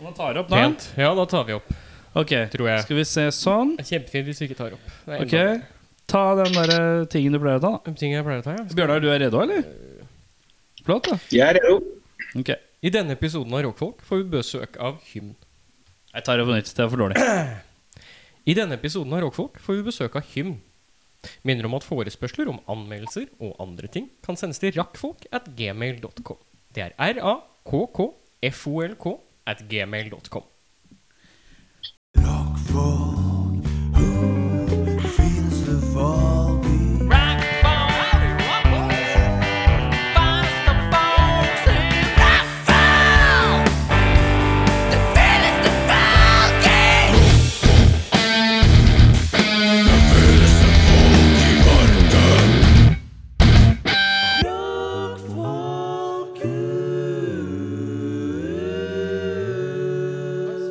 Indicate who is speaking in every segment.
Speaker 1: Man tar opp, da.
Speaker 2: Pent. Ja, da tar vi opp.
Speaker 1: Ok,
Speaker 2: Tror jeg.
Speaker 1: Skal vi se sånn.
Speaker 2: Det er Kjempefint hvis vi ikke tar opp. Det er
Speaker 1: Ok,
Speaker 2: enda-
Speaker 1: Ta den der eh, tingen du pleier å ta. da.
Speaker 2: De tingene jeg pleier å ta, ja.
Speaker 1: Bjørnar, du er redd òg, eller? Flott, da.
Speaker 3: Jeg er jo
Speaker 1: Ok,
Speaker 2: I denne episoden av Rockfolk får vi besøk av hymn.
Speaker 1: Jeg tar det på nytt. Det er for dårlig.
Speaker 2: I denne episoden av Rockfolk får vi besøk av Hymn. Minner om at forespørsler om anmeldelser og andre ting kan sendes til rakkfolk at gmail.com. Det er r-a-k-k-f-o-l-k at gmail.com.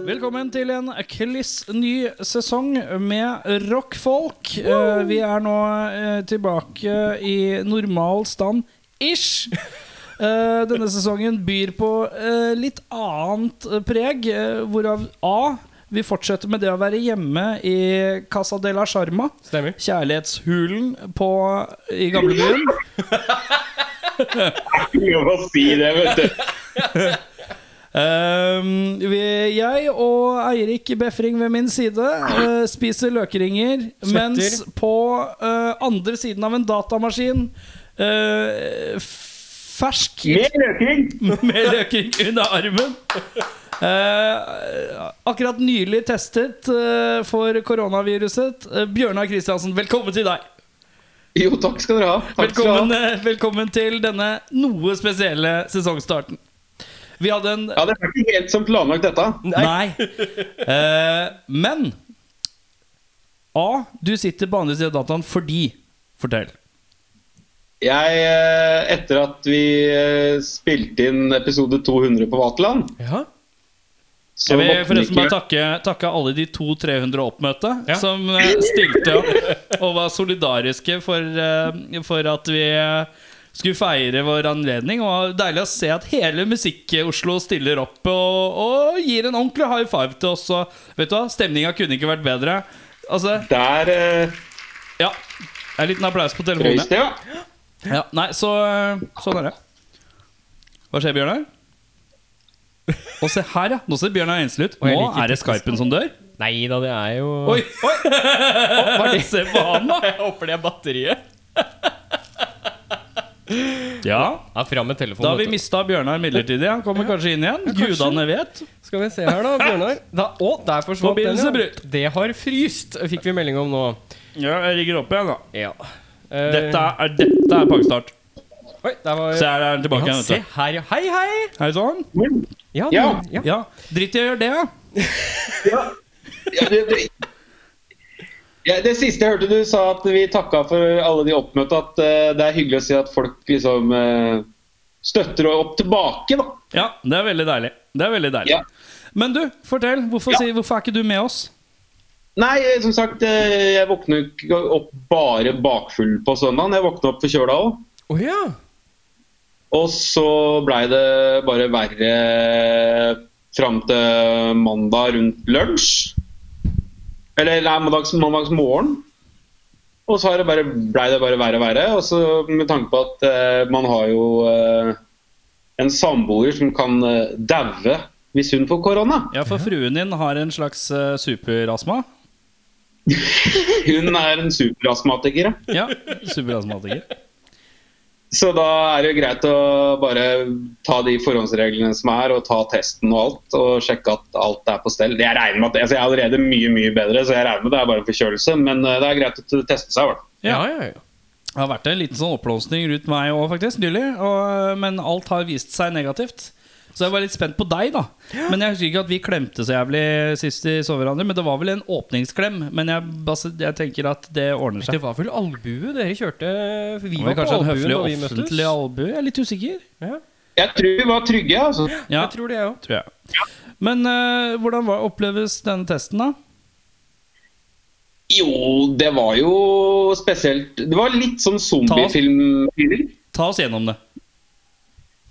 Speaker 1: Velkommen til en kliss ny sesong med rockfolk. Eh, vi er nå eh, tilbake i normal stand ish. Eh, denne sesongen byr på eh, litt annet eh, preg, eh, hvorav A. Vi fortsetter med det å være hjemme i Casa de la Sjarma.
Speaker 2: Stemmer.
Speaker 1: Kjærlighetshulen på, i gamlebyen.
Speaker 3: ikke lov å si det, vet du.
Speaker 1: Ehm, vi, jeg og Eirik Befring ved min side eh, spiser løkringer, mens på eh, andre siden av en datamaskin eh, Fersk
Speaker 3: Mer løking!
Speaker 1: med løkring under armen. Eh, akkurat nylig testet eh, for koronaviruset. Eh, Bjørnar Kristiansen, velkommen til deg.
Speaker 3: Jo, takk skal dere ha. Takk skal
Speaker 1: Velkommen,
Speaker 3: dere ha.
Speaker 1: eh, velkommen til denne noe spesielle sesongstarten. Vi hadde en
Speaker 3: Ja, det er ikke helt som planlagt, dette.
Speaker 1: Nei. Eh, men A. Du sitter på andre siden av dataen fordi Fortell.
Speaker 3: Jeg, eh, etter at vi eh, spilte inn episode 200 på Vaterland
Speaker 2: Ja.
Speaker 3: så
Speaker 1: Jeg vil
Speaker 3: måtte vi
Speaker 1: forresten bare
Speaker 3: ikke-
Speaker 1: takke, takke alle de 200-300 oppmøtte
Speaker 2: Ja.
Speaker 1: som eh, stilte opp og var solidariske for, eh, for at vi eh, skulle feire vår anledning. Og Deilig å se at hele Musikk-Oslo stiller opp og, og gir en ordentlig high five til oss. Og vet du hva, stemninga kunne ikke vært bedre. Altså,
Speaker 3: Der eh,
Speaker 1: ja. Det er En liten applaus på telefonen.
Speaker 3: røys det, ja.
Speaker 1: Ja, nei, så øh, sånn er det. Hva skjer, Bjørnar? Og se her, ja. Nå ser Bjørnar engstelig ut.
Speaker 2: Og jeg
Speaker 1: Nå
Speaker 2: liker
Speaker 1: er det Skypen som dør.
Speaker 2: Nei da, det er jo
Speaker 1: Oi, oi! Se på han, da.
Speaker 2: Jeg håper det er batteriet.
Speaker 1: Ja,
Speaker 2: Ja, fram med telefonen.
Speaker 1: Da har vi
Speaker 2: vet du.
Speaker 1: mista Bjørnar midlertidig. Han kommer kanskje inn igjen. Gudene vet.
Speaker 2: Skal vi se her, da, Bjørnar. Da, å, der forsvant den.
Speaker 1: Forbindelse
Speaker 2: Ja.
Speaker 1: brutt.
Speaker 2: Det har fryst, fikk vi melding om nå.
Speaker 1: Ja, jeg rigger opp igjen, da.
Speaker 2: Ja. Eh,
Speaker 1: Dette er, dette er pakkestart.
Speaker 2: Oi, der var
Speaker 1: Se her er han tilbake
Speaker 2: ja,
Speaker 1: igjen.
Speaker 2: Se
Speaker 1: vet
Speaker 2: her, ja. Hei, hei!
Speaker 1: du. Hei sann.
Speaker 3: Men,
Speaker 2: Ja,
Speaker 3: Ja.
Speaker 2: ja.
Speaker 1: sånn? Ja, drit i å gjøre det, ja.
Speaker 3: ja. Ja, det, det. Ja, det siste jeg hørte du sa at vi takka for alle de oppmøtte, at eh, det er hyggelig å se at folk liksom eh, støtter opp tilbake, da.
Speaker 1: Ja, Det er veldig deilig. Det er veldig deilig.
Speaker 3: Ja.
Speaker 1: Men du, fortell. Hvorfor,
Speaker 3: Ja.
Speaker 1: si, hvorfor er ikke du med oss?
Speaker 3: Nei, eh, som sagt, eh, jeg våkner ikke opp bare bakfull på søndagen. Jeg våkna opp forkjøla òg.
Speaker 2: Å ja.
Speaker 3: Og så blei det bare verre fram til mandag rundt lunsj. Eller nei, mandags, mandags morgen. Og så har det bare, blei det bare verre og verre. Og så med tanke på at eh, man har jo eh, en samboer som kan eh, daue hvis hun får korona.
Speaker 1: Ja, for fruen din har en slags eh, superastma.
Speaker 3: Hun er en superastmatiker. ja.
Speaker 1: Ja, superastmatiker.
Speaker 3: Så da er det jo greit å bare ta de forhåndsreglene som er, og ta testen og alt. Og sjekke at alt er på stell. Jeg regner med at, altså jeg er allerede mye mye bedre, så jeg regner med det er bare en forkjølelse. Men eh, det er greit å t- teste seg. i hvert fall.
Speaker 2: Ja, ja, ja.
Speaker 1: Det har vært en liten sånn oppblomstring rundt meg òg, faktisk. Nylig. Og, eh, men alt har vist seg negativt. Så jeg var litt spent på deg, da. Men jeg husker ikke at vi klemte så jævlig sist vi så hverandre. Men det var vel en åpningsklem. Men jeg, bare- jeg tenker at det ordner
Speaker 2: Det
Speaker 1: seg.
Speaker 2: var vel albue dere kjørte? for Vi
Speaker 1: Det
Speaker 2: var,
Speaker 1: var
Speaker 2: på
Speaker 1: kanskje en
Speaker 2: albuen
Speaker 1: høflig
Speaker 2: da vi møttes.
Speaker 1: offentlig albue? Jeg er litt usikker.
Speaker 2: Ja,
Speaker 3: Jeg tror vi var trygge. altså.
Speaker 1: Ja,
Speaker 2: jeg tror det, jeg òg.
Speaker 1: tror jeg. Men eh, hvordan var, oppleves denne testen, da?
Speaker 3: Jo, det var jo spesielt Det var litt sånn zombiefilm.
Speaker 1: Ta oss gjennom det.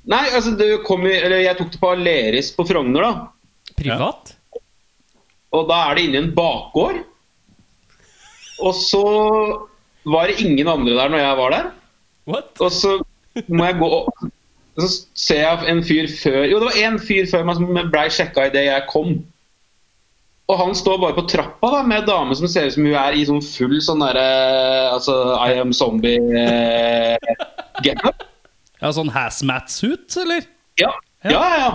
Speaker 3: Nei, altså det kom, i- eller jeg tok det på Aleris på Frogner, da.
Speaker 2: privat?
Speaker 3: Og da er det inne i en bakgård. Og så var det ingen andre der når jeg var der.
Speaker 2: What?
Speaker 3: Og så må jeg gå og Så ser jeg en fyr før Jo, det var en fyr før meg som blei sjekka idet jeg kom. Og han står bare på trappa da, med ei dame som ser ut som hun er i sånn full sånn derre Altså I am eh, zombie-getup.
Speaker 1: Ja, sånn hazmat-suit, eller?
Speaker 3: Ja. ja, ja, ja.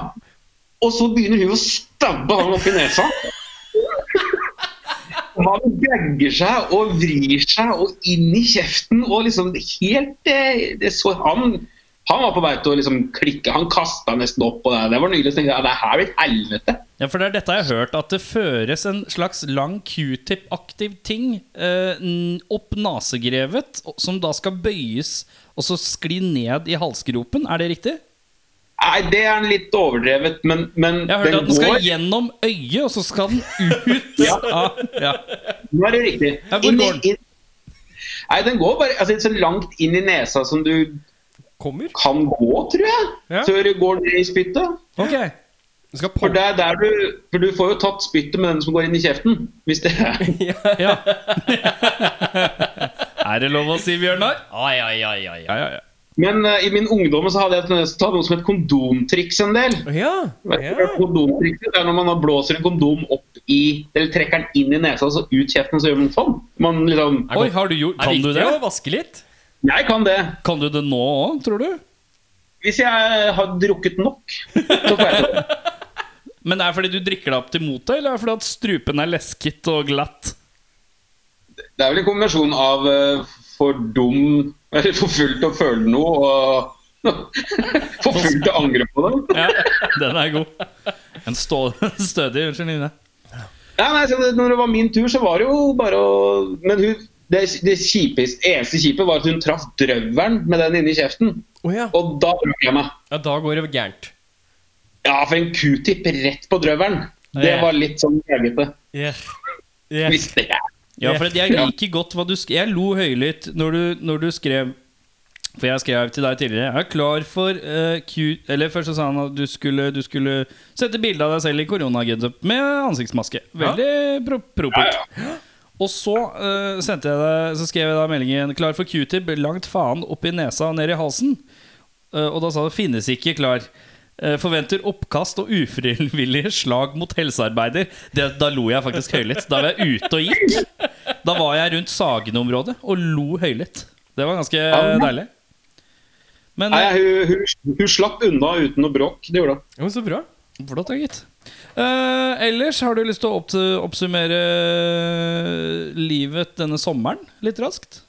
Speaker 3: Og så begynner hun å stabbe han opp i nesa. Og Han gagger seg og vrir seg og inn i kjeften og liksom helt eh, det så, han, han var på vei til å liksom klikke. Han kasta nesten opp på det. Det var nydelig. Så tenkte jeg, det her blir et helvete.
Speaker 1: Ja, for det er dette jeg har hørt, at det føres en slags lang q-tip-aktiv ting eh, n- opp nasegrevet, og- som da skal bøyes og så skli ned i halsgropen. Er det riktig?
Speaker 3: Nei, det er litt overdrevet, men, men
Speaker 1: Jeg har hørt at den skal gjennom øyet, og så skal den ut.
Speaker 3: Ja.
Speaker 1: av- ja.
Speaker 3: Nå er det riktig.
Speaker 1: Ja, hvor
Speaker 3: Inn i-
Speaker 1: går den?
Speaker 3: inn- Nei, den går bare altså, så langt inn i nesa som du
Speaker 2: Kommer?
Speaker 3: kan gå, tror jeg.
Speaker 2: Ja.
Speaker 3: Før det går ned i spyttet.
Speaker 1: Ok.
Speaker 2: Skal
Speaker 3: For,
Speaker 2: pol-
Speaker 3: det er der du, for du får jo tatt spyttet med den som går inn i kjeften. Hvis det er
Speaker 2: ja.
Speaker 1: Ja. er det lov å si, Bjørnar?
Speaker 2: Ai, ai, ai, ai, ai.
Speaker 1: Ja, ja, ja.
Speaker 3: Men eh, i min ungdom så hadde jeg tendens til å ta noe som het kondomtriks en del.
Speaker 2: Ja.
Speaker 3: Vet du
Speaker 2: ja.
Speaker 3: hva Kondomtrikset det er når man da blåser en kondom opp i Eller trekker den inn i nesa, så ut kjeften, så gjør man sånn. Man liksom
Speaker 1: Oi, har du gjort Kan du det?
Speaker 2: å vaske litt?
Speaker 3: Jeg kan det.
Speaker 1: Kan du det nå òg, tror du?
Speaker 3: Hvis jeg har drukket nok, så får jeg til det.
Speaker 1: Men er det fordi du drikker det opp til motet, eller er det fordi at strupen er lesket og glatt?
Speaker 3: Det er vel en kombinasjon av eh, for dum Eller for full til å føle noe og for full til å angre på det.
Speaker 1: Ja, den er god. En stå stødig Unnskyld, Line.
Speaker 3: Ja, nei, så det- når det var min tur, så var det jo bare å Men hun, det, det kjipeste, eneste kjipe var at hun traff drøvelen med den inni kjeften.
Speaker 2: Å ja.
Speaker 3: Og da brakk jeg meg.
Speaker 2: ja. Da går det gærent.
Speaker 3: Ja, for en q-tip rett på drøvelen. Det var litt sånn jegete.
Speaker 2: Yeah.
Speaker 3: Hvis det er
Speaker 1: Ja, for jeg liker godt hva du sk Jeg lo høylytt når du, når du skrev For jeg skrev til deg tidligere Jeg er klar for eh, Q Eller først så sa han at du skulle, du skulle Sette bildet av deg selv i koronagetup Med ansiktsmaske Veldig pro propert Og så eh, sendte jeg deg Så skrev jeg deg meldingen Klar for Q-tip Langt faen opp i nesa og ned i halsen Eh, Og da sa det Finnes ikke klar Eh, Forventer oppkast og ufrivillige slag mot helsearbeider det, Da lo jeg faktisk høylytt Da var jeg ute og gikk da var jeg rundt Sagene-området og lo høylytt. Det var ganske eh, deilig. Men eh,
Speaker 3: Nei, hun, hun, hun slapp unna uten noe bråk. Det gjorde hun.
Speaker 2: Jo, så bra.
Speaker 1: eh, flott, ja, gitt. Eh, ellers, har du lyst til å opp oppsummere livet denne sommeren litt raskt?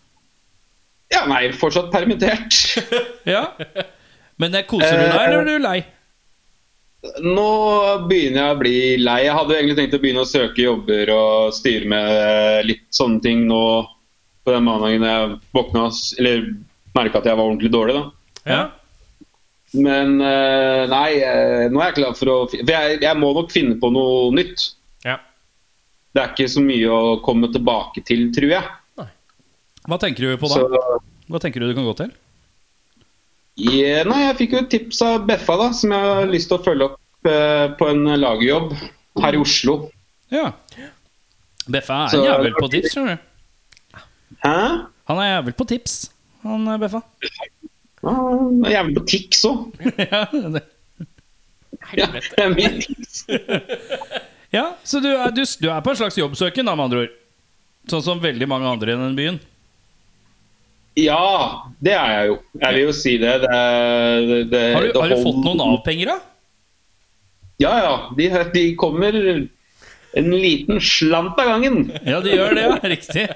Speaker 3: Ja, nei, fortsatt permittert.
Speaker 1: Ja? Men jeg koser du deg,
Speaker 3: Eh,
Speaker 1: eller er du lei?
Speaker 3: Nå begynner jeg å bli lei. Jeg hadde jo egentlig tenkt å begynne å søke jobber og styre med eh, litt sånne ting nå på den mandagen jeg våkna s- Eller merka at jeg var ordentlig dårlig, da.
Speaker 1: Ja.
Speaker 3: Men eh, nei, eh, nå er jeg klar for å fi- For jeg, jeg må nok finne på noe nytt.
Speaker 2: Ja.
Speaker 3: Det er ikke så mye å komme tilbake til, tror jeg.
Speaker 1: Hva tenker du på da?
Speaker 3: Så
Speaker 1: Hva tenker du du kan gå til?
Speaker 3: Ja, Nei, jeg fikk jo et tips av Beffa, da, som jeg har lyst til å følge opp eh, på en lagerjobb her i Oslo.
Speaker 1: Ja. Beffa er
Speaker 3: Så-
Speaker 1: en jævel på tips, skjønner du.
Speaker 3: Hæ?
Speaker 1: Han er jævel på tips, han eh, Beffa.
Speaker 3: Ja, det er jævlig på Tix òg.
Speaker 1: ja, det.
Speaker 3: Ja, det er mye Tix.
Speaker 1: Ja, så du er, du, du er på en slags jobbsøken da, med andre ord. Sånn som veldig mange andre i den byen.
Speaker 3: ja, det er jeg jo. Jeg vil jo si det. det, er- det, det
Speaker 1: Har du,
Speaker 3: det
Speaker 1: har du
Speaker 3: hold-
Speaker 1: fått noen Nav-penger, da?
Speaker 3: Ja, ja. De, de kommer en liten slant av gangen.
Speaker 1: Ja, de gjør det, ja. Riktig.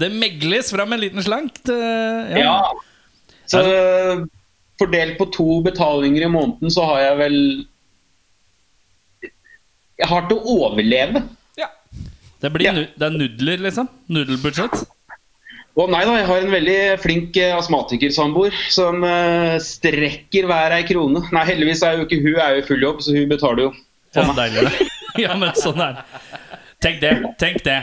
Speaker 1: Det megles fram en liten slank. til- Ja.
Speaker 3: Ja. Så fordelt på to betalinger i måneden, så har jeg vel Jeg har til å overleve.
Speaker 1: Det, blir
Speaker 3: Ja.
Speaker 1: nu, det er nudler, liksom. Nudelbudsjett.
Speaker 3: Og nei da, jeg har en veldig flink eh, astmatikersamboer som eh, strekker hver ei krone. Nei, heldigvis er jo ikke hun er jo i full jobb, så hun betaler jo.
Speaker 1: Ja, Sånn deilig. det. Ja, men sånn er det. Tenk det. tenk det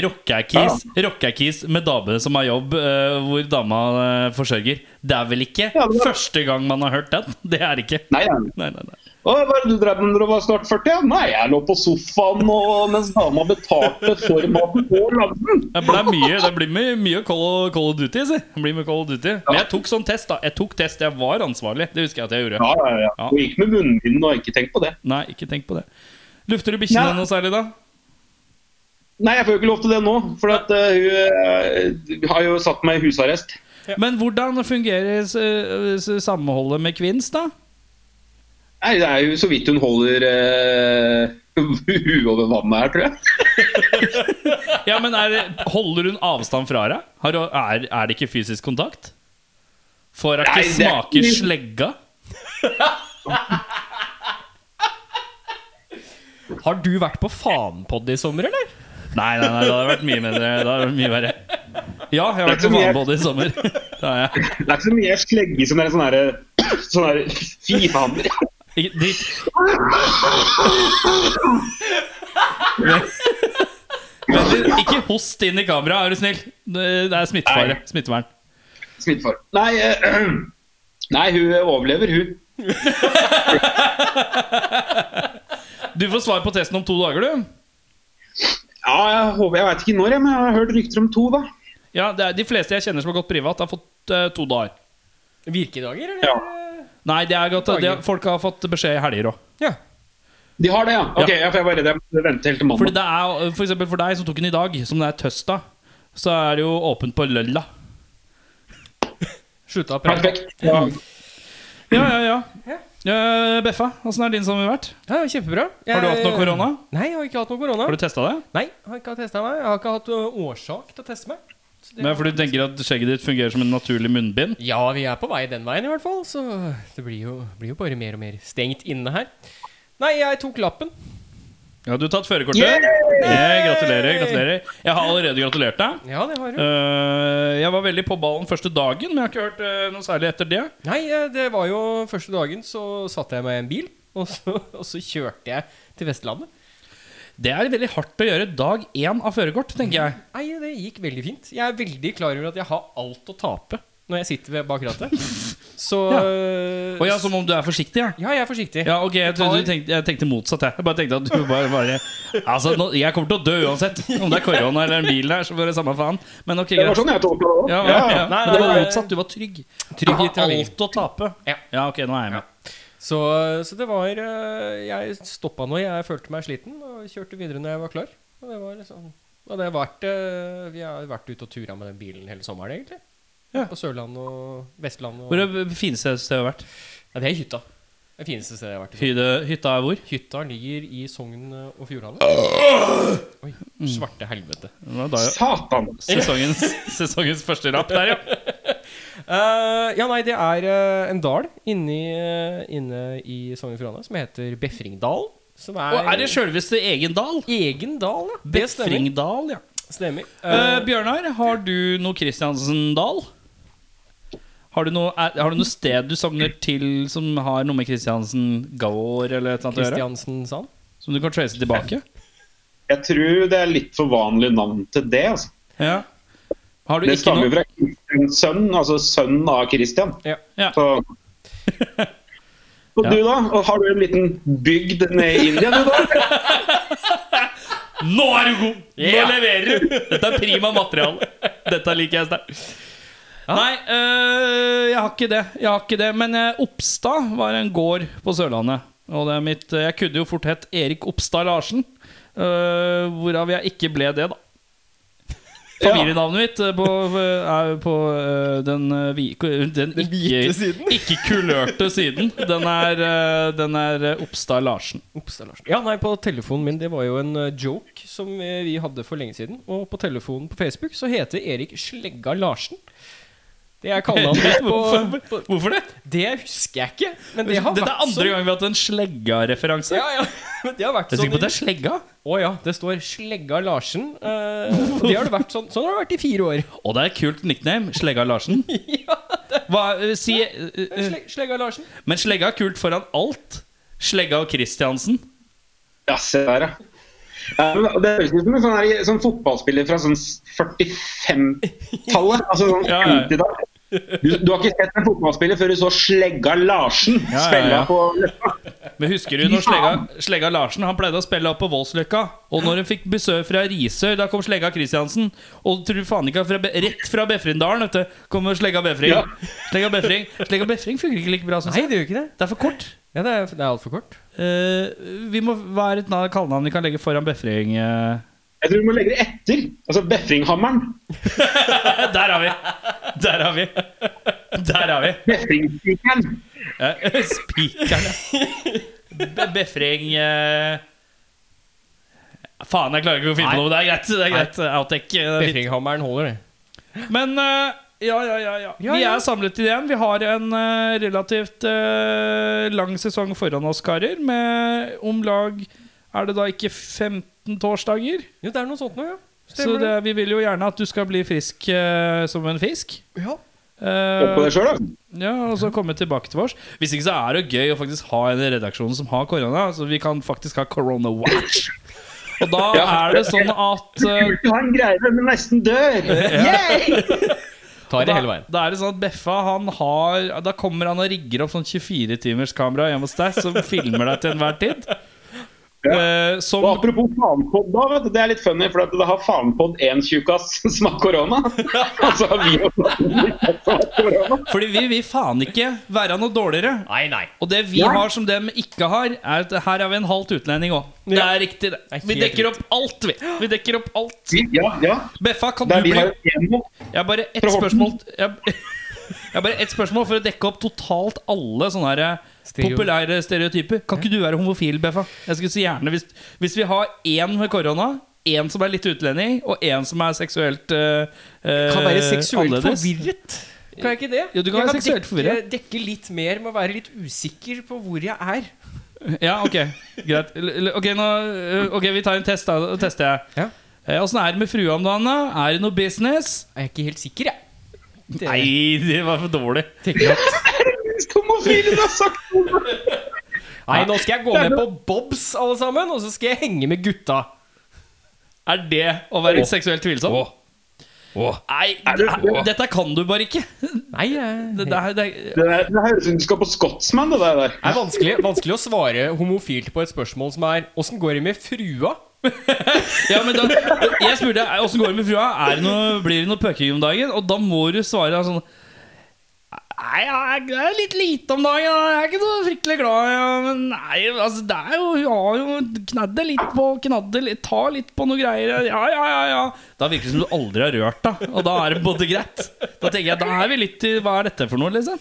Speaker 1: Rockekeys Rockekeys med dame som har jobb, eh, hvor dama eh, forsørger. Det er vel ikke
Speaker 3: Ja, det var-
Speaker 1: første gang man har hørt den? Det er ikke.
Speaker 3: Nei, nei.
Speaker 1: Nei, nei, nei.
Speaker 3: Å, hva er det du drev med når du var snart 40? Ja? Nei, jeg lå på sofaen og, mens dama betalte for maten og lagde den.
Speaker 1: Det ble mye, det blir mye, mye Call, of- Call of Duty, si. Det blir mye Call of Duty. Men jeg tok sånn test, da. Jeg tok test, jeg var ansvarlig. Det husker jeg at jeg gjorde.
Speaker 3: Ja, ja, ja. Og gikk med munnbind og ikke tenkt på det.
Speaker 1: Nei, ikke tenk på det. Lufter du bikkjene
Speaker 3: Nei.
Speaker 1: noe særlig, da?
Speaker 3: Nei, jeg får jo ikke lov til det nå, for at, eh, hun eh, har jo satt meg i husarrest.
Speaker 1: Men hvordan fungerer eh, s- samholdet med kvinns, da?
Speaker 3: Nei, det er jo så vidt hun holder eh, huet over vannet her, tror jeg.
Speaker 1: Ja, men er, det- Holder hun avstand fra deg? Har, du- er, er det ikke fysisk kontakt? Får hun
Speaker 3: Nei,
Speaker 1: ikke
Speaker 3: det-
Speaker 1: smake slegga?
Speaker 2: Har du vært på Fanpod i sommer, eller?
Speaker 1: Nei, nei, nei, det hadde vært mye bedre. Det hadde vært mye verre. Ja, jeg har vært på Vanbåt i sommer. Det har jeg.
Speaker 3: Det er ikke så mye slegge som er en sånn herre sånn her fiendehandler.
Speaker 1: Ikke- Dritt. Men du, ikke host inn i kamera, er du snill. Det det er smittefare.
Speaker 3: Nei.
Speaker 1: Smittevern.
Speaker 3: Smittefar. Nei, eh, nei, hun overlever, hun.
Speaker 1: Du får svar på testen om to dager, du.
Speaker 3: Ja, jeg håper Jeg veit ikke når, jeg, men jeg har hørt rykter om to, da.
Speaker 1: Ja, det er, De fleste jeg kjenner som har gått privat, har fått eh, to dager.
Speaker 2: Virkedager, eller?
Speaker 3: Ja.
Speaker 1: Nei, det er godt, det, er- folk har fått beskjed i helger òg.
Speaker 2: ja.
Speaker 3: De har det, ja? Ok, ja. for jeg var redd jeg måtte vente helt til
Speaker 1: Fordi
Speaker 3: mandag.
Speaker 1: det er, for eksempel for deg som tok den i dag, som det er tøsta, så er det jo åpent på lølla.
Speaker 2: Slutta å prate.
Speaker 3: Perfekt. Ja.
Speaker 1: Ja, ja, ja. Eh, Beffa, åssen har din sommer vært?
Speaker 2: Ja, kjempebra.
Speaker 1: Har du hatt noe
Speaker 2: Jeg-
Speaker 1: korona?
Speaker 2: Nei, jeg har ikke hatt noe korona.
Speaker 1: Har du testa det?
Speaker 2: Nei, jeg har ikke testet meg. Jeg har ikke hatt ø, årsak til å teste meg. Så det-
Speaker 1: Men for du tenker at skjegget ditt fungerer som en naturlig munnbind?
Speaker 2: Ja, vi er på vei den veien i hvert fall, så det blir jo, blir jo bare mer og mer stengt inne her. Nei, jeg tok lappen.
Speaker 1: Ja, du har tatt førerkortet?
Speaker 3: Yeah!
Speaker 1: Yeah, gratulerer. gratulerer Jeg har allerede gratulert deg.
Speaker 2: Ja, det har du.
Speaker 1: Eh, jeg var veldig på ballen første dagen, men jeg har ikke hørt eh, noe særlig etter det.
Speaker 2: Nei, eh, det var jo første dagen så satte jeg meg i en bil, og så, og så kjørte jeg til Vestlandet.
Speaker 1: Det er veldig hardt å gjøre dag én av førerkort, tenker jeg.
Speaker 2: Nei, det gikk veldig fint. Jeg er veldig klar over at jeg har alt å tape når jeg sitter ved bak rattet. Så
Speaker 1: Ja.
Speaker 2: eh,
Speaker 1: Å ja, som om du er forsiktig, ja.
Speaker 2: Ja, jeg er forsiktig.
Speaker 1: Ja, ok, jeg, trodde du tenkte, jeg tenkte motsatt. Jeg Jeg bare tenkte at du bare, bare Altså, nå, Jeg kommer til å dø uansett. Om det er korona eller en bil der, så bare samme faen. Men ok,
Speaker 3: Det var
Speaker 1: greit.
Speaker 3: sånn jeg tolka det òg.
Speaker 1: Ja, ja, ja.
Speaker 2: Nei,
Speaker 1: Men det var
Speaker 2: nei, nei.
Speaker 1: motsatt. Du var trygg.
Speaker 2: Trygg
Speaker 1: Du
Speaker 2: i
Speaker 1: har
Speaker 2: trafikken.
Speaker 1: alt å tape.
Speaker 2: Ja.
Speaker 1: Ja, ok, nå er jeg med.
Speaker 2: Så, så det var eh, Jeg stoppa når jeg følte meg sliten, og kjørte videre når jeg var klar. Og det var liksom og det har vært, eh, Vi har vært ute og tura med den bilen hele sommeren, egentlig.
Speaker 1: Ja.
Speaker 2: På Sørlandet og Vestlandet. Og,
Speaker 1: Hvor er det fineste stedet du har vært?
Speaker 2: ja, det er hytta. Det fineste stedet jeg har vært. i.
Speaker 1: Hyde, hytta er hvor?
Speaker 2: Hytta ligger i Sogn og Fjordane. Oi,
Speaker 1: Mm.
Speaker 2: svarte helvete.
Speaker 1: Det var da, ja.
Speaker 3: Satan.
Speaker 1: sesongens, sesongens første rapp der, ja.
Speaker 2: Eh, ja, nei, det er eh, en dal inni, eh, inne i Sogn og Fjordane som heter Befringdalen. Som er,
Speaker 1: Og er det sjølveste egen dal?
Speaker 2: egen dal, ja. Det stemmer.
Speaker 1: Befringdal, ja.
Speaker 2: stemmer.
Speaker 1: Eh,
Speaker 2: Eh,
Speaker 1: Bjørnar, har du noe Kristiansen-dal? Har du, noe, er, har du noe sted du sogner til som har noe med Kristiansen gård eller et eller annet å gjøre?
Speaker 2: Kristiansen Sand.
Speaker 1: Som du kan trace tilbake?
Speaker 3: Jeg tror det er litt for vanlig navn til det. altså.
Speaker 1: Ja. Har du
Speaker 3: Det
Speaker 1: ikke
Speaker 3: stammer jo
Speaker 1: noe?
Speaker 3: fra Kristians sønn, altså sønnen av Kristian.
Speaker 2: Ja.
Speaker 1: Ja.
Speaker 3: Så... Og
Speaker 1: Ja.
Speaker 3: du, da? Og Har du en liten bygd nede i India, du, da?
Speaker 1: Nå er du god! Nå
Speaker 2: Ja.
Speaker 1: leverer du! Dette er prima materiale. Dette liker jeg sterkt. Nei, eh, jeg har ikke det. Jeg har ikke det. Men eh, Oppstad var en gård på Sørlandet. Og det er mitt, eh, jeg kunne jo fort hett Erik Oppstad Larsen. eh, hvorav jeg ikke ble det, da. Familienavnet mitt eh, på, er på eh, den, eh, vi, den
Speaker 2: hvite
Speaker 1: ikke,
Speaker 2: siden.
Speaker 1: ikke kulørte siden. Den er, eh, den er eh, Oppstad Larsen.
Speaker 2: Ops, det er Larsen. Ja, nei, på telefonen min, det var jo en eh, joke som eh, vi hadde for lenge siden. Og på telefonen på Facebook så heter Erik Slegga Larsen. Det er kallenavnet mitt på, på
Speaker 1: Hvorfor det?
Speaker 2: Det husker jeg ikke, men det har
Speaker 1: Dette er
Speaker 2: vært
Speaker 1: andre gang vi har hatt en slegga-referanse.
Speaker 2: Ja, ja, men det har vært
Speaker 1: Jeg er
Speaker 2: sånn
Speaker 1: sikker på at det
Speaker 2: i-
Speaker 1: er slegga.
Speaker 2: Å ja, det står 'Slegga Larsen'. eh, og det har det vært sånn, sånn har det vært i fire år.
Speaker 1: Og det er et kult nickname. Slegga Larsen. Hva, eh, si, eh, eh,
Speaker 2: Sle, slegga Larsen.
Speaker 1: men slegga er kult foran alt. Slegga og Kristiansen.
Speaker 3: Ja, se der, ja. Ja, men Det høres ut som en sånn, her, sånn fotballspiller fra sånn 45-tallet. Altså sånn
Speaker 1: Ja, ja.
Speaker 3: 50-tallet. Du, du har ikke sett en fotballspiller før du så Slegga Larsen
Speaker 1: ja, ja.
Speaker 3: spille på løpet.
Speaker 1: Men husker du når Slegga, Slegga Larsen Han pleide å spille opp på Voldsløkka? Og når hun fikk besøk fra Risør, da kom Slegga Kristiansen. Og tror du faen ikke at fra, Be- rett fra Befrindalen vet du, kommer Slegga Befring.
Speaker 3: Ja.
Speaker 1: Slegga Befring Slegga Befring funker ikke like bra, syns
Speaker 2: Nei,
Speaker 1: jeg.
Speaker 2: det gjør ikke det.
Speaker 1: Det er for kort.
Speaker 2: Ja, Det er, det er altfor kort.
Speaker 1: Eh, vi må, hva er et na- kallenavn vi kan legge foran Befring? eh?
Speaker 3: Jeg tror du må legge det etter. Altså Befringhammeren.
Speaker 1: Der har vi! Der har vi! Der har vi!
Speaker 3: Befringspikeren.
Speaker 1: Ja, Spikeren, ja. Be befring eh. Faen, jeg klarer ikke å finne på noe. men Det er greit. det er greit Outtake. eh, litt.
Speaker 2: Befringhammeren holder, det.
Speaker 1: Men eh, ja, ja, ja, ja.
Speaker 2: Ja,
Speaker 1: Vi
Speaker 2: ja.
Speaker 1: er samlet igjen. Vi har en eh, relativt eh, lang sesong foran oss, karer. Med om lag Er det da ikke 15 torsdager?
Speaker 2: Jo, det er noe sånt noe, ja.
Speaker 1: Så det, vi vil jo gjerne at du skal bli frisk eh, som en fisk.
Speaker 2: Ja.
Speaker 1: Eh,
Speaker 3: Opp på deg sjøl, da.
Speaker 1: ja, og så komme tilbake til oss. Hvis ikke så er det gøy å faktisk ha en i redaksjonen som har korona. Så vi kan faktisk ha corona watch. Og da
Speaker 3: Ja.
Speaker 1: er det sånn at eh,
Speaker 3: Du har en greie men nesten dør. Yay!
Speaker 2: Tar det
Speaker 1: da,
Speaker 2: hele veien.
Speaker 1: da er det sånn at Beffa han har Da kommer han og rigger opp sånn 24-timerskamera hjemme hos deg som filmer deg til enhver tid. Eh, som
Speaker 3: Og apropos faenpod, da, vet du, det er litt funny, for at det har faenpod én tjukkas som har korona. Og så har vi også en tjukkas som har korona.
Speaker 1: Fordi vi vil faen ikke være noe dårligere.
Speaker 2: Nei, nei.
Speaker 1: Og det vi har som dem ikke har, er at her er vi en halvt utlending òg. Det
Speaker 2: Ja.
Speaker 1: er riktig, det.
Speaker 2: Det er
Speaker 1: Vi
Speaker 2: helt
Speaker 1: dekker opp alt, vi. Vi dekker opp alt.
Speaker 3: Ja, ja.
Speaker 1: Beffa, kan du
Speaker 3: Der vi
Speaker 1: bli
Speaker 3: har emo.
Speaker 1: Jeg har bare ett
Speaker 3: Fra Horten.
Speaker 1: spørsmål Jeg jeg har bare ett spørsmål for å dekke opp totalt alle sånne her eh,
Speaker 2: Stereo.
Speaker 1: populære stereotyper. Kan ikke du være homofil, Beffa? Jeg skulle så gjerne Hvis, hvis vi har én med korona, én som er litt utlending, og én som er seksuelt eh, eh,
Speaker 2: Kan være seksuelt
Speaker 1: annerledes.
Speaker 2: forvirret. Kan jeg ikke det?
Speaker 1: Jo, du kan
Speaker 2: jeg
Speaker 1: være seksuelt forvirret.
Speaker 2: dekke, dekke litt mer med å være litt usikker på hvor jeg er.
Speaker 1: Ja, ok, greit L- l- Ok, nå, eh, ok, vi tar en test, da. Da tester jeg.
Speaker 2: Ja.
Speaker 1: Eh, Åssen er det med frua om dagen? da? Er det noe business?
Speaker 2: Jeg er ikke helt sikker, jeg. Det-
Speaker 1: Nei, det var for dårlig.
Speaker 2: tenker at-
Speaker 3: Homofile, du har sagt noe!
Speaker 2: Nei, nå skal jeg gå med på Bobs, alle sammen, og så skal jeg henge med gutta.
Speaker 1: Er det å være seksuelt tvilsom? Nei,
Speaker 3: det-
Speaker 1: dette kan du bare ikke.
Speaker 2: Nei,
Speaker 1: Det,
Speaker 2: det,
Speaker 1: det,
Speaker 2: det
Speaker 1: er- det, er-
Speaker 3: Det, der- det høres ut som du skal på Scotsman, det der.
Speaker 2: er vanskelig, vanskelig å svare homofilt på et spørsmål som er Åssen går det med frua?
Speaker 1: ja, men da, jeg spurte "Er- åssen går det med frua. Er det noe, blir det noe pøking om dagen? Og da må du svare sånn Nei, jeg- det er litt lite om dagen. da. Jeg er ikke så fryktelig glad. Ja. Men nei, altså, det er jo Hun har jo knadde litt på knadde litt, Tar litt på noe greier. Ja, ja, ja. ja Da virker det som du aldri har rørt deg. Og da er det både greit. Da tenker jeg, da er vi litt i Hva er dette for noe, liksom?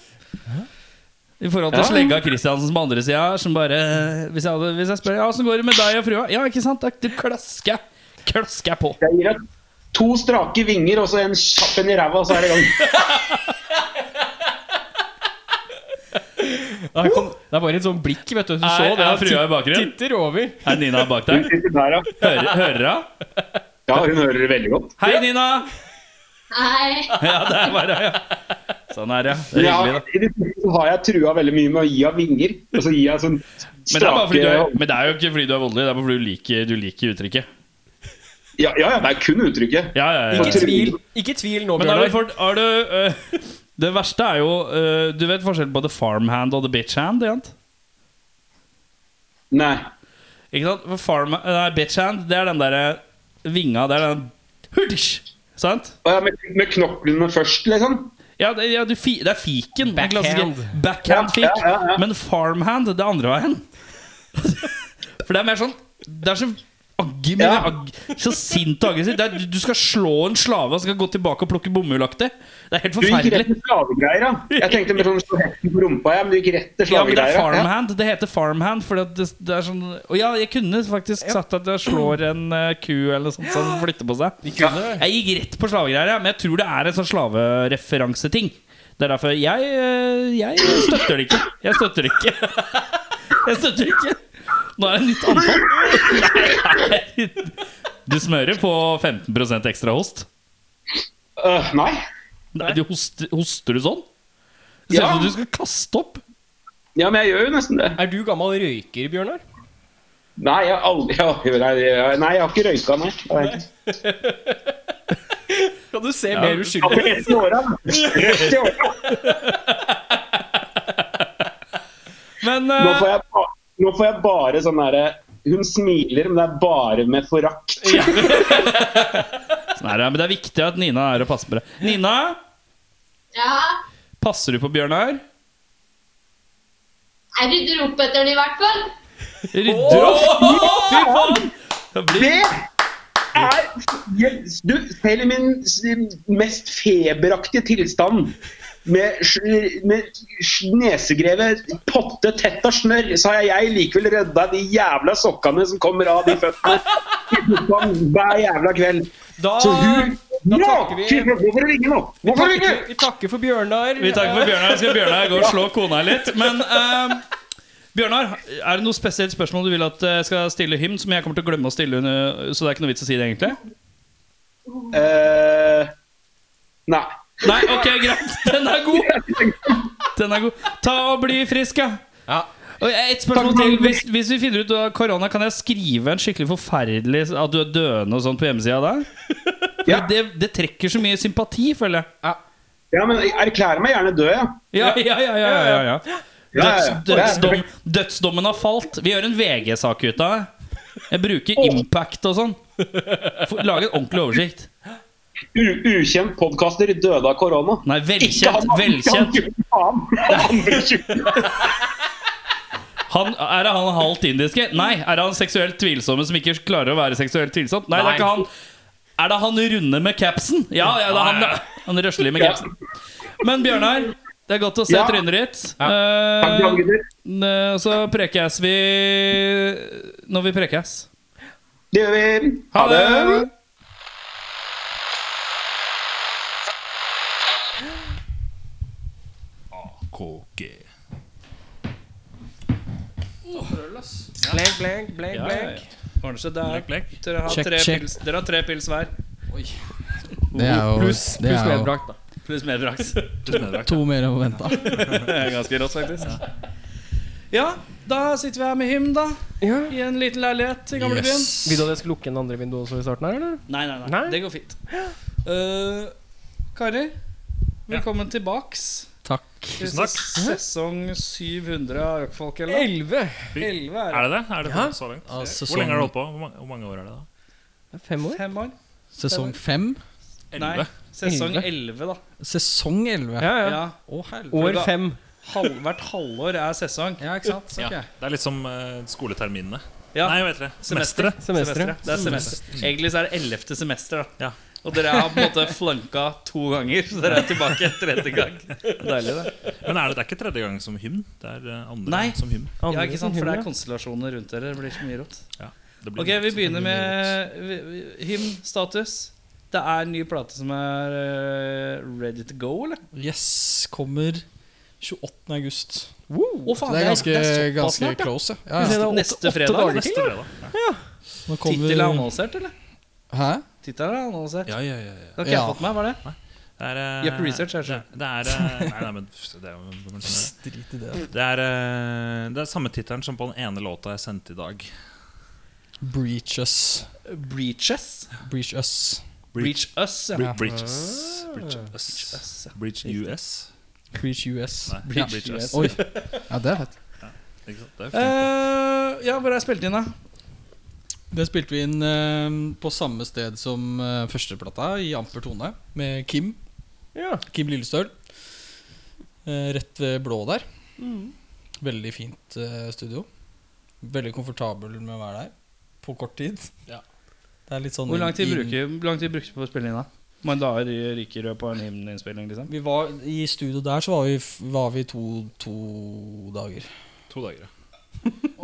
Speaker 1: I forhold til slegga Kristiansen på andre sida, som bare Hvis jeg, hadde, hvis jeg spør ja, åssen går det med deg og frua? Ja, ikke sant? Da da klasker jeg. Klasker jeg på.
Speaker 3: Jeg gir deg to strake vinger og så en kjapp en i ræva, så er det i gang.
Speaker 2: Det er, kom, det er bare et sånt blikk, vet du. Du så
Speaker 1: Er-
Speaker 2: det.
Speaker 1: er
Speaker 2: at
Speaker 1: frua i bakgrunnen?
Speaker 2: Titter over.
Speaker 1: Er Nina bak
Speaker 3: Hun
Speaker 1: der?
Speaker 3: sitter der, ja.
Speaker 1: Hører, hører hun?
Speaker 3: ja, hun hører det veldig godt.
Speaker 1: Hei, Nina!
Speaker 4: Nei.
Speaker 1: Ja, der var hun, ja. Sånn er det. ja. Det er
Speaker 3: Ja,
Speaker 1: hyggelig, da.
Speaker 3: I det siste så har jeg trua veldig mye med å gi henne vinger. Og så gir jeg sånn
Speaker 1: Men det, er bare fordi du
Speaker 3: strake
Speaker 1: er, men det er jo ikke fordi du er voldelig, det er bare fordi du liker, du liker uttrykket.
Speaker 3: ja, ja, ja, det er kun uttrykket.
Speaker 1: Ja, ja, ja.
Speaker 2: Ikke tvil, ikke tvil nå,
Speaker 1: Men har du
Speaker 2: Bjørnar.
Speaker 1: fått har du, øh, Det verste er jo øh, Du vet forskjellen på the farmhand og the bitchhand? Ikke sant?
Speaker 3: Nei.
Speaker 1: Ikke sant? For Farm, nei, bitchhand, det er den derre vinga Det er den Hurtish! Sant?
Speaker 3: Og ja, med, med knoklene først, liksom.
Speaker 1: Ja, det, ja du, fi, det er fiken. den
Speaker 2: Backhand.
Speaker 1: klassiske Backhand-fik.
Speaker 3: Ja, ja, ja, ja.
Speaker 1: Men farmhand, det er andre veien. For det er mer sånn Det er så aggi, men
Speaker 3: Ja.
Speaker 1: ag, så sint og aggressivt. Det er- Du skal slå en slave og skal gå tilbake og plukke bomullaktig. Det er helt
Speaker 3: Du gikk rett
Speaker 1: forferdelig.
Speaker 3: til slavegreier, da. Jeg tenkte mer sånn slå hekten på rumpa, ja, men du gikk rett til
Speaker 1: Ja, men det er
Speaker 3: slavegreier. ja.
Speaker 1: farmhand. Det heter farmhand fordi at det, det er sånn Og ja, jeg kunne faktisk sagt at jeg slår en eh, ku eller noe sånt som flytter på seg.
Speaker 2: Vi kunne det.
Speaker 1: Jeg gikk rett på slavegreier, ja, men jeg tror det er en sånn slavereferanseting. Det er derfor jeg, eh, jeg støtter det ikke. Jeg støtter det ikke. Jeg støtter det ikke. Nå er det nytt anfall. Nei, nei. Du smører på 15 ekstra host.
Speaker 3: Øh, nei.
Speaker 1: Nei, du hoster, hoster du sånn? Det ser ut
Speaker 3: Ja.
Speaker 1: som du skal kaste opp.
Speaker 3: Ja, men jeg gjør jo nesten det.
Speaker 2: Er du gammel røyker, Bjørnar?
Speaker 3: Nei, jeg har aldri jeg, nei, jeg, nei, jeg har ikke røyka, nei. Jeg vet ikke.
Speaker 2: Kan du se
Speaker 1: mer
Speaker 2: mer
Speaker 3: Ja,
Speaker 2: uskyldig
Speaker 3: for ett i åra, da. Rødt i åra.
Speaker 1: Men
Speaker 3: Nå
Speaker 1: eh,
Speaker 3: får jeg, ba- Nå får jeg bare sånn derre Hun smiler, men det er bare med forakt.
Speaker 1: Sånn er det, men det er viktig at Nina er og passer på deg. Nina,
Speaker 4: Ja.
Speaker 1: passer du på Bjørnar?
Speaker 4: Jeg rydder opp etter den i hvert fall.
Speaker 1: Rydder opp! Fy faen! Det blir
Speaker 3: Det er jeg- Du, selv i min s- mest feberaktige tilstand med, sj- med sj- nesegrevet potte tett av snørr, så har jeg likevel redda de jævla sokkene som kommer av de føttene i sokkene hver jævla kveld.
Speaker 2: Da,
Speaker 3: Så hun
Speaker 2: Ah, da
Speaker 3: Ja!
Speaker 2: takker vi.
Speaker 3: Fy faen, Nå får du ringe nå! Nå får
Speaker 2: takker,
Speaker 3: du ringe!
Speaker 2: vi takker for Bjørnar.
Speaker 1: Vi takker for Bjørnar. Skal Bjørnar gå og slå kona litt? Men eh, Bjørnar, er det noe spesielt spørsmål du vil at jeg skal stille him, som jeg kommer til å glemme å stille, under- så det er ikke noe vits å si det, egentlig?
Speaker 3: Eh, nei.
Speaker 1: Nei, ok, greit. Den er god. Den er god. Ta og bli frisk, ja.
Speaker 2: Ja.
Speaker 1: Og et spørsmål til. Hvis, hvis vi finner ut av korona, kan jeg skrive en skikkelig forferdelig at du er døende og sånt på hjemmesida der?
Speaker 3: Ja.
Speaker 1: Det, det trekker så mye sympati, føler jeg.
Speaker 3: Ja, men erklær meg gjerne død, ja.
Speaker 1: Ja, ja, ja, ja, ja, ja.
Speaker 3: Ja, ja, ja.
Speaker 1: Døds, dødsdom, dødsdommen har falt. Vi gjør en VG-sak ut av det. Jeg bruker impact og sånn. Få- Lage en ordentlig oversikt.
Speaker 3: U ukjent podkaster døde av korona.
Speaker 1: Nei, velkjent.
Speaker 3: Ikke han-
Speaker 1: velkjent
Speaker 3: ikke han, andre tjukken.
Speaker 1: han, Er det han halvt indiske? Nei. Er det han seksuelt tvilsomme som ikke klarer å være seksuelt tvilsom? Nei, det er ikke han. Er det han runde med capsen? Ja, ja det er han, ja. han røslige med capsen. Men Bjørnar, det er godt å se
Speaker 3: Ja.
Speaker 1: trynet ditt.
Speaker 3: Takk,
Speaker 1: Eh,
Speaker 3: gutter.
Speaker 1: eh, så prekes vi når vi prekes.
Speaker 3: Det gjør vi. Ha det.
Speaker 2: Blank, blank, blank,
Speaker 1: Ja, ja,
Speaker 2: blank.
Speaker 1: ja. Ordner seg der. Dere har,
Speaker 5: Check,
Speaker 1: tre
Speaker 5: check.
Speaker 1: Pils, dere har tre pils hver.
Speaker 5: Det er jo,
Speaker 2: Pluss
Speaker 5: det
Speaker 2: pluss
Speaker 5: er jo
Speaker 2: medbrakt, da.
Speaker 1: Pluss medbrakt.
Speaker 5: to mer å vente.
Speaker 1: Ganske rått, faktisk. Ja, da sitter vi her med him, da.
Speaker 2: Ja.
Speaker 1: I en liten leilighet i gamlebyen.
Speaker 5: Yes.
Speaker 2: Vil du at jeg skal lukke en andre vinduet også i starten her, eller?
Speaker 1: Nei, nei, nei,
Speaker 2: Nei.
Speaker 1: Det går fint. Eh, karer, velkommen tilbaks.
Speaker 5: Takk.
Speaker 1: Tusen takk. Sesong 700 av Rockfolk. Eller?
Speaker 2: 11.
Speaker 1: 11 er
Speaker 6: Er det det? Er det
Speaker 2: Ja.
Speaker 6: så langt?
Speaker 5: Ja,
Speaker 6: Hvor lenge har
Speaker 5: Sesong,
Speaker 6: du holdt på? Hvor mange, hvor mange år er det da?
Speaker 2: Fem år?
Speaker 1: Fem år?
Speaker 5: sesong fem?
Speaker 1: Nei, sesong 11, da.
Speaker 5: Sesong elleve?
Speaker 2: Ja, ja.
Speaker 1: Ja.
Speaker 5: Å, helvete.
Speaker 2: År fem.
Speaker 1: Halv, hvert halvår er sesong.
Speaker 5: Ja, ikke sant? Så,
Speaker 6: Ja.
Speaker 5: ok.
Speaker 6: Det er litt som eh, skoleterminene.
Speaker 1: Ja.
Speaker 6: Nei, hva heter det? Semesteret.
Speaker 2: Semesteret.
Speaker 1: Det er semester. Egentlig så er det ellevte semester. da
Speaker 6: Ja.
Speaker 1: Og dere har på en måte flanka to ganger, så dere er tilbake en tredje gang. Deilig, det.
Speaker 6: Men er det, det er ikke tredje gang som hymn? Det er eh, andre
Speaker 1: Nei.
Speaker 6: gang som hymn.
Speaker 1: Ja, ikke sant? For det er konstellasjoner rundt dere. Det blir så mye rått.
Speaker 6: Ja, det blir
Speaker 1: Ok, vi begynner med vi- vi- hymn, status. Det er en ny plate som er eh, ready to go, eller?
Speaker 5: Yes, kommer 28. august.
Speaker 1: Å, faen,
Speaker 5: Så det er ganske,
Speaker 1: såpass
Speaker 5: ganske
Speaker 1: snart, ja.
Speaker 5: close, ja. ja.
Speaker 1: Neste,
Speaker 2: åtte-
Speaker 1: neste
Speaker 2: åtte
Speaker 1: fredag.
Speaker 2: dager.
Speaker 1: eller?
Speaker 6: neste fredag.
Speaker 5: Nå
Speaker 1: Tittel er annonsert, eller?
Speaker 5: Hæ?
Speaker 1: Tittel er annonsert.
Speaker 6: Ja, ja, ja. ja.
Speaker 1: Det har ikke
Speaker 5: Ja.
Speaker 1: jeg fått med meg, var det?
Speaker 6: Det er eh,
Speaker 1: Gjør på research, er det
Speaker 6: det, det er eh, Nei, nei, men pff, det er jo hvem er sånn det som gjør det?
Speaker 5: Drit i det.
Speaker 6: Det er, eh, det er samme tittelen som på den ene låta jeg sendte i dag.
Speaker 5: Breach us.
Speaker 1: Breaches.
Speaker 5: Breach us.
Speaker 1: Breach Us, ja.
Speaker 6: Bre Bridges. Bridges.
Speaker 1: Us, ja.
Speaker 6: Bridge US.
Speaker 5: Breach US.
Speaker 6: Nei,
Speaker 5: Ja.
Speaker 6: Bridge US.
Speaker 5: Oi. Ja, det er fett.
Speaker 6: Ikke sant? Det er fint.
Speaker 1: Eh, ja, hvor er spilt inn, da?
Speaker 5: Det spilte vi inn eh, på samme sted som eh, førsteplata, i amper tone, med Kim.
Speaker 2: Ja.
Speaker 5: Kim Lillestøl. Eh, rett ved blå der.
Speaker 1: Mm.
Speaker 5: Veldig fint eh, studio. Veldig komfortabel med å være der på kort tid. Det er litt sånn
Speaker 1: Hvor lang tid
Speaker 5: inn-
Speaker 1: bruker, hvor lang tid brukte du på å spille inn, da? Man da ryker rød på en hymninnspilling, liksom?
Speaker 5: vi var, I studio der så var vi, f- var vi to, to dager.
Speaker 6: To dager, ja.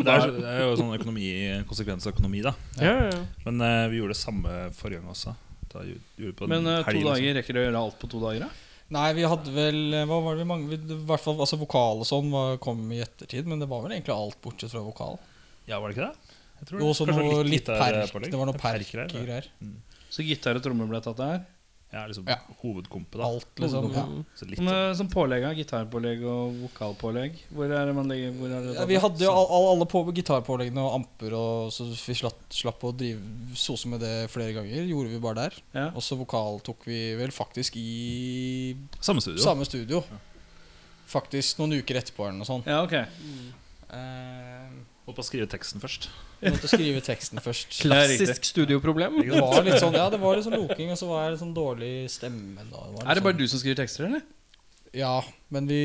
Speaker 6: Det er, det er jo sånn økonomi, konsekvens av økonomi, da.
Speaker 2: Ja, ja.
Speaker 6: Men eh, vi gjorde det samme forrige gang også. Da gj- gjorde vi på en
Speaker 1: Men eh, to
Speaker 6: helg, liksom.
Speaker 1: dager rekker du å gjøre alt på to dager, da?
Speaker 5: Nei, vi hadde vel eh, Hva var det vi manglet? I hvert fall altså, vokal og sånn var, kom i ettertid, men det var vel egentlig alt bortsett fra vokal.
Speaker 6: Ja, var det ikke det? Jeg tror
Speaker 5: Og også
Speaker 6: Kanskje
Speaker 5: noe litt
Speaker 6: gitarpålegg.
Speaker 5: perk. Det var noe
Speaker 6: Perkgreier, det.
Speaker 5: perk-greier.
Speaker 1: Så gitar og trommer ble tatt der?
Speaker 6: Ja, liksom
Speaker 5: Ja.
Speaker 6: hovedkompet, da.
Speaker 5: Alt, liksom. Ja.
Speaker 6: Så litt sånn.
Speaker 1: Men, eh, som pålegg, da? Gitarpålegg og vokalpålegg? Hvor er det man legger hvor er det
Speaker 5: Ja,
Speaker 1: tatt
Speaker 5: vi
Speaker 1: av?
Speaker 5: hadde jo all, all, alle på gitarpåleggene og amper, og så vi slapp, slapp å drive sose med det flere ganger. Gjorde vi bare der.
Speaker 1: ja.
Speaker 5: Og så vokal tok vi vel faktisk i
Speaker 6: Samme studio.
Speaker 5: samme studio. Faktisk noen uker etterpå eller noe sånt.
Speaker 1: ja, ok.
Speaker 5: Eh,
Speaker 6: Må bare skrive teksten først.
Speaker 5: Du måtte skrive teksten først.
Speaker 2: Klassisk studioproblem.
Speaker 5: Det var litt sånn, ja, det var litt sånn loking, og så var det litt sånn dårlig stemme. Da. var litt
Speaker 1: Er det bare
Speaker 5: sånn-
Speaker 1: du som skriver tekster, eller?
Speaker 5: Ja, men vi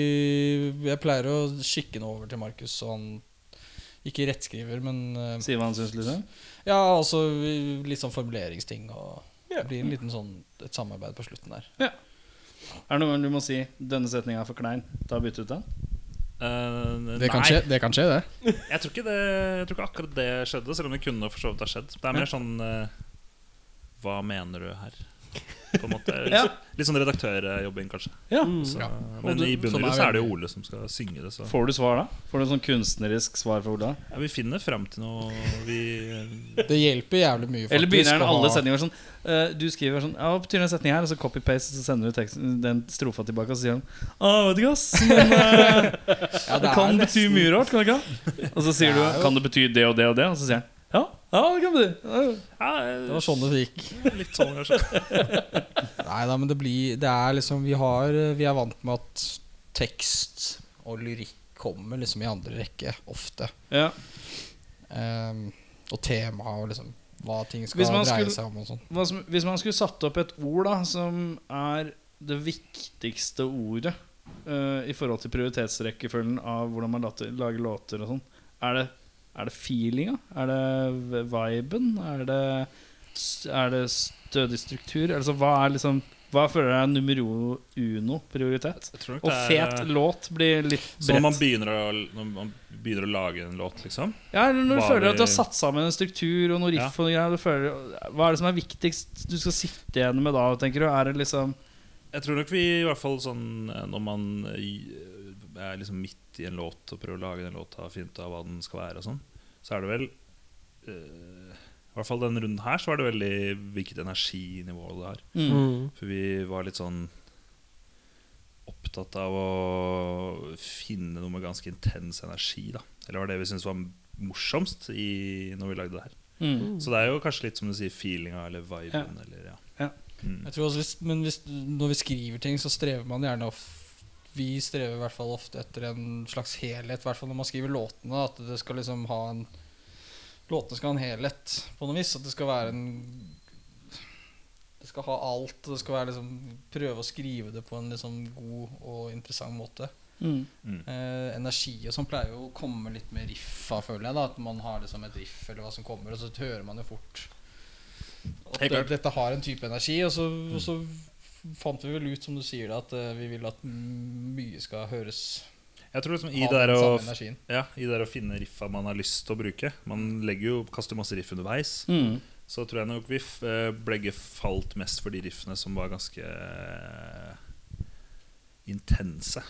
Speaker 5: Jeg pleier å skikke noe over til Markus, så han ikke rettskriver, men eh,
Speaker 1: Si hva han syns, liksom.
Speaker 5: Ja, altså vi- litt sånn formuleringsting og
Speaker 2: Ja.
Speaker 5: Det blir en liten sånn et samarbeid på slutten der.
Speaker 1: Er det noen gang du må si 'denne setninga er for klein'? Da bytte ut den?
Speaker 6: Eh,
Speaker 5: Det kan
Speaker 6: nei,
Speaker 5: skje, det. Kan skje, det.
Speaker 6: Jeg, tror ikke det jeg tror ikke akkurat det skjedde, selv om det kunne for så vidt ha skjedd. Det er mer sånn eh, Hva mener du her? På en måte Litt,
Speaker 1: Ja.
Speaker 6: litt sånn redaktørjobbing, kanskje.
Speaker 1: Ja.
Speaker 6: Så, eh,
Speaker 5: Ja.
Speaker 6: Men
Speaker 5: Og
Speaker 6: i
Speaker 5: du-
Speaker 6: bunn og
Speaker 5: sånn er
Speaker 6: grunn så er det
Speaker 5: vi.
Speaker 6: jo Ole som skal synge det. Så
Speaker 1: Får du svar da? Får du en sånn kunstnerisk svar fra Ola?
Speaker 6: ja, vi finner fram til noe vi eh,
Speaker 5: Det hjelper jævlig mye.
Speaker 1: Eller
Speaker 5: faktisk,
Speaker 1: begynner han
Speaker 5: å ha-
Speaker 1: alle setninger sånn eh, Du skriver sånn Ja, hva betyr den setninga her? Og så copy-paste, så sender du teksten, den strofa tilbake, og så sier han Å, vet ikke, ass. Men eh,
Speaker 5: Ja,
Speaker 1: det
Speaker 5: er
Speaker 1: kan bety
Speaker 5: nesten-
Speaker 1: mye rart, kan det ikke? det?» Og så sier
Speaker 5: Det er
Speaker 1: du
Speaker 5: jo-
Speaker 1: Kan det bety det og det og det? Og så sier han ja, ja, det kan bety ja,
Speaker 6: ja,
Speaker 5: Det var sånn det gikk.
Speaker 6: Litt sånn, kanskje.
Speaker 5: Nei da, men det blir Det er liksom Vi, har, vi er vant med at tekst og lyrikk kommer liksom i andre rekke ofte.
Speaker 1: ja.
Speaker 5: Ehm, og tema og liksom hva ting skal
Speaker 1: Hvis man
Speaker 5: dreie
Speaker 1: skulle-
Speaker 5: seg om og sånn.
Speaker 1: Hva som, Hvis man skulle satt opp et ord da som er det viktigste ordet eh, i forhold til prioritetsrekkefølgen av hvordan man later, lager låter og sånn, er det, er det feelinga? Er det v- viben? Er det, s- er det stødig struktur? Altså, hva er liksom Hva føler jeg er numero uno prioritet?
Speaker 6: Jeg tror nok
Speaker 1: Og
Speaker 6: det
Speaker 1: fet
Speaker 6: er-
Speaker 1: låt blir litt
Speaker 6: Så når man,
Speaker 1: bredt.
Speaker 6: begynner å, når man begynner å lage en låt, liksom
Speaker 1: Ja, eller når du
Speaker 6: Hva
Speaker 1: føler
Speaker 6: vi-
Speaker 1: at du har satt sammen en struktur og noe riff og
Speaker 6: Ja.
Speaker 1: noe greier, du føler, hva er det som er viktigst du skal sitte igjen med da, tenker du? Er det liksom
Speaker 6: Jeg tror nok vi i hvert fall sånn eh, Når man i- er liksom midt i en låt og prøver å lage den låta, finne ut av hva den skal være og sånn, så er det vel eh, I hvert fall denne runden her så var det veldig hvilket energinivå det har.
Speaker 2: Mm.
Speaker 6: For vi var litt sånn opptatt av å finne noe med ganske intens energi, da. Eller var det vi syntes var morsomst i, når vi lagde det her.
Speaker 1: Mm.
Speaker 6: Så det er jo kanskje litt som du sier, feelinga eller viben eller ja. Mm.
Speaker 5: Jeg tror også, hvis- Men hvis, når vi skriver ting, så strever man gjerne of, Vi strever i hvert fall ofte etter en slags helhet, i hvert fall når man skriver låtene. At det skal liksom ha en Låtene skal ha en helhet på noe vis. At det skal være en Det skal ha alt. og Det skal være liksom Prøve å skrive det på en liksom god og interessant måte.
Speaker 1: Mm.
Speaker 5: Eh, energi og sånn pleier jo å komme litt med riffa, føler jeg. da At man har liksom et riff eller hva som kommer, og så hører man jo fort at
Speaker 6: Helt
Speaker 5: det,
Speaker 6: klart.
Speaker 5: dette har en type energi. Og så, og så fant vi vel ut, som du sier, da at eh, vi vil at m- mye skal høres
Speaker 6: Jeg tror liksom i
Speaker 5: ha
Speaker 6: det der
Speaker 5: den
Speaker 6: å
Speaker 5: samme energien.
Speaker 6: ja, i det der å finne riffa man har lyst til å bruke. Man legger jo, kaster masse riff underveis.
Speaker 1: Mm.
Speaker 6: Så tror jeg nok vi f- eh, begge falt mest for de riffene som var ganske eh, intense.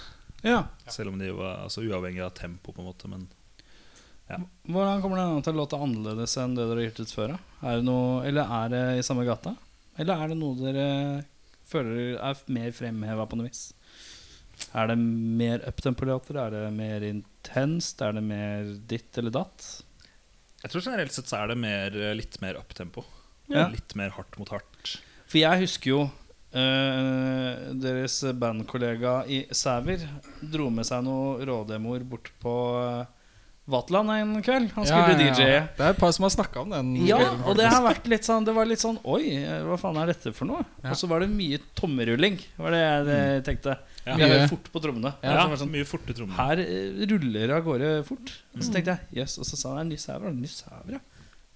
Speaker 1: Ja.
Speaker 6: Selv om de var altså, uavhengig av tempo, på en måte. Men
Speaker 1: Hvordan kommer den til å låte annerledes enn det dere har gitt ut før? da? Er det noe, eller er det i samme gata? Eller er det noe dere føler er mer fremheva på noe vis? Er det mer uptempo-låter? Er det mer intenst? Er det mer ditt eller datt?
Speaker 6: jeg tror generelt sett så er det mer, eh, litt mer uptempo.
Speaker 1: Ja.
Speaker 6: Litt mer hardt mot hardt.
Speaker 1: For jeg husker jo eh, deres bandkollega i Sæver dro med seg noen rådemoer bort på eh, Vatland en kveld. Han skulle DJ-e.
Speaker 5: Det er et par som har snakka om den.
Speaker 1: Ja,
Speaker 5: kvelden,
Speaker 1: og det
Speaker 5: faktisk.
Speaker 1: har vært litt sånn Det var litt sånn Oi, hva faen er dette for noe?
Speaker 5: Ja.
Speaker 1: Og så var det mye tommerulling, var det jeg eh, tenkte.
Speaker 6: Ja.
Speaker 1: Mye
Speaker 5: Mye-
Speaker 1: fort på trommene.
Speaker 6: Ja,
Speaker 1: Og så var det sånn,
Speaker 6: Mye forte trommer.
Speaker 1: her eh, ruller det av gårde fort. Og så tenkte jeg jøss, og så sa jeg ny sæver, ny sæver, ja.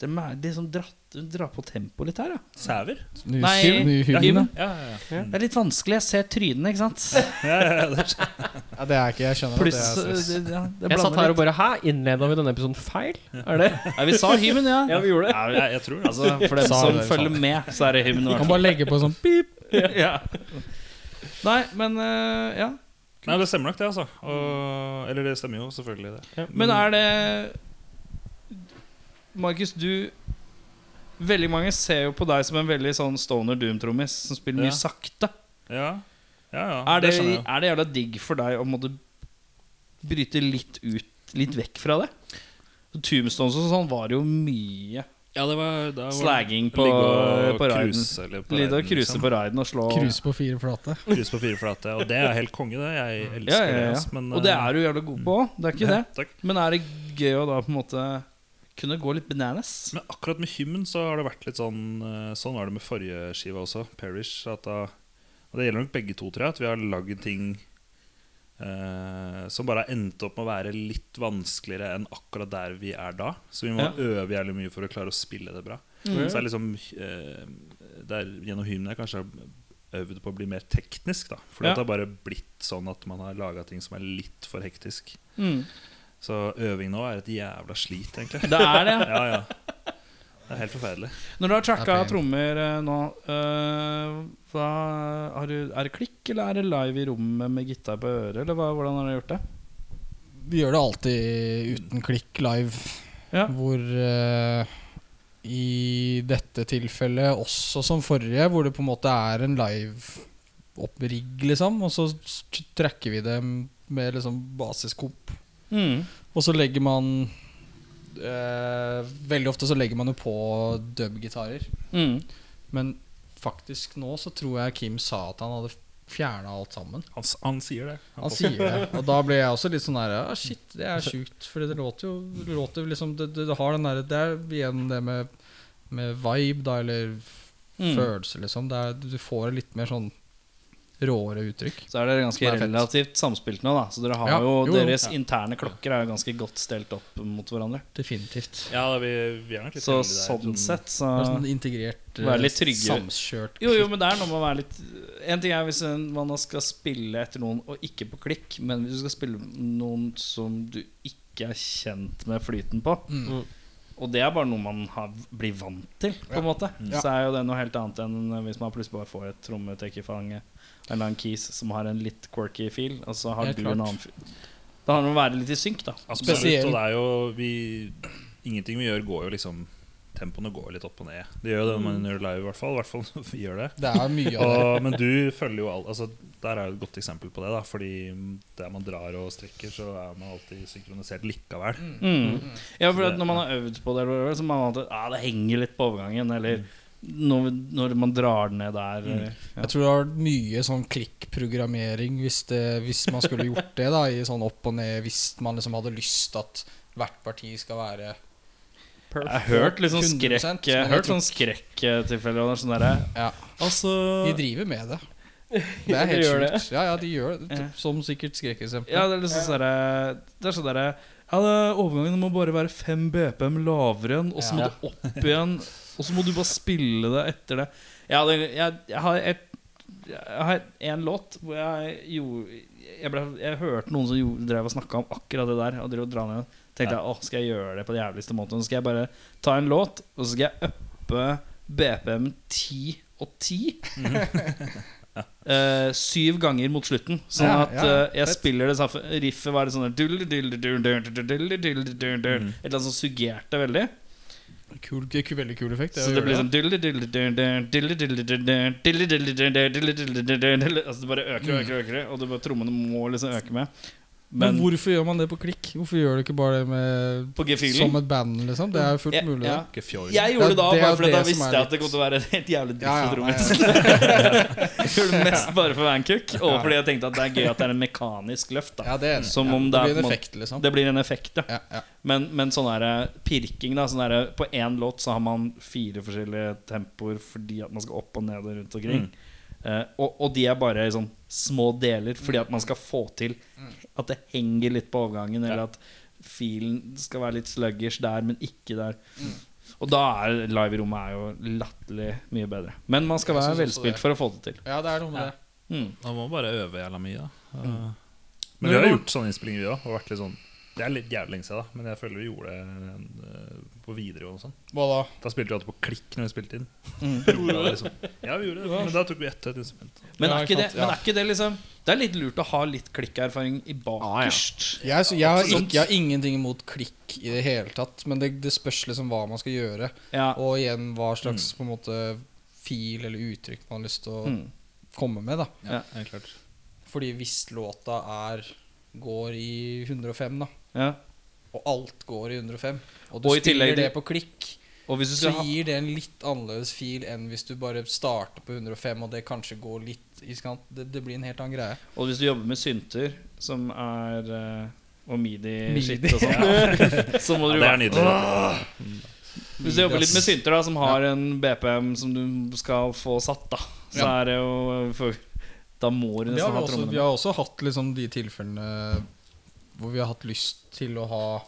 Speaker 1: De er liksom dratt, drar på tempoet litt her, ja.
Speaker 6: Sæver?
Speaker 5: Ny
Speaker 1: Nei,
Speaker 5: hymn, ny
Speaker 1: ja,
Speaker 5: hymn,
Speaker 1: hymn.
Speaker 5: da.
Speaker 6: Ja, ja, ja.
Speaker 1: Det er litt vanskelig. Jeg ser trynene, ikke sant.
Speaker 5: Ja, det er ikke Jeg skjønner
Speaker 1: Pluss
Speaker 5: at det er
Speaker 1: eh,
Speaker 5: stress.
Speaker 1: det, ja, det
Speaker 2: Jeg satt her og
Speaker 1: blander litt.
Speaker 2: bare Hæ, innleda vi denne episoden feil? Er det?
Speaker 1: Ja, vi sa hymn, ja.
Speaker 2: Ja, vi gjorde det.
Speaker 6: Ja, jeg, jeg tror det.
Speaker 1: Altså, for dem
Speaker 5: Sa
Speaker 1: som
Speaker 5: det, sa
Speaker 1: følger med, så er det hymn. i
Speaker 5: Du
Speaker 1: hvert
Speaker 5: kan
Speaker 1: fall.
Speaker 5: bare legge på sånn pip.
Speaker 1: Ja. Nei, men eh, ja.
Speaker 6: Nei, det stemmer nok, det. altså og, Eller det stemmer jo selvfølgelig, det.
Speaker 1: Men er det Markus, du Veldig mange ser jo på deg som en veldig sånn stoner doom-trommis som spiller mye
Speaker 6: Ja.
Speaker 1: sakte.
Speaker 6: Ja, ja, ja
Speaker 1: Er det,
Speaker 6: skjønner jeg jo.
Speaker 1: er det jævla digg for deg å måtte bryte litt ut, litt vekk fra det? Tombstones og sånn var jo mye
Speaker 6: Ja, det var, da var det
Speaker 1: Slagging på-
Speaker 6: ligge og
Speaker 1: på raiden.
Speaker 6: cruise, eller på
Speaker 1: Lide å
Speaker 6: raiden,
Speaker 1: cruise
Speaker 6: liksom.
Speaker 1: på raiden og slå
Speaker 5: Kruse på fire flate.
Speaker 6: Kruse på fire flate. Og det er helt konge, det. Jeg elsker
Speaker 1: ja, ja,
Speaker 6: det.
Speaker 1: ja.
Speaker 6: ass, men,
Speaker 1: Og det
Speaker 6: eh,
Speaker 1: er du jævla god på òg, det er ikke det.
Speaker 6: Takk.
Speaker 1: Men er det gøy å da på en måte kunne gå litt bananas?
Speaker 6: Men akkurat med hymn så har det vært litt sånn eh, Sånn var det med forrige skiva også, Perish. At da, og det gjelder nok begge to, tror jeg, at vi har lagd ting eh, som bare har endt opp med å være litt vanskeligere enn akkurat der vi er da. Så vi må
Speaker 1: Ja.
Speaker 6: øve jævlig mye for å klare å spille det bra.
Speaker 1: Mm.
Speaker 6: Så det er liksom eh, det er Gjennom hymnen jeg kanskje har øvd på å bli mer teknisk, da. Fordi
Speaker 1: Ja.
Speaker 6: at det har bare blitt sånn at man har laga ting som er litt for hektisk.
Speaker 1: Mm.
Speaker 6: Så øving nå er et jævla slit, egentlig.
Speaker 1: Det er det.
Speaker 6: Ja, ja. Det er helt forferdelig.
Speaker 1: Når du har tracka
Speaker 5: Det er pain.
Speaker 1: trommer eh, nå, eh, hva, har du, er det klikk, eller er det live i rommet med gitar på øret? Eller hva, hvordan har du gjort det?
Speaker 5: Vi gjør det alltid uten klikk live,
Speaker 1: Ja.
Speaker 5: hvor eh, i dette tilfellet også som forrige, hvor det på en måte er en live opprigg, liksom, og så s- tracker vi det med liksom basiskopp. Og så legger man eh, Veldig ofte så legger man jo på dubgitarer.
Speaker 1: Mm.
Speaker 5: Men faktisk nå så tror jeg Kim sa at han hadde fjerna alt sammen.
Speaker 6: Han, s- han sier det.
Speaker 5: Han sier det. Og da ble jeg også litt sånn der ah, Shit, det er sjukt. For det låter jo det låter liksom, det, det, det har den der Det er igjen det med, med vibe, da, eller
Speaker 1: Mm.
Speaker 5: følelse, liksom. Det er, du får et litt mer sånn råere uttrykk.
Speaker 1: Så er dere ganske
Speaker 5: Det er fett.
Speaker 1: relativt samspilt nå, da. Så dere har
Speaker 5: Ja,
Speaker 1: jo,
Speaker 5: jo, jo.
Speaker 1: deres interne klokker er jo ganske godt stelt opp mot hverandre.
Speaker 5: Definitivt.
Speaker 6: Ja, vi, vi er nok litt
Speaker 1: Så
Speaker 6: heldige der,
Speaker 1: sånn sett, så
Speaker 5: Det er sånn integrert,
Speaker 1: Være litt
Speaker 5: eh,
Speaker 1: tryggere.
Speaker 5: samkjørt
Speaker 1: jo, jo, men det er noe med å være litt En ting er hvis en- man skal spille etter noen og ikke på klikk, men hvis du skal spille noen som du ikke er kjent med flyten på,
Speaker 5: Mm.
Speaker 1: og det er bare noe man har, blir vant til, på en måte,
Speaker 5: Ja.
Speaker 1: så er jo det noe helt annet enn hvis man plutselig bare får et trommetek i fanget, en eller annen keys som har en litt quirky feel, og så har
Speaker 5: Helt
Speaker 1: du
Speaker 5: klart.
Speaker 1: en annen feel. Det handler om å være litt i synk, da.
Speaker 6: Absolutt.
Speaker 5: Spesielt.
Speaker 6: Og det er jo vi, Ingenting vi gjør, går jo liksom Tempoene går litt opp og ned. Det gjør jo det når
Speaker 5: Mm.
Speaker 6: man gjør det live, i hvert fall. I hvert fall når vi gjør det.
Speaker 5: Det er mye av det.
Speaker 6: Og, men du følger jo alt altså, Der er jo et godt eksempel på det. da Fordi der man drar og strekker, så er man alltid synkronisert likevel.
Speaker 1: Mm. Ja, for
Speaker 6: Så
Speaker 1: at
Speaker 6: det-
Speaker 1: når man har øvd på det, eller whatever, så man alltid, ah, det henger litt på overgangen. Eller når, når man drar den ned der. eh, eller- Ja.
Speaker 5: Jeg tror det har vært mye sånn klikkprogrammering hvis, det, hvis man skulle gjort det. da I sånn opp og ned Hvis man liksom hadde lyst at hvert parti skal være
Speaker 1: Jeg har hørt litt sånn
Speaker 5: 100%,
Speaker 1: skrekk
Speaker 5: men
Speaker 1: Jeg
Speaker 5: jeg
Speaker 1: har hørt
Speaker 5: tror-
Speaker 1: sånn skrekktilfeller. og Sånn derre,
Speaker 5: Ja,
Speaker 1: altså
Speaker 5: De driver med det. Det er
Speaker 2: De
Speaker 5: helt
Speaker 2: gjør
Speaker 5: sjukt. Ja, ja, de gjør det.
Speaker 1: Ja.
Speaker 5: Som sikkert skrekkeksempel.
Speaker 1: Ja, det er liksom sånn derre Det er sånn derre ja, det- Overgangen må bare være 5 BPM lavere igjen, og så må
Speaker 5: Ja.
Speaker 1: du opp igjen. Og så må du bare spille det etter det. Jeg, hadde, jeg, jeg har et jeg har en låt hvor jeg gjorde Jeg, ble, jeg hørte noen som gjorde, drev og snakka om akkurat det der. Og drev og dra ned Tenkte jeg, åh, skal jeg gjøre det på den jævligste måten? Så skal jeg bare ta en låt, og så skal jeg uppe BPM 10 og 10. Eh, syv ganger mot slutten. Sånn
Speaker 5: Ja,
Speaker 1: at
Speaker 5: ja,
Speaker 1: eh, jeg spiller det samme riffet. Var det sånn der, dull, dull, dull, dull, dull, dull, dull, dull, dull, dull. Et eller annet som suggerte veldig.
Speaker 5: Kul, ku- veldig kul effekt.
Speaker 1: Så det blir sånn dull, dull, dull, dull, dull, dull, dull, dull, dull, dull, dull, dull, dull, dull, dull, dull, dull. Altså det bare øker og øker, og øker og det bare, trommene må liksom øke med. Men
Speaker 5: men, hvorfor gjør man det på klikk? Hvorfor gjør du ikke bare det med
Speaker 1: på
Speaker 5: som
Speaker 1: gefühlen
Speaker 5: et band? liksom Det er jo fullt
Speaker 1: Ja,
Speaker 5: mulig.
Speaker 1: ja.
Speaker 5: det.
Speaker 6: Ikke fjord.
Speaker 1: Jeg gjorde det da
Speaker 5: Det er- det
Speaker 1: bare
Speaker 5: er
Speaker 1: fordi da
Speaker 5: det som
Speaker 1: visste
Speaker 5: er
Speaker 1: jeg at
Speaker 5: litt-
Speaker 1: det kom til å være et helt jævlig dritt
Speaker 5: Ja, ja,
Speaker 1: for trommisen.
Speaker 5: nei,
Speaker 1: Gjorde det mest bare for Vancook, og fordi jeg tenkte at det er gøy at det er en mekanisk løft.
Speaker 5: ja,
Speaker 1: da
Speaker 5: det er det.
Speaker 1: Som
Speaker 5: Ja,
Speaker 1: om det
Speaker 5: det
Speaker 1: er på
Speaker 5: blir en
Speaker 1: en måte-
Speaker 5: effekt, liksom.
Speaker 1: Det blir en effekt, ja.
Speaker 5: Ja, ja.
Speaker 1: Men, men sånn der pirking, da. Sånn der, på én låt så har man fire forskjellige tempoer fordi at man skal opp og ned og rundt omkring.
Speaker 5: Mm.
Speaker 1: Eh, og, og de er bare i sånn små deler fordi at man skal få til
Speaker 5: Mm.
Speaker 1: at det henger litt på overgangen, eller at filen skal være litt sluggish der, men ikke der.
Speaker 5: Mm.
Speaker 1: Og da er live i rommet er jo latterlig mye bedre. Men man skal
Speaker 5: Jeg
Speaker 1: være
Speaker 5: synes også det.
Speaker 1: velspilt for å få det til.
Speaker 5: ja, det er noe med det.
Speaker 1: Mm.
Speaker 6: Man må bare øve jævla mye, da. Men vi har gjort sånne innspillinger, vi òg. Og vært litt sånn Det er litt jævlig lenge siden, da. Men jeg føler vi gjorde det eh, på videregående og sånn.
Speaker 5: Hva da?
Speaker 6: Da spilte vi alltid på klikk når vi spilte inn.
Speaker 1: Mm.
Speaker 6: Rola, liksom. Ja, vi gjorde det. Men da tok vi ett og ett instrument.
Speaker 1: Men,
Speaker 5: Ja,
Speaker 1: er ikke
Speaker 5: ikke
Speaker 1: det,
Speaker 5: sant,
Speaker 1: men
Speaker 5: ja.
Speaker 1: er ikke det liksom Det er litt lurt å ha litt klikkerfaring i bakerst.
Speaker 5: Jeg, så, jeg, har
Speaker 1: Absolutt.
Speaker 5: ikke, jeg har ingenting imot klikk i det hele tatt, men det, det spørs liksom hva man skal gjøre.
Speaker 1: Ja.
Speaker 5: Og igjen hva slags på en måte fil eller uttrykk man har lyst til å
Speaker 1: Mm.
Speaker 5: komme med. da
Speaker 1: Ja,
Speaker 6: helt klart.
Speaker 5: Fordi hvis låta er går i 105, da
Speaker 1: Ja.
Speaker 5: og alt går i 105, og du
Speaker 1: Og i
Speaker 5: spiller
Speaker 1: tillegg-
Speaker 5: det på klikk,
Speaker 2: Og hvis du
Speaker 5: så
Speaker 2: skal ha
Speaker 5: gir det en litt annerledes fil enn hvis du bare starter på 105, og det kanskje går litt i skant. Det, det blir en helt annen greie.
Speaker 1: Og hvis du jobber med synter, som er eh, Og midi-skitt
Speaker 5: Midi.
Speaker 1: og sånn, så må du
Speaker 6: Ja, det er nydelig.
Speaker 1: Hvis du jobber litt med
Speaker 5: Midas.
Speaker 1: synter da som har en BPM som du skal få satt, da så
Speaker 5: Ja.
Speaker 1: er det jo eh, for, Da må du
Speaker 5: Det
Speaker 1: nesten
Speaker 5: har vi,
Speaker 1: ha
Speaker 5: også,
Speaker 1: trommene
Speaker 5: vi
Speaker 1: med.
Speaker 5: har også hatt liksom de tilfellene hvor vi har hatt lyst til å ha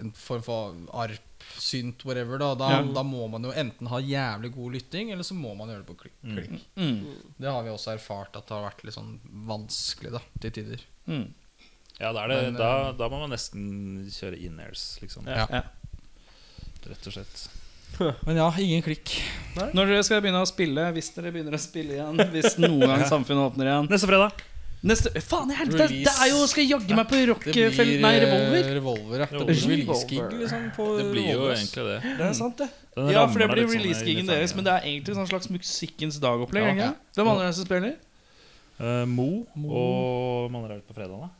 Speaker 5: en form for arp, synt, whatever. Da, da,
Speaker 1: Ja.
Speaker 5: da må man jo enten ha jævlig god lytting, eller så må man gjøre det på klikk.
Speaker 6: Mm.
Speaker 5: klikk.
Speaker 1: Mm.
Speaker 5: Det har vi også erfart at det har vært litt sånn vanskelig da, til tider.
Speaker 1: Mm.
Speaker 6: Ja, da, er det,
Speaker 5: Men, eh,
Speaker 6: da, da må man nesten kjøre in-airs, liksom.
Speaker 5: Ja.
Speaker 1: Ja.
Speaker 6: Rett og slett.
Speaker 5: Men ja, ingen klikk.
Speaker 1: Når dere skal begynne å spille, hvis dere begynner å spille igjen, hvis noen gang samfunnet åpner igjen
Speaker 6: Neste fredag.
Speaker 1: Neste, Faen i helvete! Det er jo Skal jaggu meg på
Speaker 5: Det blir
Speaker 1: rockefell... Nei,
Speaker 5: eh,
Speaker 1: revolver.
Speaker 5: revolver, ja. Det blir
Speaker 1: Revolver.
Speaker 5: release-gig liksom, på
Speaker 6: Det blir jo
Speaker 5: revolver, ass.
Speaker 6: egentlig det.
Speaker 1: Det er sant, det.
Speaker 6: Den
Speaker 1: ja,
Speaker 6: rammer
Speaker 1: for det
Speaker 6: deg
Speaker 1: blir
Speaker 6: litt sånn
Speaker 1: release-gigen
Speaker 6: i fanget.
Speaker 1: deres, men det er egentlig sånn slags Musikkens dag-opplegg.
Speaker 5: Ja.
Speaker 1: ikke sant? Hvem andre er det som spiller?
Speaker 6: Eh, Mo,
Speaker 5: Mo.
Speaker 6: og Mannerhaug på fredag, da.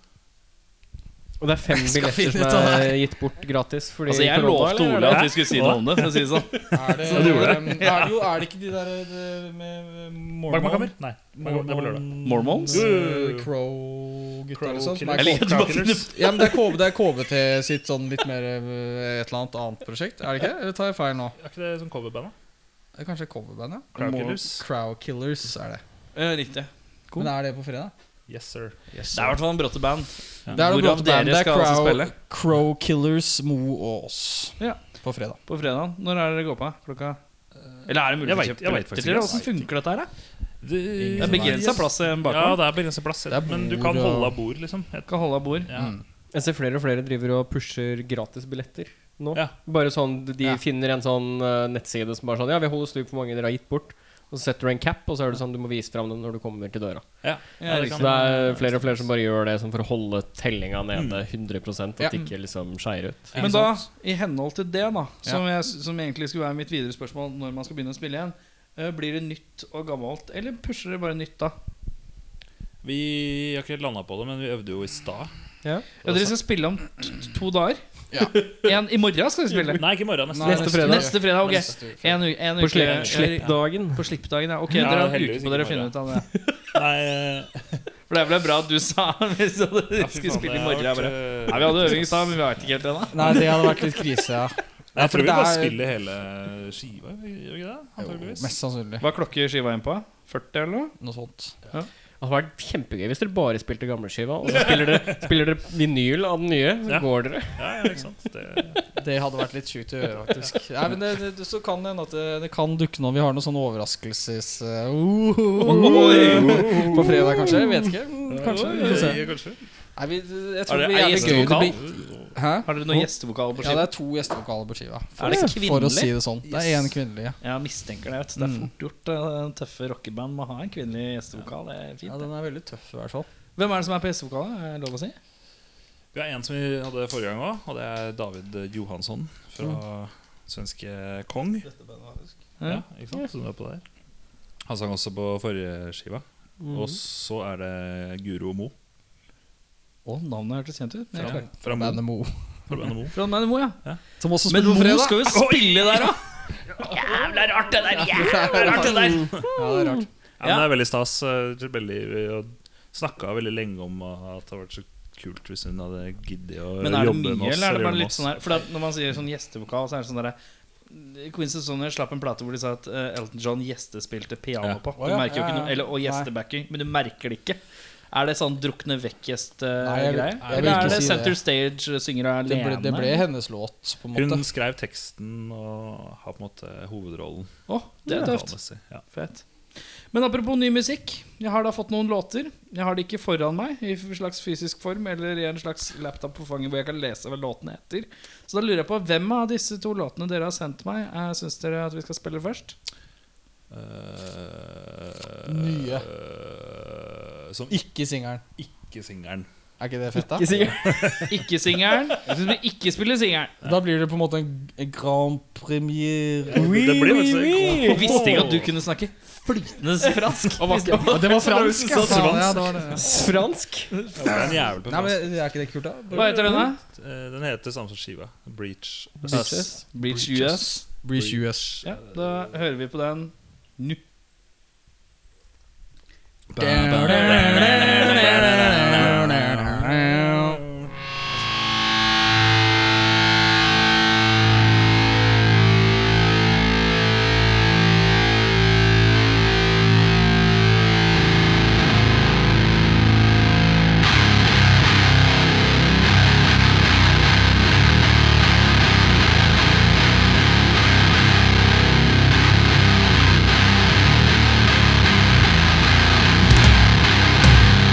Speaker 2: Og det er fem
Speaker 5: skal
Speaker 2: billetter
Speaker 5: finne ut
Speaker 2: som
Speaker 5: av det
Speaker 2: er gitt bort gratis. Fordi
Speaker 1: Altså, jeg
Speaker 2: korona,
Speaker 1: lovte
Speaker 2: eller?
Speaker 1: Ole at vi skulle si noe om det. For å si det sånn
Speaker 5: Er det,
Speaker 6: Så du gjorde det?
Speaker 5: em, er det jo, er det ikke de der eh, med mormon?
Speaker 6: Magmakammer? Nei. Magma- Det er på lørdag.
Speaker 5: Mormon-
Speaker 1: Mormons?
Speaker 5: Eh, Crow-gutta eller sånt. som er
Speaker 1: Jeg liker at du bare finner
Speaker 5: K- Ja, men det er, KB, det er KBT sitt sånn litt mer eh, et eller annet annet prosjekt, er det ikke? Eller tar jeg feil nå?
Speaker 6: Er ikke det sånn coverband, da?
Speaker 5: Det er kanskje coverbandet?
Speaker 6: Crowkillers?
Speaker 5: Crow Killers er det.
Speaker 1: Eh, Riktig. Cool.
Speaker 5: Men er det på fredag?
Speaker 6: Yes, sir.
Speaker 1: Det er i hvert fall en bråtte band.
Speaker 5: Det er
Speaker 1: Hvorav
Speaker 5: noe band.
Speaker 1: dere
Speaker 5: Det er
Speaker 1: skal altså
Speaker 5: Crow,
Speaker 1: spille?
Speaker 5: Crow Killers, Mo og oss
Speaker 1: Ja.
Speaker 5: på fredag.
Speaker 1: På fredag. Når er det dere går på? Klokka Eh, Eller er det mulig
Speaker 6: jeg
Speaker 1: å
Speaker 6: vet-
Speaker 1: kjøpe
Speaker 6: jeg vet
Speaker 1: billetter
Speaker 6: faktisk
Speaker 1: til?
Speaker 6: ikke.
Speaker 1: eller? Hvordan funker dette her, da?
Speaker 6: Det
Speaker 1: Det er liksom- begrensa plass eh, i en
Speaker 6: Ja,
Speaker 1: bakgrunn.
Speaker 6: det er begrenset plass,
Speaker 5: Det er
Speaker 6: men du
Speaker 5: bord
Speaker 6: kan
Speaker 5: og-
Speaker 6: holde av bord, liksom. Jeg-
Speaker 1: Kan holde av bord.
Speaker 6: Ja.
Speaker 5: Mm.
Speaker 2: Jeg ser flere og flere driver og pusher gratis billetter nå.
Speaker 6: Ja.
Speaker 2: Bare sånn, De
Speaker 5: Ja.
Speaker 2: finner en sånn eh, nettside som bare sånn Ja, vi holder stug for hvor mange dere har gitt bort. Og så setter du en cap, og så er det sånn du må vise fram den når du kommer til døra.
Speaker 6: Ja.
Speaker 1: Ja,
Speaker 6: det
Speaker 1: riktig.
Speaker 2: Så
Speaker 6: kan-
Speaker 2: det er flere og flere som bare gjør det sånn for å holde tellinga nede 100 At
Speaker 5: Ja.
Speaker 2: det ikke liksom skeier ut.
Speaker 1: Men da, i henhold til det, da som,
Speaker 5: Ja.
Speaker 1: jeg, som egentlig skulle være mitt videre spørsmål når man skal begynne å spille igjen, eh, blir det nytt og gammelt, eller pusher dere bare nytt, da?
Speaker 6: Vi har ikke landa på det, men vi øvde jo i stad.
Speaker 1: Ja, dere skal spille om t- to dager.
Speaker 5: Ja.
Speaker 1: En, I morgen skal dere spille.
Speaker 6: Nei, ikke i morgen. Neste.
Speaker 5: Nei,
Speaker 2: Neste fredag.
Speaker 1: Neste fredag, ok.
Speaker 5: Neste fredag.
Speaker 1: En, u- en
Speaker 2: På
Speaker 1: uke
Speaker 2: slipp,
Speaker 1: eller-
Speaker 2: slippdagen.
Speaker 1: På slippdagen, ja. Ok,
Speaker 6: Ja,
Speaker 1: dere har en uke
Speaker 6: heldigvis
Speaker 1: på
Speaker 6: ikke
Speaker 1: dere
Speaker 6: i
Speaker 1: å finne
Speaker 6: morgen.
Speaker 1: ut av det.
Speaker 6: Nei, eh,
Speaker 1: For det er vel bra at du sa hvis dere
Speaker 6: ja, fy
Speaker 1: skulle
Speaker 6: faen,
Speaker 1: spille i
Speaker 6: det
Speaker 1: morgen. Jeg
Speaker 6: har
Speaker 1: bare
Speaker 6: vært, eh,
Speaker 1: Nei, Vi hadde øving i stad, men vi veit ikke helt ennå.
Speaker 5: Nei, det hadde vært litt krise, ja.
Speaker 6: eh, Jeg tror vi
Speaker 5: det
Speaker 6: bare
Speaker 5: er-
Speaker 6: spiller hele skiva, gjør vi ikke det?
Speaker 5: Jo,
Speaker 6: Antakeligvis.
Speaker 5: mest sannsynlig.
Speaker 1: Hva er klokke skiva inn på? 40 eller noe?
Speaker 5: Noe sånt.
Speaker 2: Det hadde vært kjempegøy hvis dere bare spilte gamleskiva, og så spiller dere, spiller dere vinyl av den nye. Så
Speaker 6: Ja.
Speaker 2: går dere.
Speaker 6: Ja, ja, ikke sant? Det,
Speaker 5: Det hadde vært litt sjukt å gjøre, faktisk. Nei, men det, det, det, så kan det hende at det, det kan dukke noe. Vi har noen sånne overraskelses... eh, Uh, på fredag, kanskje? Jeg vet ikke. Mm, Kanskje. Vi får se.
Speaker 6: Eh, kanskje.
Speaker 5: Nei, vi, jeg
Speaker 1: Er
Speaker 5: tror
Speaker 1: det-
Speaker 5: det blir
Speaker 1: er
Speaker 5: jævlig gøy. Det
Speaker 1: gjestelokal?
Speaker 5: blir, hæ?
Speaker 1: Har dere noen gjestevokal på
Speaker 5: Ja, det
Speaker 1: skiva?
Speaker 5: er to gjestevokaler på skiva.
Speaker 1: Er det
Speaker 5: For å
Speaker 1: kvinnelig?
Speaker 5: si det sånn. Det er én kvinnelig. Ja.
Speaker 1: Jeg mistenker det. vet du. Det er fort gjort. eh, Tøffe rockeband må ha en kvinnelig gjestevokal. Det er
Speaker 5: ja,
Speaker 1: fint. det.
Speaker 5: den er veldig tøff, i hvert fall.
Speaker 1: Hvem er det som er på gjestevokalen? Er det lov å si?
Speaker 6: Vi har en som vi hadde forrige gang òg, og det er David Johansson
Speaker 1: Mm.
Speaker 6: fra svenske Kong. Ja,
Speaker 1: Ja.
Speaker 6: ikke sant? Så du er på der. Han sang også på forrige skiva.
Speaker 1: Mm.
Speaker 6: Og så er det Guro Mo
Speaker 1: Å, navnet hørtes kjent ut. men jeg
Speaker 6: fra,
Speaker 1: klarer ikke.
Speaker 6: fra Mo.
Speaker 5: Bandet Mo.
Speaker 6: Fra bandet Mo.
Speaker 1: Fra Manny Moe, ja.
Speaker 5: Som også
Speaker 1: Men
Speaker 5: spiller på
Speaker 1: hvor
Speaker 5: fredag.
Speaker 1: skal jo spille der, da? Jævla rart, det der. Jævla rart, det der.
Speaker 5: Ja, det er rart.
Speaker 6: Ja, men det er veldig stas. eh, til Veldig, vi har snakka veldig lenge om at det hadde vært så kult hvis hun hadde giddet å
Speaker 1: Men er det
Speaker 6: jobbe med
Speaker 1: mye,
Speaker 6: oss.
Speaker 1: eller er det
Speaker 6: jobbe
Speaker 1: bare
Speaker 6: med
Speaker 1: litt
Speaker 6: oss.
Speaker 1: sånn her For at når man sier sånn gjestevokal, så er det sånn derre Queens of Sonner slapp en plate hvor de sa at eh, Elton John gjestespilte piano
Speaker 6: Ja.
Speaker 1: på. Du
Speaker 5: Å, ja.
Speaker 1: merker jo
Speaker 5: Ja,
Speaker 1: ikke
Speaker 5: ja.
Speaker 1: noe, eller, og gjestebacking, men du merker det ikke. Er det sånn drukne
Speaker 5: Nei, jeg vil-
Speaker 1: vekk-gjest-greie?
Speaker 5: jeg vil
Speaker 1: eller
Speaker 5: ikke
Speaker 1: er det
Speaker 5: si det.
Speaker 1: Center Stage synger
Speaker 5: Det ble,
Speaker 1: alene?
Speaker 5: det ble hennes låt, på en måte.
Speaker 6: Hun skrev teksten og har på en måte hovedrollen.
Speaker 1: Å, det er tøft.
Speaker 6: vokalmessig. Ja.
Speaker 1: Fett. Men apropos ny musikk. Jeg har da fått noen låter. Jeg har de ikke foran meg i en slags fysisk form eller i en slags laptop på fanget hvor jeg kan lese hva låtene heter. Så da lurer jeg på hvem av disse to låtene dere har sendt meg, eh, syns dere at vi skal spille først?
Speaker 6: Eh,
Speaker 5: Nye.
Speaker 6: eh, som
Speaker 5: Ikke singelen.
Speaker 6: ikke singelen.
Speaker 5: Er ikke det fett, da?
Speaker 2: Ikke sikkert.
Speaker 1: Ikke singelen. Jeg synes vi ikke spiller singelen.
Speaker 5: Da blir det på en måte en en grand premiere.
Speaker 6: Det blir vel så-
Speaker 1: Jeg visste ikke at du kunne snakke flytende fransk. Og var,
Speaker 5: Det var fransk,
Speaker 6: ja. Fransk.
Speaker 5: Ja, det var det.
Speaker 2: Fransk.
Speaker 6: Ja, det er en jævel på
Speaker 5: Nei,
Speaker 6: plass.
Speaker 5: men Er ikke det kult, da?
Speaker 1: hva heter den, da?
Speaker 6: Eh, Den heter samme som skiva. Breach.
Speaker 2: Bitches.
Speaker 1: Breach US.
Speaker 5: Breach US.
Speaker 1: Ja, da hører vi på den.
Speaker 7: Thank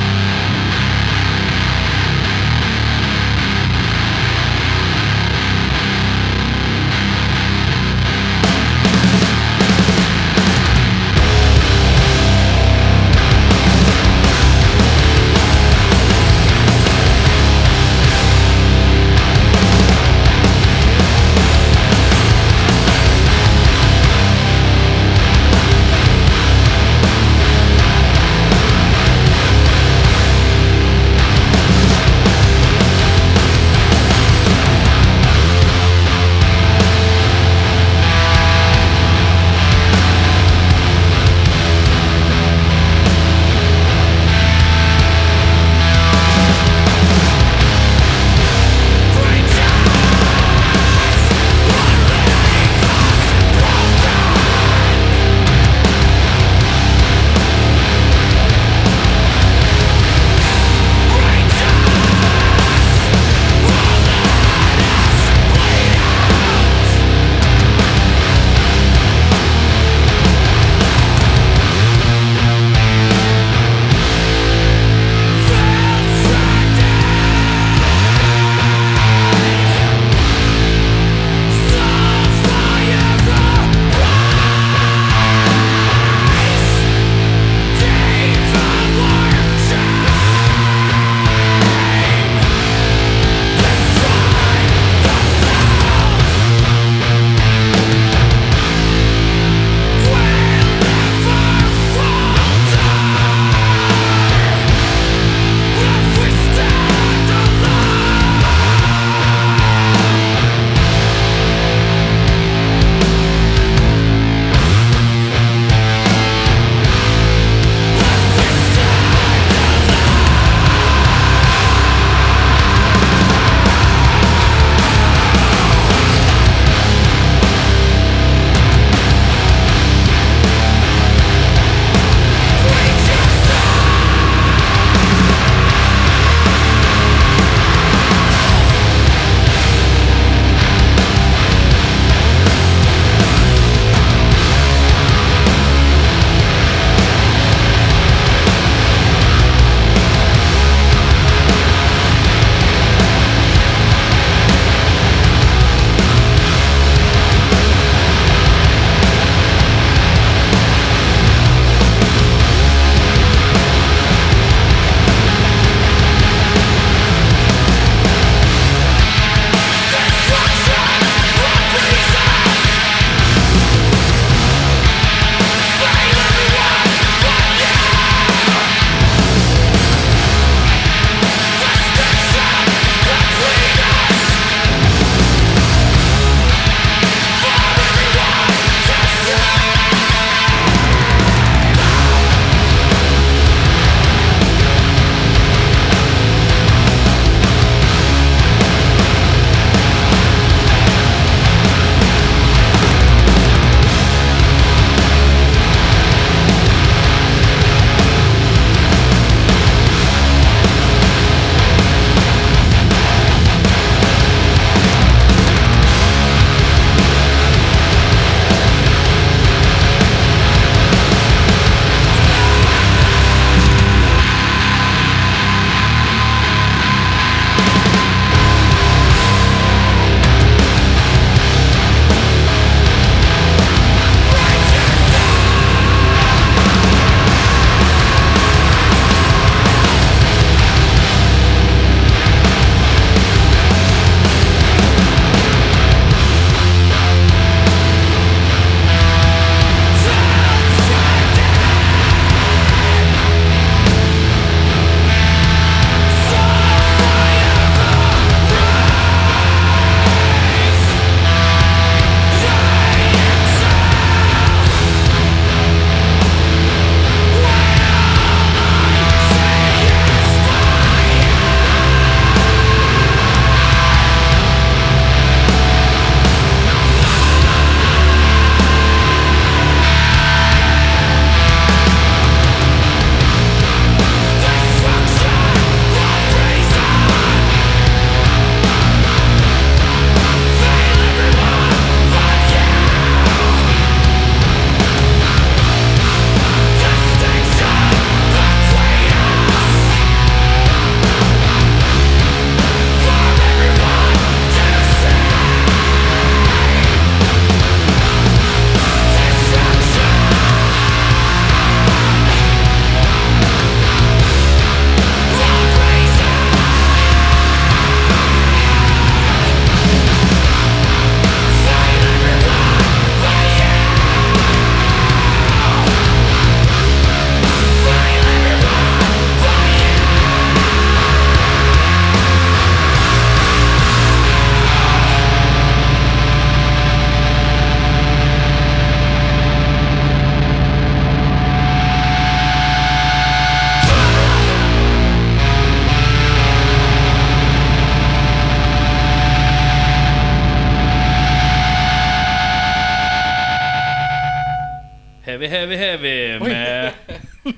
Speaker 1: Heavy, heavy, heavy med,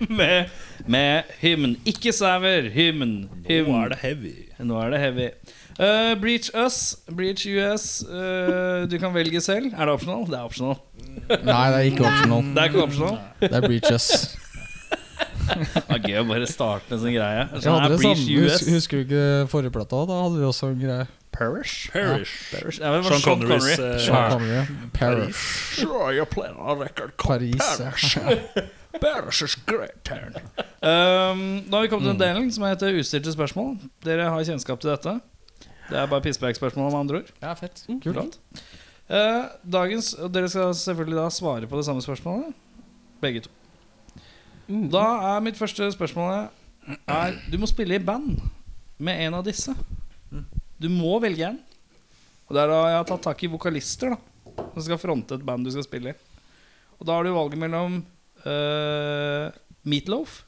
Speaker 1: med, med hymn. Ikke sauer, hymn. hymn.
Speaker 6: Nå er det heavy.
Speaker 1: Nå er det heavy. Eh, Breach Us, Breach US. eh, du kan velge selv. Er det optional? Det er optional.
Speaker 5: Nei, det er ikke optional.
Speaker 1: Det er ikke optional.
Speaker 5: Det er breaches.
Speaker 1: Det er Mm, gøy å bare starte en sånn greie.
Speaker 5: Jeg
Speaker 1: Sånn
Speaker 5: hadde
Speaker 1: er
Speaker 5: det
Speaker 1: Breach
Speaker 5: samme.
Speaker 1: US.
Speaker 5: Husker, husker du ikke forrige plata? Da hadde vi også en greie.
Speaker 1: Perish?
Speaker 6: Perish.
Speaker 1: Perish. Ja, men det var
Speaker 6: Sean
Speaker 1: Sean
Speaker 6: Connerys
Speaker 1: Connery.
Speaker 6: eh,
Speaker 5: Sean Connery. Paris.
Speaker 6: Paris.
Speaker 5: Paris, ja.
Speaker 1: Um, da har vi kommet til den delen som heter utstilte spørsmål. Dere har kjennskap til dette. Det er bare pisspreikspørsmål, med andre ord.
Speaker 5: ja fett. Kult.
Speaker 1: Flott. Eh, dagens, og Dere skal selvfølgelig da svare på det samme spørsmålet, begge to. Da er mitt første spørsmål eh, er, Du må spille i band med en av disse. Du må velge en. Og Det er da jeg har tatt tak i vokalister da som skal fronte et band du skal spille i. Og Da har du valget mellom uh, Meatloaf,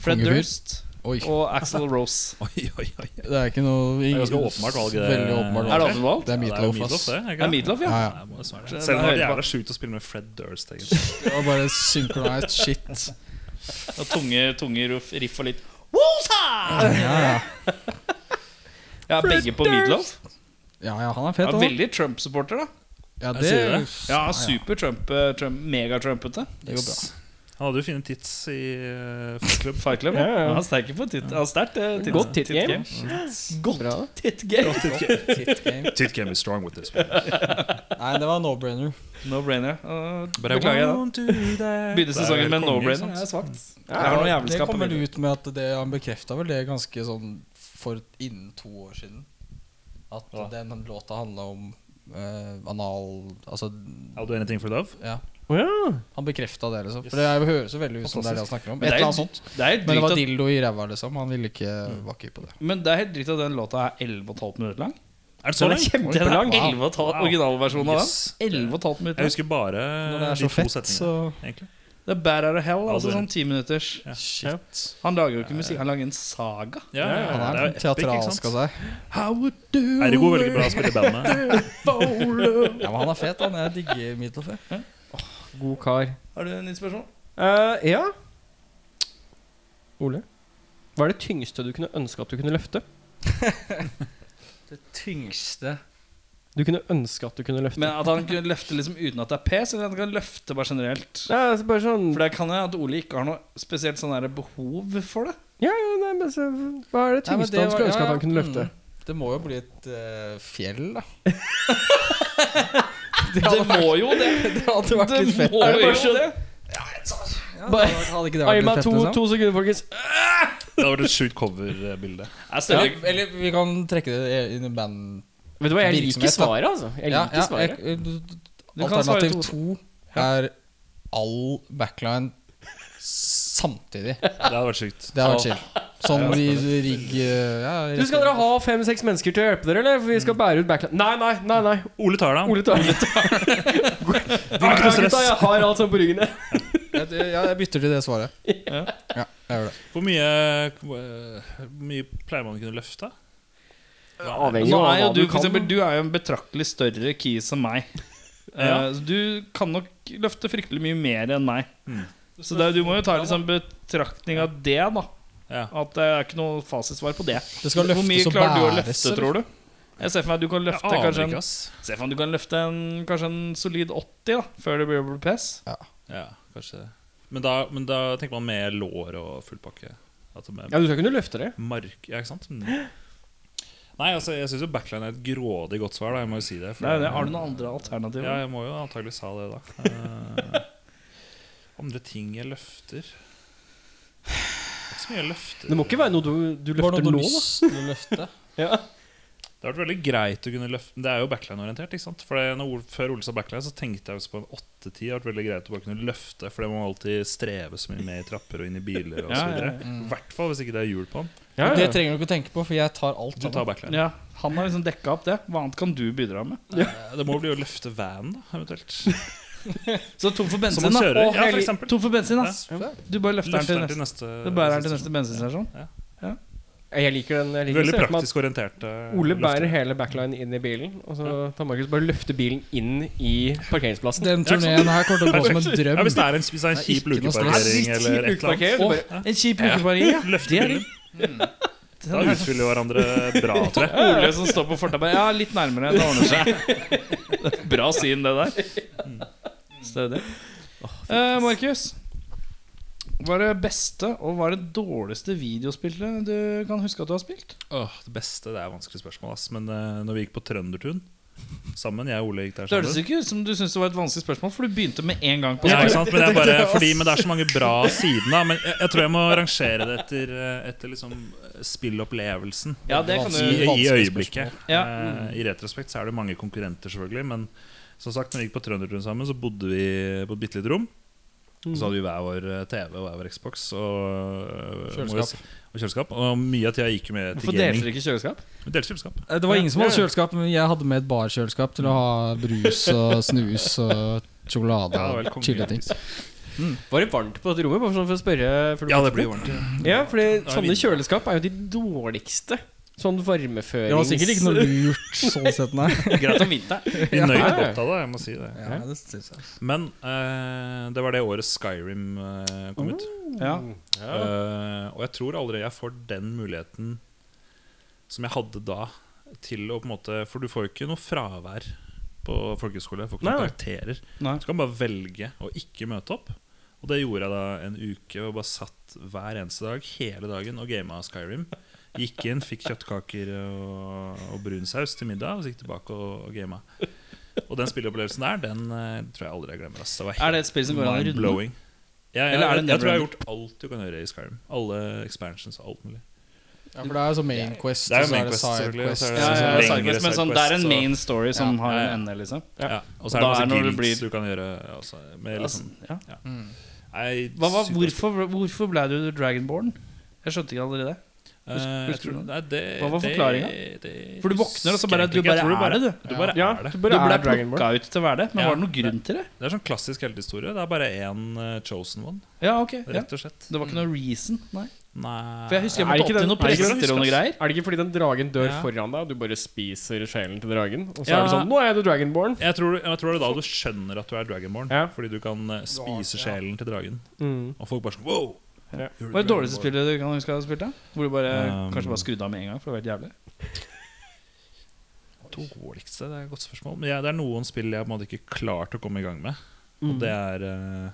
Speaker 1: Fred
Speaker 5: Kongefyr.
Speaker 1: Durst
Speaker 5: Oi.
Speaker 1: og Axel Rose.
Speaker 6: Oi, oi, oi.
Speaker 5: Det er ikke noe
Speaker 6: er ganske åpenbart valg, det.
Speaker 5: Veldig
Speaker 1: Er
Speaker 5: åpenbart
Speaker 1: det
Speaker 5: valg.
Speaker 1: alltid valgt?
Speaker 5: Det er
Speaker 6: Ja,
Speaker 5: Meatloaf,
Speaker 6: Meatloaf,
Speaker 5: ass.
Speaker 6: det, er ikke
Speaker 1: Det er Meatloaf, ja.
Speaker 5: Ja,
Speaker 6: Ja,
Speaker 5: ja.
Speaker 6: det må det svare.
Speaker 1: Det
Speaker 6: Selv om det
Speaker 1: hører
Speaker 6: er
Speaker 1: på.
Speaker 6: jævla sjukt å spille med Fred Durst, egentlig.
Speaker 5: Det var bare synkronized shit.
Speaker 1: Og tunge, tunge ruff, riff og litt Woosah!
Speaker 5: Ja, ja.
Speaker 1: Ja, begge på Meatloaf.
Speaker 5: Ja, ja, han er
Speaker 1: Ja,
Speaker 5: fet òg.
Speaker 1: veldig Trump-supporter, da.
Speaker 5: Ja,
Speaker 6: Jeg sier det.
Speaker 1: Ja, super Trump, eh, Trump Mega-trumpete.
Speaker 5: det går bra.
Speaker 6: Han hadde jo fine tits i uh, Fight Club.
Speaker 1: Fight Club.
Speaker 2: Ja, ja, ja.
Speaker 1: Han er sterk på titt. Han er sterkt eh, titt-
Speaker 2: Godt titt game.
Speaker 1: Godt titt game.
Speaker 5: Titt game.
Speaker 6: Tit can be strong with this. man.
Speaker 5: Nei, det var no-brainer.
Speaker 1: No brainer. Eh,
Speaker 6: But I
Speaker 1: Beklager, da.
Speaker 6: want to do that.
Speaker 1: Begynner sesongen med altså.
Speaker 6: Det er
Speaker 1: no
Speaker 6: konge,
Speaker 1: brainer.
Speaker 6: sant?
Speaker 1: Det er svakt.
Speaker 2: Ja,
Speaker 1: Jeg har noe
Speaker 5: Det
Speaker 1: jævelskap
Speaker 5: kom
Speaker 1: på
Speaker 5: vel
Speaker 1: Meatloaf.
Speaker 5: ut med at det, han bekrefta vel det ganske sånn for innen to år siden. At
Speaker 6: Hva?
Speaker 5: den låta handla om eh, anal Altså,
Speaker 6: I'll do anything for love.
Speaker 5: ja.
Speaker 2: Ja.
Speaker 5: Han bekrefta det, liksom. For det er- høres jo veldig ut som det er det han snakker om.
Speaker 1: Men det
Speaker 5: Et
Speaker 1: er
Speaker 5: eller
Speaker 1: jo
Speaker 5: annet sånt.
Speaker 1: Det er helt
Speaker 5: Men det
Speaker 1: drygt
Speaker 5: var
Speaker 1: at-
Speaker 5: dildo i ræva, liksom. Han ville ikke var ikke på det.
Speaker 1: Men det er helt drygt at den låta er 11,5 minutter lang.
Speaker 6: Er det så
Speaker 1: Den er kjempelang.
Speaker 6: langt?
Speaker 5: Wow.
Speaker 1: 11,5 Originalversjonen av den.
Speaker 6: Yes.
Speaker 1: 11,5 minutter.
Speaker 6: Jeg husker bare
Speaker 5: Når det er så
Speaker 6: de to
Speaker 5: fett, så
Speaker 6: setningene. egentlig.
Speaker 1: Det er Bad Out of Hell, altså
Speaker 6: Aldri.
Speaker 1: sånn 10 minutters.
Speaker 5: Shit.
Speaker 1: Han lager jo ikke musikk, han lager en saga.
Speaker 6: Ja, ja, ja.
Speaker 5: Han er,
Speaker 6: Det jo
Speaker 5: er teatralsk altså.
Speaker 6: epic,
Speaker 5: av
Speaker 6: ikke sant?
Speaker 5: seg.
Speaker 6: Ergo veldig bra å spille i band med.
Speaker 5: Ja, men han er fet, han. Jeg digger Middelfø.
Speaker 2: God kar.
Speaker 1: Har du en nytt spørsmål?
Speaker 2: Eh, ja. Ole? Hva er det tyngste du kunne ønske at du kunne løfte?
Speaker 5: Det tyngste
Speaker 2: Du kunne ønske at du kunne løfte.
Speaker 1: Men At han kunne løfte liksom uten at det er pes, eller at han kan løfte bare generelt?
Speaker 2: Nei, altså bare sånn
Speaker 1: For det kan jo at Ole ikke har noe spesielt sånn der behov for det.
Speaker 2: Ja, ja, nei, men så, Hva er det
Speaker 5: Nei, men
Speaker 2: tyngste
Speaker 5: det
Speaker 2: han
Speaker 5: var-
Speaker 2: skulle
Speaker 5: ja,
Speaker 2: ønske at
Speaker 5: ja,
Speaker 2: han kunne løfte?
Speaker 5: mm. Det må jo bli et eh, fjell, da.
Speaker 1: Det må jo det!
Speaker 5: Det hadde vært
Speaker 1: Det
Speaker 5: litt fett.
Speaker 1: må
Speaker 5: da.
Speaker 1: jo det!
Speaker 5: Ja, det hadde- hadde ikke det vært
Speaker 2: Gi meg
Speaker 5: litt fett,
Speaker 2: to,
Speaker 5: liksom?
Speaker 2: to sekunder, folkens.
Speaker 6: Det hadde vært et sjukt coverbilde.
Speaker 1: Jeg
Speaker 5: Ja,
Speaker 1: stiller ikke-
Speaker 5: eller vi kan trekke det inn i band...
Speaker 2: Vet du hva, jeg
Speaker 5: Virksomhet,
Speaker 2: liker
Speaker 5: da.
Speaker 2: svaret, altså. Jeg
Speaker 5: Ja,
Speaker 2: liker
Speaker 5: ja,
Speaker 2: svaret.
Speaker 5: jeg- du-
Speaker 1: Du kan svare
Speaker 5: Alternativ
Speaker 1: to.
Speaker 5: to er all backline samtidig. Det
Speaker 6: Det hadde vært sjukt.
Speaker 5: hadde vært chill. Sånn i rigg eh, ja, i
Speaker 2: Du skal dere ha fem-seks mennesker til å hjelpe dere, eller? For vi
Speaker 5: Mm.
Speaker 2: skal bære ut backline. Nei, nei, nei. nei
Speaker 6: Ole tar det.
Speaker 2: Ole tar det.
Speaker 1: Ah,
Speaker 6: Ikke noe stress.
Speaker 2: Gutta, jeg har alt sånn på ryggen. jeg.
Speaker 5: Jeg, ja, jeg bytter til det svaret. Ja, jeg gjør det.
Speaker 6: Hvor mye, hvor mye pleier man å kunne løfte?
Speaker 2: Avhengig
Speaker 1: Nå
Speaker 2: av
Speaker 1: er jo
Speaker 2: hva
Speaker 1: du,
Speaker 2: du
Speaker 1: for
Speaker 2: kan.
Speaker 1: eksempel, du er jo en betraktelig større kis enn meg. Eh,
Speaker 6: Ja.
Speaker 1: så Du kan nok løfte fryktelig mye mer enn meg.
Speaker 6: Mm.
Speaker 1: Så det, er- du må jo ta liksom betraktning av det, da.
Speaker 6: Ja.
Speaker 1: At det er ikke noe fasitsvar på det.
Speaker 5: Det skal
Speaker 1: Hvor mye
Speaker 5: løftes og
Speaker 1: klarer du å
Speaker 5: bæres,
Speaker 1: løfte,
Speaker 5: eller?
Speaker 1: tror du? Jeg ser for meg at du kan løfte
Speaker 6: jeg aner
Speaker 1: kanskje en
Speaker 6: ikke, ass.
Speaker 1: Se for meg at du kan løfte en, kanskje en solid 80 da før det blir OPS.
Speaker 6: Ja, kanskje det. men da, men da tenker man med lår og full pakke. At det
Speaker 2: Ja, du skal kunne løfte det.
Speaker 6: Mark, ja, ikke sant? Mm. Nei, altså, jeg syns jo backline er et grådig godt svar. da, Jeg må jo si det. for-
Speaker 1: Har du noen andre alternativer?
Speaker 6: Ja, jeg må jo antagelig sa det, da. Eh, andre ting jeg løfter Ikke så mye jeg løfter.
Speaker 2: Det må ikke være noe du, du
Speaker 5: Var
Speaker 2: løfter
Speaker 5: det noe
Speaker 2: nå,
Speaker 5: du
Speaker 2: da.
Speaker 5: lyst til å løfte?
Speaker 2: Ja.
Speaker 6: Det har vært veldig greit å kunne løfte Det er jo backline-orientert. ikke sant? For det- når Ole- Før Ole sa backline, så tenkte jeg også på en 8-10. Det har vært veldig greit å bare kunne løfte, for det må alltid streve så mye med i trapper og inn i biler og så
Speaker 1: Ja, Mm. ja, ja.
Speaker 6: videre. I hvert fall hvis ikke det er hjul på den.
Speaker 2: Ja,
Speaker 5: Det
Speaker 2: ja.
Speaker 5: trenger du ikke å tenke på, for jeg tar alt.
Speaker 6: Du
Speaker 5: sammen.
Speaker 6: tar backline.
Speaker 1: Ja, Han har liksom dekka opp det. Hva annet kan du bidra med?
Speaker 6: Eh, Det må bli å løfte van, da, eventuelt.
Speaker 1: Så tom for bensin,
Speaker 6: Som man
Speaker 1: da.
Speaker 6: kjører.
Speaker 1: Å,
Speaker 6: Ja, for
Speaker 1: hellig-
Speaker 6: eksempel.
Speaker 1: tom for bensin,
Speaker 6: Ja.
Speaker 1: ass. Du bare løfter den
Speaker 6: Løfter
Speaker 1: til
Speaker 6: den til
Speaker 1: neste
Speaker 6: neste
Speaker 1: Du bærer den til neste bensinstasjon.
Speaker 6: Ja.
Speaker 1: Ja.
Speaker 2: Jeg liker den. Jeg liker
Speaker 6: Veldig
Speaker 2: å se for meg at
Speaker 6: praktisk orientert. eh,
Speaker 2: Ole bærer
Speaker 6: løfter.
Speaker 2: hele backline inn i bilen, og så tar Markus bare løfter bilen inn i parkeringsplassen.
Speaker 5: Den turneen her kommer til å gå som en
Speaker 6: Ja,
Speaker 5: drøm.
Speaker 6: hvis det er en, hvis det er en
Speaker 5: Det er
Speaker 6: kjip
Speaker 5: ikke noe
Speaker 6: lukeparkering
Speaker 5: stress.
Speaker 6: eller et eller annet.
Speaker 2: Parkerer, du bare-
Speaker 5: Å, en kjip ukeparing. Ja.
Speaker 6: Løfter bilen. Mm. Da utfyller vi hverandre bra, tror jeg.
Speaker 1: Ole som står på fortauet. Ja, litt nærmere. Det ordner seg. Bra syn, det der. Stødig. Eh, Markus. Hva er det beste og hva er det dårligste videospillet du kan huske at du har spilt?
Speaker 6: Åh, det beste det er vanskelig spørsmål, ass. Men eh, når vi gikk på Trøndertun sammen, jeg og Ole gikk der
Speaker 1: Det høres
Speaker 6: sammen
Speaker 1: ikke ut som du syntes det var et vanskelig spørsmål, for du begynte med en gang. på
Speaker 6: ja, ikke
Speaker 1: spørsmålet.
Speaker 6: sant? Men, jeg bare, fordi, men det er så mange bra sider, da. Men jeg, jeg tror jeg må rangere det etter, eh, etter liksom spillopplevelsen.
Speaker 1: Ja, det kan
Speaker 6: I,
Speaker 1: du
Speaker 6: I
Speaker 5: Vanskelig
Speaker 6: øyeblikket.
Speaker 1: Ja.
Speaker 6: Eh, I retrospekt så er det mange konkurrenter, selvfølgelig. Men som sagt, når vi gikk på Trøndertun sammen, så bodde vi på et bitte lite rom. Og Så hadde vi hver vår eh, TV og hver vår Xbox og eh,
Speaker 5: Kjøleskap.
Speaker 6: må jo si- Og kjøleskap. Og mye av tida gikk jo med til
Speaker 2: Hvorfor delte
Speaker 6: gaming.
Speaker 2: dere ikke kjøleskap?
Speaker 6: Vi delte kjøleskap.
Speaker 5: Eh, Det var ingen som hadde kjøleskap, men jeg hadde med et barkjøleskap til å ha brus og snus og sjokolade
Speaker 6: Ja, vel,
Speaker 5: og
Speaker 6: konge.
Speaker 5: chille ting.
Speaker 2: Var det varmt på dette rommet? Bare sånn for å spørre før du
Speaker 6: Ja,
Speaker 2: kaster
Speaker 6: det blir
Speaker 2: blikk?
Speaker 6: ordentlig.
Speaker 2: Ja, fordi
Speaker 6: er
Speaker 2: sånne
Speaker 6: vindu.
Speaker 2: kjøleskap er jo de dårligste. Sånn varmeførings...
Speaker 5: Det var sikkert ikke noe lurt sånn sett, nei.
Speaker 2: greit om vinteren.
Speaker 6: Vi nøt
Speaker 2: Ja.
Speaker 6: godt av det, jeg må si det.
Speaker 5: Ja, det synes jeg.
Speaker 6: Men eh, det var det året Skyrim eh, kom ut.
Speaker 1: Ja.
Speaker 6: Eh, og jeg tror aldri jeg får den muligheten som jeg hadde da, til å på en måte For du får jo ikke noe fravær på folkehøyskole. Du får ikke noen
Speaker 2: Nei.
Speaker 6: karakterer.
Speaker 1: Nei.
Speaker 6: Du kan bare velge å ikke møte opp. Og det gjorde jeg da en uke, og bare satt hver eneste dag hele dagen og gama Skyrim. Gikk inn, fikk kjøttkaker og, og brun saus til middag, og så gikk tilbake og, og gama. Og den spilleopplevelsen der, den eh, tror jeg aldri jeg glemmer. ass. Det var helt
Speaker 1: Er det et spill som går an å runde?
Speaker 6: Mind-blowing. Ja, jeg,
Speaker 1: Eller er det
Speaker 6: jeg,
Speaker 1: en
Speaker 6: jeg tror
Speaker 1: neverender?
Speaker 6: jeg har gjort alt du kan gjøre i Skyrim. Alle expansions og alt mulig.
Speaker 5: Ja, for det er jo så main quest,
Speaker 6: Det er jo
Speaker 5: og så
Speaker 6: main
Speaker 5: er det
Speaker 6: quest,
Speaker 5: side
Speaker 6: selvfølgelig, og så
Speaker 5: quest.
Speaker 6: er
Speaker 1: Ja, ja, ja,
Speaker 6: Lengre
Speaker 1: sidequest, men sånn, det er en
Speaker 6: sidequest,
Speaker 1: main story som
Speaker 5: Ja,
Speaker 1: har
Speaker 6: ja, ja.
Speaker 1: en ende, liksom.
Speaker 6: Ja. Og så
Speaker 1: Da
Speaker 6: er det
Speaker 1: er
Speaker 6: masse
Speaker 1: når det
Speaker 6: guilds
Speaker 1: blir-
Speaker 6: du kan gjøre. Altså, med liksom,
Speaker 1: Altså, ja.
Speaker 6: nei,
Speaker 1: Hva var,
Speaker 6: super-
Speaker 1: hvorfor, hvorfor ble du Dragonborn? Jeg skjønte ikke aldri det.
Speaker 6: Eh,
Speaker 1: husker
Speaker 6: jeg
Speaker 1: du
Speaker 6: tror-
Speaker 1: det?
Speaker 6: nei, det-
Speaker 1: Hva var
Speaker 6: det-
Speaker 1: forklaringen?
Speaker 6: det
Speaker 1: For du våkner, og så bare,
Speaker 6: husker
Speaker 1: du
Speaker 6: jeg
Speaker 1: bare
Speaker 6: ikke. Jeg tror
Speaker 1: er det, du.
Speaker 6: Du bare
Speaker 2: Ja,
Speaker 6: er
Speaker 2: du
Speaker 6: det.
Speaker 1: Du
Speaker 2: bare
Speaker 1: ble
Speaker 2: er Dragonborn.
Speaker 1: plukka ut til å være det, men
Speaker 6: Ja.
Speaker 1: var det noen grunn til det?
Speaker 6: Det er sånn klassisk heltehistorie. Det er bare én eh, chosen one,
Speaker 1: Ja, ok ja.
Speaker 6: rett og slett.
Speaker 1: Det var ikke noe reason, nei.
Speaker 6: Nei
Speaker 1: For jeg husker jeg
Speaker 2: Er det
Speaker 1: måtte
Speaker 2: ikke
Speaker 1: alltid noen
Speaker 2: den- er det
Speaker 1: prester
Speaker 2: ikke den
Speaker 1: og noen
Speaker 6: husker,
Speaker 1: greier.
Speaker 2: Er det ikke fordi den dragen dør
Speaker 6: Ja.
Speaker 2: foran deg, og du bare spiser sjelen til dragen? Og så
Speaker 6: Ja.
Speaker 2: er det sånn Nå er jeg the dragonborn.
Speaker 6: jeg tror, jeg tror det er da du skjønner at du er dragonborn.
Speaker 2: Ja.
Speaker 6: Fordi du kan eh, spise sjelen til dragen.
Speaker 2: Mm.
Speaker 6: Og folk bare sånn wow!
Speaker 2: Ja.
Speaker 6: You're
Speaker 1: Hva er det dårligste
Speaker 6: Dragonborn.
Speaker 1: spillet du kan huske å ha spilt? da? Hvor du bare,
Speaker 6: Um,
Speaker 1: kanskje bare skrudde av med en gang, for det var helt jævlig.
Speaker 6: Dårligste, det er et godt spørsmål. Men jeg, det er noen spill jeg på en måte ikke klarte å komme i gang med.
Speaker 1: Mm.
Speaker 6: Og det er eh,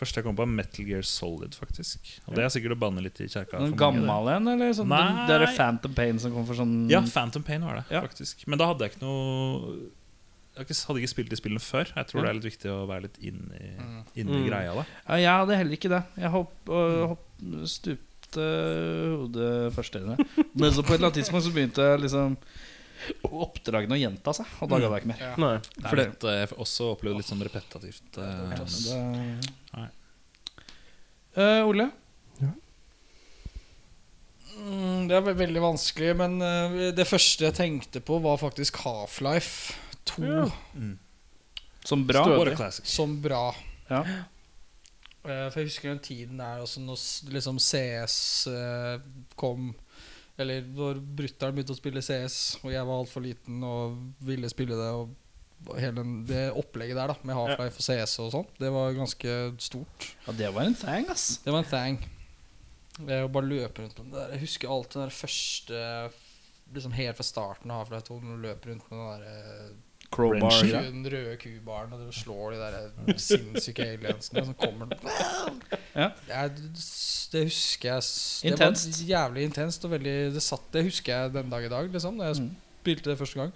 Speaker 6: Første jeg kom på, er Metal Gear Solid, faktisk. Og det er sikkert å banne litt i kjerka. for
Speaker 1: Noen
Speaker 6: mange, det.
Speaker 1: gammel en, eller sånn?
Speaker 6: Nei.
Speaker 1: Det er Phantom Pain som kom for sånn
Speaker 6: Ja, Phantom Pain var det,
Speaker 1: Ja.
Speaker 6: faktisk. Men da hadde jeg ikke noe Jeg ikke- hadde ikke spilt de spillene før. Jeg tror det er litt viktig å være litt inne i, inn i
Speaker 2: Mm.
Speaker 6: greia da.
Speaker 1: Ja, jeg hadde heller ikke det. Jeg hopp, øh, hopp, stupte hodet først inn i det. Men så på et eller annet tidspunkt så begynte liksom oppdragene å gjenta seg, og da ga jeg ikke mer.
Speaker 2: Nei.
Speaker 6: For det er litt, eh, også opplevd litt sånn repetativt. eh, Nei.
Speaker 1: Eh, Ole?
Speaker 5: Mm, det er ve- veldig vanskelig, men eh, det første jeg tenkte på, var faktisk Half-Life 2
Speaker 2: Ja.
Speaker 1: Som bra?
Speaker 2: Stødig.
Speaker 6: What a classic.
Speaker 5: som bra.
Speaker 1: Ja.
Speaker 5: Eh, For jeg husker den tiden der også når s- liksom CS eh, kom Eller når brutter'n begynte å spille CS, og jeg var altfor liten og ville spille det. Og hele den- det opplegget der da med Half-Life og CS og sånn, det var ganske stort.
Speaker 1: Ja, det var en thang, ass.
Speaker 5: Det var en thing. Jeg bare løpe rundt med den der. Jeg husker alt den der første Liksom Helt fra starten av Half-Life 2, når du løper rundt med den der eh,
Speaker 1: Crowbar.
Speaker 6: Wrenching.
Speaker 1: ja.
Speaker 5: den røde kubaren og dere slår de der eh, sinnssyke aliensene som kommer
Speaker 1: Ja.
Speaker 5: det, er, det husker jeg s-
Speaker 1: Intenst.
Speaker 5: Det var jævlig intenst og veldig Det satt, det husker jeg den dag i dag, liksom. Da jeg
Speaker 1: Mm.
Speaker 5: spilte det første gang.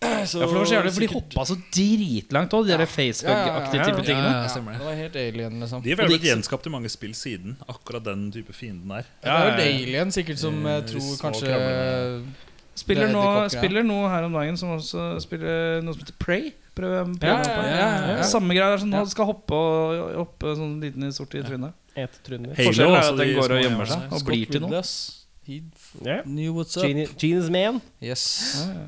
Speaker 5: Så
Speaker 1: Ja, for det var så jævlig, for de
Speaker 5: sikkert-
Speaker 1: hoppa så dritlangt òg, de der
Speaker 5: Ja,
Speaker 1: facebug-aktige
Speaker 5: ja, ja.
Speaker 1: type tingene.
Speaker 5: ja, det var helt alien, liksom.
Speaker 6: De er
Speaker 5: Og
Speaker 6: vel
Speaker 5: det
Speaker 6: blitt
Speaker 5: gikk-
Speaker 6: gjenskapt i mange spill siden, akkurat den type fienden der.
Speaker 5: ja, det er
Speaker 1: Ja,
Speaker 5: vel
Speaker 1: ja, ja.
Speaker 5: alien sikkert som jeg
Speaker 6: Eh,
Speaker 5: tror
Speaker 6: små
Speaker 5: kanskje
Speaker 6: kravler.
Speaker 1: Spiller
Speaker 5: Det er
Speaker 1: nå,
Speaker 5: edderkopper, ja.
Speaker 1: spiller nå her om dagen som også spiller noe som heter Prey. Prøv, prøv,
Speaker 5: Ja, ja, ja, ja.
Speaker 1: Samme greia der som nå skal hoppe og hoppe sånn liten i sort i trynet.
Speaker 2: Et trynne.
Speaker 6: Halo,
Speaker 1: Forskjellen er
Speaker 6: altså,
Speaker 1: at
Speaker 6: de
Speaker 1: den går
Speaker 6: små
Speaker 1: og gjemmer seg
Speaker 6: gjemmerne.
Speaker 1: og blir til noe.
Speaker 5: Wildas, He f-
Speaker 2: Ja.
Speaker 5: knew what's up.
Speaker 2: Genius, genius man.
Speaker 5: Yes.
Speaker 1: Ja, ja.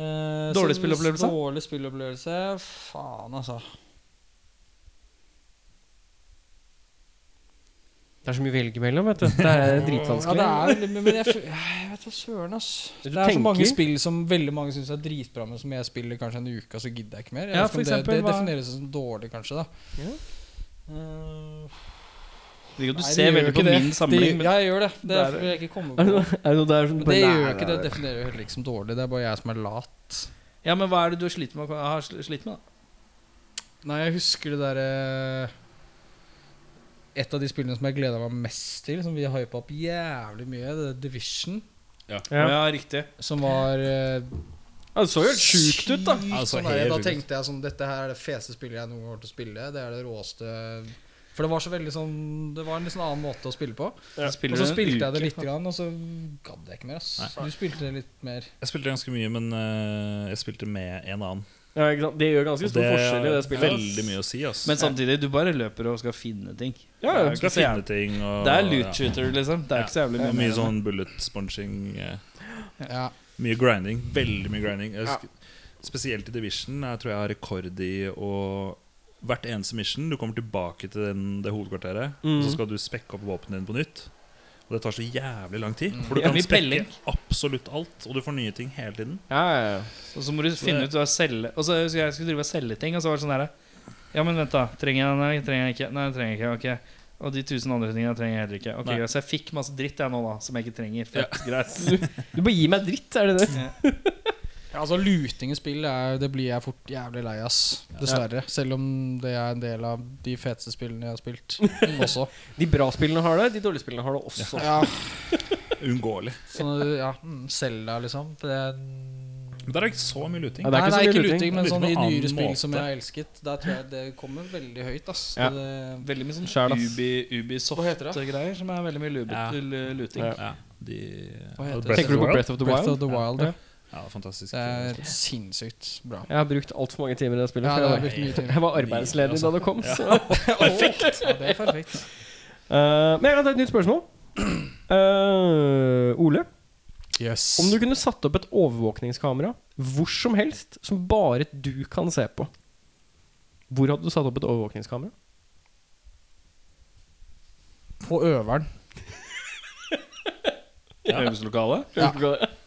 Speaker 5: Eh,
Speaker 1: Dårlig
Speaker 5: så-
Speaker 1: spillopplevelse?
Speaker 5: Dårlig spillopplevelse Faen, altså.
Speaker 2: Det er så mye å velge mellom, vet du. Det er
Speaker 5: Ja,
Speaker 2: dritvanskelig.
Speaker 5: det er veldig Men jeg, fø- jeg vet da søren, ass.
Speaker 2: Du
Speaker 5: Det er så mange
Speaker 2: tenker-
Speaker 5: spill som veldig mange syns er dritbra, men som jeg spiller kanskje en uke, og så gidder jeg ikke mer. Jeg
Speaker 1: Ja,
Speaker 5: vet ikke
Speaker 1: for
Speaker 5: om
Speaker 1: eksempel,
Speaker 5: det, det
Speaker 1: hva-
Speaker 5: defineres som dårlig, kanskje, da.
Speaker 2: Ja.
Speaker 5: Eh,
Speaker 1: Du
Speaker 5: nei, det
Speaker 1: ser
Speaker 5: gjør
Speaker 1: veldig
Speaker 5: jo
Speaker 1: på
Speaker 5: ikke det.
Speaker 1: min
Speaker 5: Det-
Speaker 1: sammenheng. Men
Speaker 5: Ja, jeg gjør det. Det
Speaker 1: Det
Speaker 5: er
Speaker 1: er-
Speaker 5: fordi jeg ikke kommer
Speaker 2: Er det
Speaker 5: på
Speaker 2: noe- er det noe der som
Speaker 5: Men
Speaker 2: bare-
Speaker 5: det gjør
Speaker 2: Nei,
Speaker 5: jo ikke
Speaker 2: nei,
Speaker 5: det. Det definerer jo heller ikke som dårlig. Det er bare jeg som er lat.
Speaker 1: ja, men hva er det du har slitt med? å- Har sl- slitt med da?
Speaker 5: Nei, jeg husker det derre eh, Et av de spillene som jeg gleda meg mest til, som vi hypa opp jævlig mye, det er Division.
Speaker 2: Ja.
Speaker 1: ja riktig.
Speaker 5: Som var eh,
Speaker 2: Ja, det så jo helt sjukt ut, da.
Speaker 5: sykt
Speaker 6: Ja, det så
Speaker 5: sånn der.
Speaker 6: Altså, helt
Speaker 5: Da
Speaker 6: sjukt ut.
Speaker 5: tenkte jeg sånn Dette her er det feste spillet jeg noen gang har hørt å spille. Det er det råeste For det var så veldig sånn Det var en litt sånn annen måte å spille på. Og så spilte jeg det litt, grann, og så gadd jeg ikke mer. Ass. Du spilte det litt mer.
Speaker 6: Jeg spilte ganske mye, men eh, jeg spilte med en annen.
Speaker 2: Ja, ikke sant? Det gjør ganske
Speaker 6: Og
Speaker 2: stor forskjell i det
Speaker 6: er
Speaker 2: spillet.
Speaker 6: veldig mye å si, ass.
Speaker 1: Men samtidig, du bare løper og skal finne ting.
Speaker 2: Ja, ja.
Speaker 1: Det er jo
Speaker 6: skal
Speaker 1: ikke så
Speaker 6: finne
Speaker 1: jævlig-
Speaker 6: ting og
Speaker 1: Det er loot shooter, liksom. Det er ikke så jævlig
Speaker 6: Ja.
Speaker 1: mye.
Speaker 6: Og
Speaker 1: mer.
Speaker 6: mye sånn bullet sponching. eh,
Speaker 5: Ja.
Speaker 6: Mye grinding. Veldig mye grinding. Jeg husker- Spesielt i Division. Jeg tror jeg har rekord i å Hvert eneste mission, du kommer tilbake til den, det hovedkvarteret,
Speaker 2: Mhm.
Speaker 6: og
Speaker 1: Mm.
Speaker 6: så skal du spekke opp våpenet ditt på nytt. Og det tar så jævlig lang tid.
Speaker 1: Mm.
Speaker 6: For du kan
Speaker 1: Jævlig
Speaker 6: spekke
Speaker 1: pelling.
Speaker 6: absolutt alt, og du får nye ting hele tiden.
Speaker 2: Ja, ja, ja.
Speaker 1: Og så må du finne ut hva selge Og så husker jeg jeg skulle drive og selge ting, og så var det sånn her Ja, men vent, da. Trenger jeg den? Nei, trenger jeg ikke. Nei, trenger jeg ikke. Ok. Og de tusen andre tingene trenger jeg heller ikke. Ok,
Speaker 6: Nei.
Speaker 1: greit. Så jeg fikk masse dritt jeg nå, da, som jeg ikke trenger. Fett, greit.
Speaker 2: Du bare gir meg dritt, er det det?
Speaker 5: Ja, altså Luting i spill er, det blir jeg fort jævlig lei ass. Dessverre. Selv om det er en del av de feteste spillene jeg har spilt også.
Speaker 2: De bra spillene har det, de dårlige spillene har det også.
Speaker 5: Ja,
Speaker 6: Uunngåelig.
Speaker 5: sånn, ja mm, Zelda, liksom. Det er
Speaker 6: Men der er ikke så mye luting.
Speaker 2: Ja,
Speaker 5: Nei, det er
Speaker 2: så
Speaker 5: ikke,
Speaker 2: mye luting.
Speaker 5: luting, men
Speaker 6: Det er
Speaker 5: sånn i
Speaker 6: litt noen
Speaker 5: nyere
Speaker 6: annen
Speaker 5: spill
Speaker 6: måte.
Speaker 5: som jeg har elsket, der tror jeg det kommer veldig høyt, ass.
Speaker 2: Ja.
Speaker 5: Det,
Speaker 1: Veldig mye sånn
Speaker 2: Sjæl, ass.
Speaker 1: Ubi,
Speaker 5: Hva heter det?
Speaker 1: Ubisoft-greier som er veldig mye lubet
Speaker 6: Ja.
Speaker 1: til eh, luting.
Speaker 2: Ja.
Speaker 6: Ja, de,
Speaker 5: Hva heter
Speaker 6: Ja,
Speaker 5: det?
Speaker 6: Breath
Speaker 2: Tenker du på
Speaker 6: of the Wild?
Speaker 2: Breath of the
Speaker 5: Breath
Speaker 2: Wild?
Speaker 5: of the Wild.
Speaker 2: Ja.
Speaker 5: Ja.
Speaker 6: Ja, fantastisk.
Speaker 5: Det er sinnssykt bra.
Speaker 2: Jeg har brukt altfor mange timer i det spillet.
Speaker 5: Ja,
Speaker 2: for jeg
Speaker 5: det har
Speaker 2: var-
Speaker 5: brukt mye timer.
Speaker 2: Jeg var arbeidsledig da det kom. Så.
Speaker 5: altså. Perfekt! Ja, det er perfekt.
Speaker 2: Eh, men jeg kan ta et nytt spørsmål. Eh, Ole,
Speaker 5: Yes.
Speaker 2: om du kunne satt opp et overvåkningskamera hvor som helst som bare du kan se på, hvor hadde du satt opp et overvåkningskamera?
Speaker 5: På øveren.
Speaker 1: Øvelseslokalet.
Speaker 5: Ja.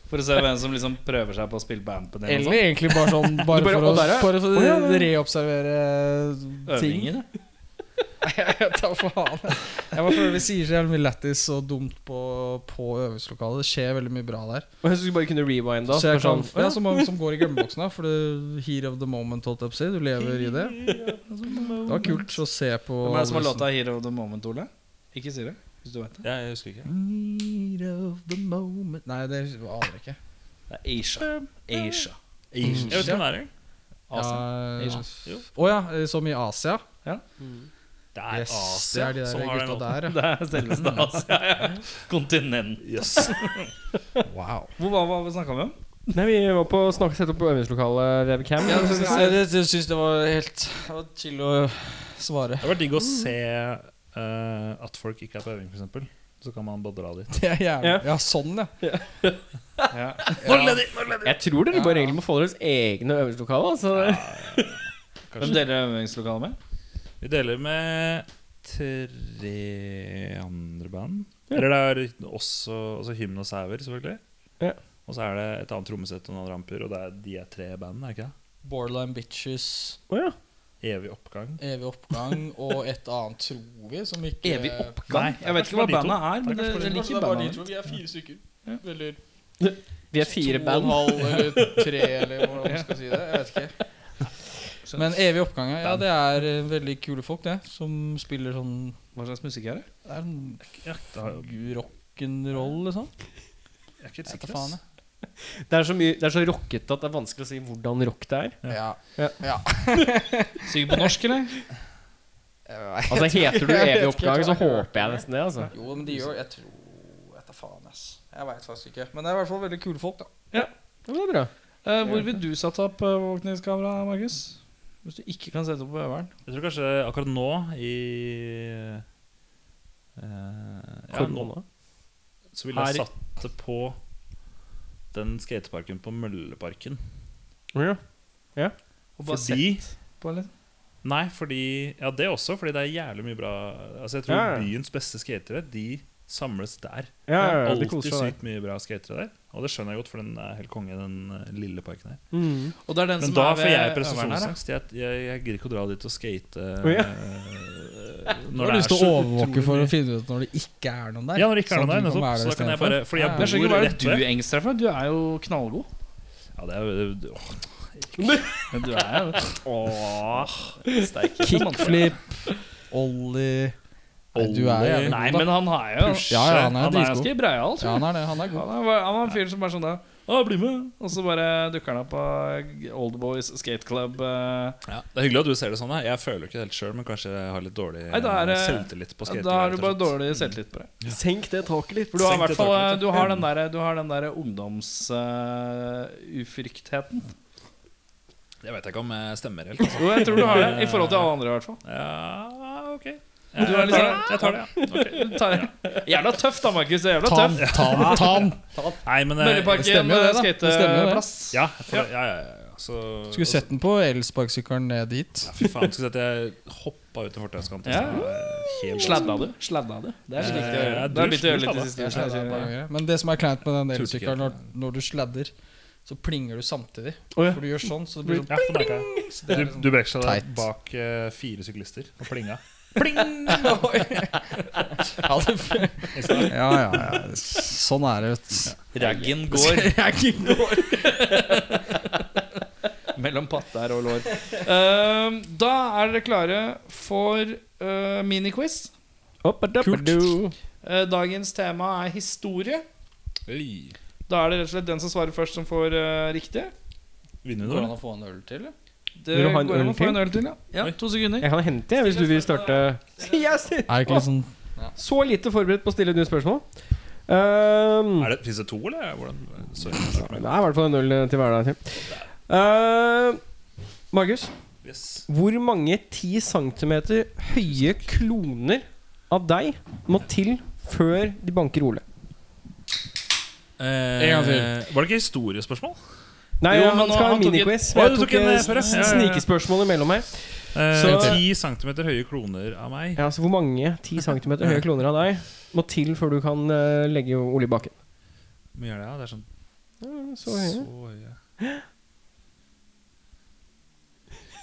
Speaker 1: For å se hvem som liksom prøver seg på å spille på ampen. eller noe sånt.
Speaker 5: Eller egentlig bare sånn Bare,
Speaker 2: Du bare,
Speaker 5: for, å,
Speaker 2: «Å, der er jeg».
Speaker 5: bare for
Speaker 2: Å, ja,
Speaker 5: å
Speaker 2: ja.
Speaker 5: reobservere
Speaker 1: sånn.
Speaker 5: ting.
Speaker 1: Øvinger.
Speaker 5: Ta faen. Jeg bare føler vi sier så jævlig mye lættis og dumt på, på øvingslokalet. Det skjer veldig mye bra der.
Speaker 2: Og jeg synes du bare kunne rewind da.
Speaker 5: så jeg kan,
Speaker 2: sånn,
Speaker 5: ja, så mange som går i glemmeboksen, da. For det heat of the moment, holdt jeg på å si. Du lever i det. Det var kult å se på.
Speaker 1: Hvem er det som har
Speaker 5: alle
Speaker 1: låta 'Hero of the Moment', Ole? Ikke si det, hvis du vet det.
Speaker 6: Ja, jeg husker ikke.
Speaker 5: disse- Heat of the moment Nei, det aner jeg ikke.
Speaker 1: Det er Asia. Asia.
Speaker 6: Jeg vet ikke hvem det er.
Speaker 1: Asia.
Speaker 5: Ja,
Speaker 1: Asia.
Speaker 6: Jo.
Speaker 5: Eh, Å ja, eh, som i Asia?
Speaker 6: Det er
Speaker 5: yes,
Speaker 6: Asia
Speaker 5: det er de
Speaker 6: som
Speaker 5: der
Speaker 6: har den
Speaker 5: gutta
Speaker 6: låten.
Speaker 5: der, ja.
Speaker 1: Det er selveste Asia. Ja. Kontinent.
Speaker 6: Yes.
Speaker 5: Wow.
Speaker 1: Hvor var hva snakka vi om?
Speaker 2: Nei, vi var på å snakke, sette opp øvingslokalet webcam.
Speaker 5: Ja, jeg jeg, jeg syns det var helt det var chill å svare.
Speaker 6: Det var digg å se eh, at folk ikke er på øving, f.eks. Så kan man bare dra dit.
Speaker 5: Det er jævlig.
Speaker 2: Ja.
Speaker 5: Ja, sånn, ja.
Speaker 2: Jeg tror dere bare egentlig må få deres egne øvingslokaler. Altså.
Speaker 1: Hvem
Speaker 6: Kanskje.
Speaker 1: deler øvingslokalet med?
Speaker 6: Vi deler med tre andre band. Eller det er også altså Hymn og Sauer, selvfølgelig.
Speaker 2: Ja.
Speaker 6: Og så er det et annet trommesett og noen ramper, og det er, de er tre band, er det ikke det?
Speaker 5: Borderline Bitches,
Speaker 2: Å, ja.
Speaker 6: Evig oppgang.
Speaker 5: Evig oppgang og et annet, tror vi, som ikke
Speaker 1: Evig
Speaker 6: Nei,
Speaker 1: oppgang? Eh, Jeg vet
Speaker 6: kanskje
Speaker 1: ikke hva
Speaker 6: bare de to.
Speaker 1: bandet er, men det,
Speaker 6: kanskje bare
Speaker 1: jeg
Speaker 5: Kanskje det
Speaker 6: de
Speaker 1: liker
Speaker 5: er bare de
Speaker 1: bandet.
Speaker 5: to. Vi er fire stykker.
Speaker 1: Ja.
Speaker 5: Eller
Speaker 2: Vi er fire
Speaker 5: to
Speaker 2: band.
Speaker 5: og en halv, eller tre, eller hvordan man skal si det. Jeg vet ikke. Men Evig oppgang, ja, det er eh, veldig kule folk, det. Som spiller sånn
Speaker 1: Hva slags musikk er det?
Speaker 5: Det er en
Speaker 6: Ja, det har-
Speaker 5: rock'n'roll, liksom.
Speaker 6: jeg er ikke helt
Speaker 5: Jeg vet
Speaker 6: sikker.
Speaker 5: da faen,
Speaker 6: ass.
Speaker 5: jeg.
Speaker 2: Det er så, mye, det er så rockete at det er vanskelig å si hvordan rock det er.
Speaker 5: Ja.
Speaker 2: Ja.
Speaker 5: ja.
Speaker 1: Synger på norsk, eller?
Speaker 5: Jeg vet.
Speaker 2: Altså Heter du
Speaker 5: Jeg vet
Speaker 2: Evig
Speaker 5: ikke
Speaker 2: oppgang,
Speaker 5: helt
Speaker 2: så
Speaker 5: hva jeg
Speaker 2: håper jeg nesten det. altså
Speaker 5: Jo, men de gjør Jeg tror Jeg vet da faen, ass. Jeg veit faktisk ikke. Men det er i hvert fall veldig kule folk, da.
Speaker 2: Ja, men det er bra
Speaker 1: Eh, hvor vil du satt opp overvåkningskamera, Markus? Hvis du ikke kan sette opp på øveren.
Speaker 6: Jeg tror kanskje akkurat nå i eh, ja, nå,
Speaker 2: Korona.
Speaker 6: Så ville jeg
Speaker 2: Her i-
Speaker 6: satt det på den skateparken på Mølleparken.
Speaker 2: Ja.
Speaker 1: Og bare
Speaker 6: Fordi
Speaker 1: sett på, eller?
Speaker 6: Nei, fordi Ja, det også, fordi det er jævlig mye bra Altså, jeg tror
Speaker 2: Ja, ja.
Speaker 6: byens beste skatere, de samles der.
Speaker 2: Ja, ja, ja, de
Speaker 6: Alltid
Speaker 2: koser seg.
Speaker 6: sykt mye bra skatere der. Og det skjønner jeg godt, for den er helt konge, den eh, lille parken her.
Speaker 2: Mm.
Speaker 5: Og det er den
Speaker 6: Men
Speaker 5: som
Speaker 6: da
Speaker 5: er
Speaker 6: får
Speaker 5: ved
Speaker 6: jeg
Speaker 5: øveren her, da.
Speaker 6: prestasjonsangst. Jeg, jeg, jeg gidder ikke å dra dit og skate eh,
Speaker 2: Å, ja.
Speaker 6: eh,
Speaker 5: Du har lyst til å overvåke for å finne ut når det ikke er noen der.
Speaker 6: Ja, når det ikke er
Speaker 5: sånn
Speaker 6: noen der,
Speaker 5: at du
Speaker 6: nettopp.
Speaker 5: være
Speaker 6: Så da kan jeg
Speaker 5: istedenfor.
Speaker 6: bare Fordi
Speaker 5: Ja,
Speaker 6: jeg
Speaker 1: Jeg skjønner ikke
Speaker 6: bor
Speaker 1: hva er
Speaker 6: rett
Speaker 1: det
Speaker 6: ved.
Speaker 1: du engster deg for. Du er jo knallgod.
Speaker 6: Ja, det er jo åh,
Speaker 1: Men du er jo
Speaker 5: Kickflip, ollie Nei, du er jævlig god,
Speaker 6: Ollie.
Speaker 1: Nei,
Speaker 5: da.
Speaker 1: men han er jo
Speaker 6: Push.
Speaker 5: Ja, ja, han
Speaker 1: Han
Speaker 5: er
Speaker 1: er
Speaker 5: dritgod.
Speaker 1: ganske breial.
Speaker 5: Ja,
Speaker 1: tror jeg.
Speaker 5: han er det. Han er god.
Speaker 1: Han er bare- han var en fyr som bare sånn da Å, bli med! Og så bare dukker han opp på Old Boys Skate Club. eh.
Speaker 6: ja, Det er hyggelig at du ser det sånn. da. Jeg føler jo ikke det helt sjøl, men kanskje jeg har litt dårlig
Speaker 1: Nei, da er det-
Speaker 6: selvtillit på skating.
Speaker 1: Da har du
Speaker 6: rett og
Speaker 1: bare
Speaker 6: slett.
Speaker 1: dårlig selvtillit på det.
Speaker 2: Senk det taket litt.
Speaker 1: For du har, i
Speaker 6: Senk
Speaker 1: hvert
Speaker 6: det Mm.
Speaker 1: fall,
Speaker 6: taket litt,
Speaker 1: eh, du har den derre der eh, ungdomsufryktheten.
Speaker 6: Jeg vet ikke om jeg stemmer helt. Altså.
Speaker 1: jo, jeg tror du har det. I forhold til alle andre, i hvert fall.
Speaker 6: Ja, ok.
Speaker 1: Du er litt sånn-
Speaker 6: jeg tar det, ja. Ok.
Speaker 1: Du tar- Jævla tøff, da, Markus. Jævla
Speaker 5: Ta han,
Speaker 1: tøff.
Speaker 5: ta han, ta han!
Speaker 6: Nei, men eh,
Speaker 1: Mølleparken,
Speaker 5: Det stemmer jo det, da. Det stemmer jo det.
Speaker 1: skateplass.
Speaker 6: ja, for, ja, ja, ja, ja. Så,
Speaker 5: Skulle sett den på elsparkesykkelen ned dit.
Speaker 6: Ja, fy faen, skulle sett jeg hoppa ut altså. en fortausskant.
Speaker 1: Ja.
Speaker 6: Sladda.
Speaker 1: Sladda du? Sladda du? Det er
Speaker 6: Eh,
Speaker 1: slik det
Speaker 6: ja,
Speaker 1: gjør.
Speaker 6: du
Speaker 1: Det er litt å gjøre
Speaker 6: sladda.
Speaker 1: litt i siste
Speaker 5: Ja, det er
Speaker 1: uke.
Speaker 5: bare- Men det som er kleint med den
Speaker 6: Turte ikke.
Speaker 5: elsykkel når, når du sladder, så plinger du samtidig.
Speaker 2: Å, ja.
Speaker 5: For du gjør sånn, så det blir sånn
Speaker 6: Ja, for merka jeg.
Speaker 5: så det er
Speaker 6: Du,
Speaker 5: liksom-
Speaker 6: du breksja deg
Speaker 5: Teit.
Speaker 6: bak eh, fire syklister og plinga.
Speaker 5: Oi. Ja, det- ja, ja, ja. Sånn er det, vet
Speaker 1: Raggen går. Mellom patter og lår. Ehm, da er dere klare for eh, miniquiz.
Speaker 2: Opp, opp, opp, du.
Speaker 1: Eh, dagens tema er historie.
Speaker 6: Oi.
Speaker 1: Da er det rett og slett den som svarer først, som får eh, riktig.
Speaker 6: Vinner
Speaker 5: du. Går
Speaker 6: vi
Speaker 5: det an
Speaker 6: noe?
Speaker 5: å få en øl til? eller?
Speaker 1: Det
Speaker 2: Vil du ha en
Speaker 1: går an
Speaker 2: øl
Speaker 1: å få
Speaker 2: til?
Speaker 1: en øl til? Ja, ja To sekunder.
Speaker 2: Jeg kan hente, jeg, hvis du vil starte. Yes.
Speaker 5: Er det ikke litt sånn
Speaker 2: Så lite forberedt på å stille nye spørsmål. Um,
Speaker 6: Er det- Fins det to, eller? Hvordan? Sorry. jeg snakker
Speaker 2: det
Speaker 6: med-
Speaker 2: er i hvert fall en øl til hver dag. Uh, Markus,
Speaker 6: Yes.
Speaker 2: hvor mange 10 cm høye kloner av deg må til før de banker Ole?
Speaker 6: en gang til. Eh, Var det ikke historiespørsmål?
Speaker 2: Nei,
Speaker 1: Jo, men
Speaker 2: han
Speaker 1: nå-
Speaker 2: skal ha
Speaker 1: han tok en-
Speaker 2: miniquiz.
Speaker 6: Å,
Speaker 2: men Jeg
Speaker 6: du tok
Speaker 2: tok
Speaker 6: en,
Speaker 2: eh,
Speaker 6: eh, før, ja.
Speaker 2: s-
Speaker 6: Ja, ja, ja.
Speaker 2: snikespørsmål imellom her.
Speaker 6: Eh,
Speaker 2: Så-
Speaker 6: Ti centimeter høye kloner av meg.
Speaker 2: Ja, så Hvor mange 10 cm høye kloner av deg må til før du kan eh, legge Ole i bakken?
Speaker 6: Hvor mye er det? ja? Det er sånn
Speaker 2: Så eh, høye.
Speaker 6: Så høye.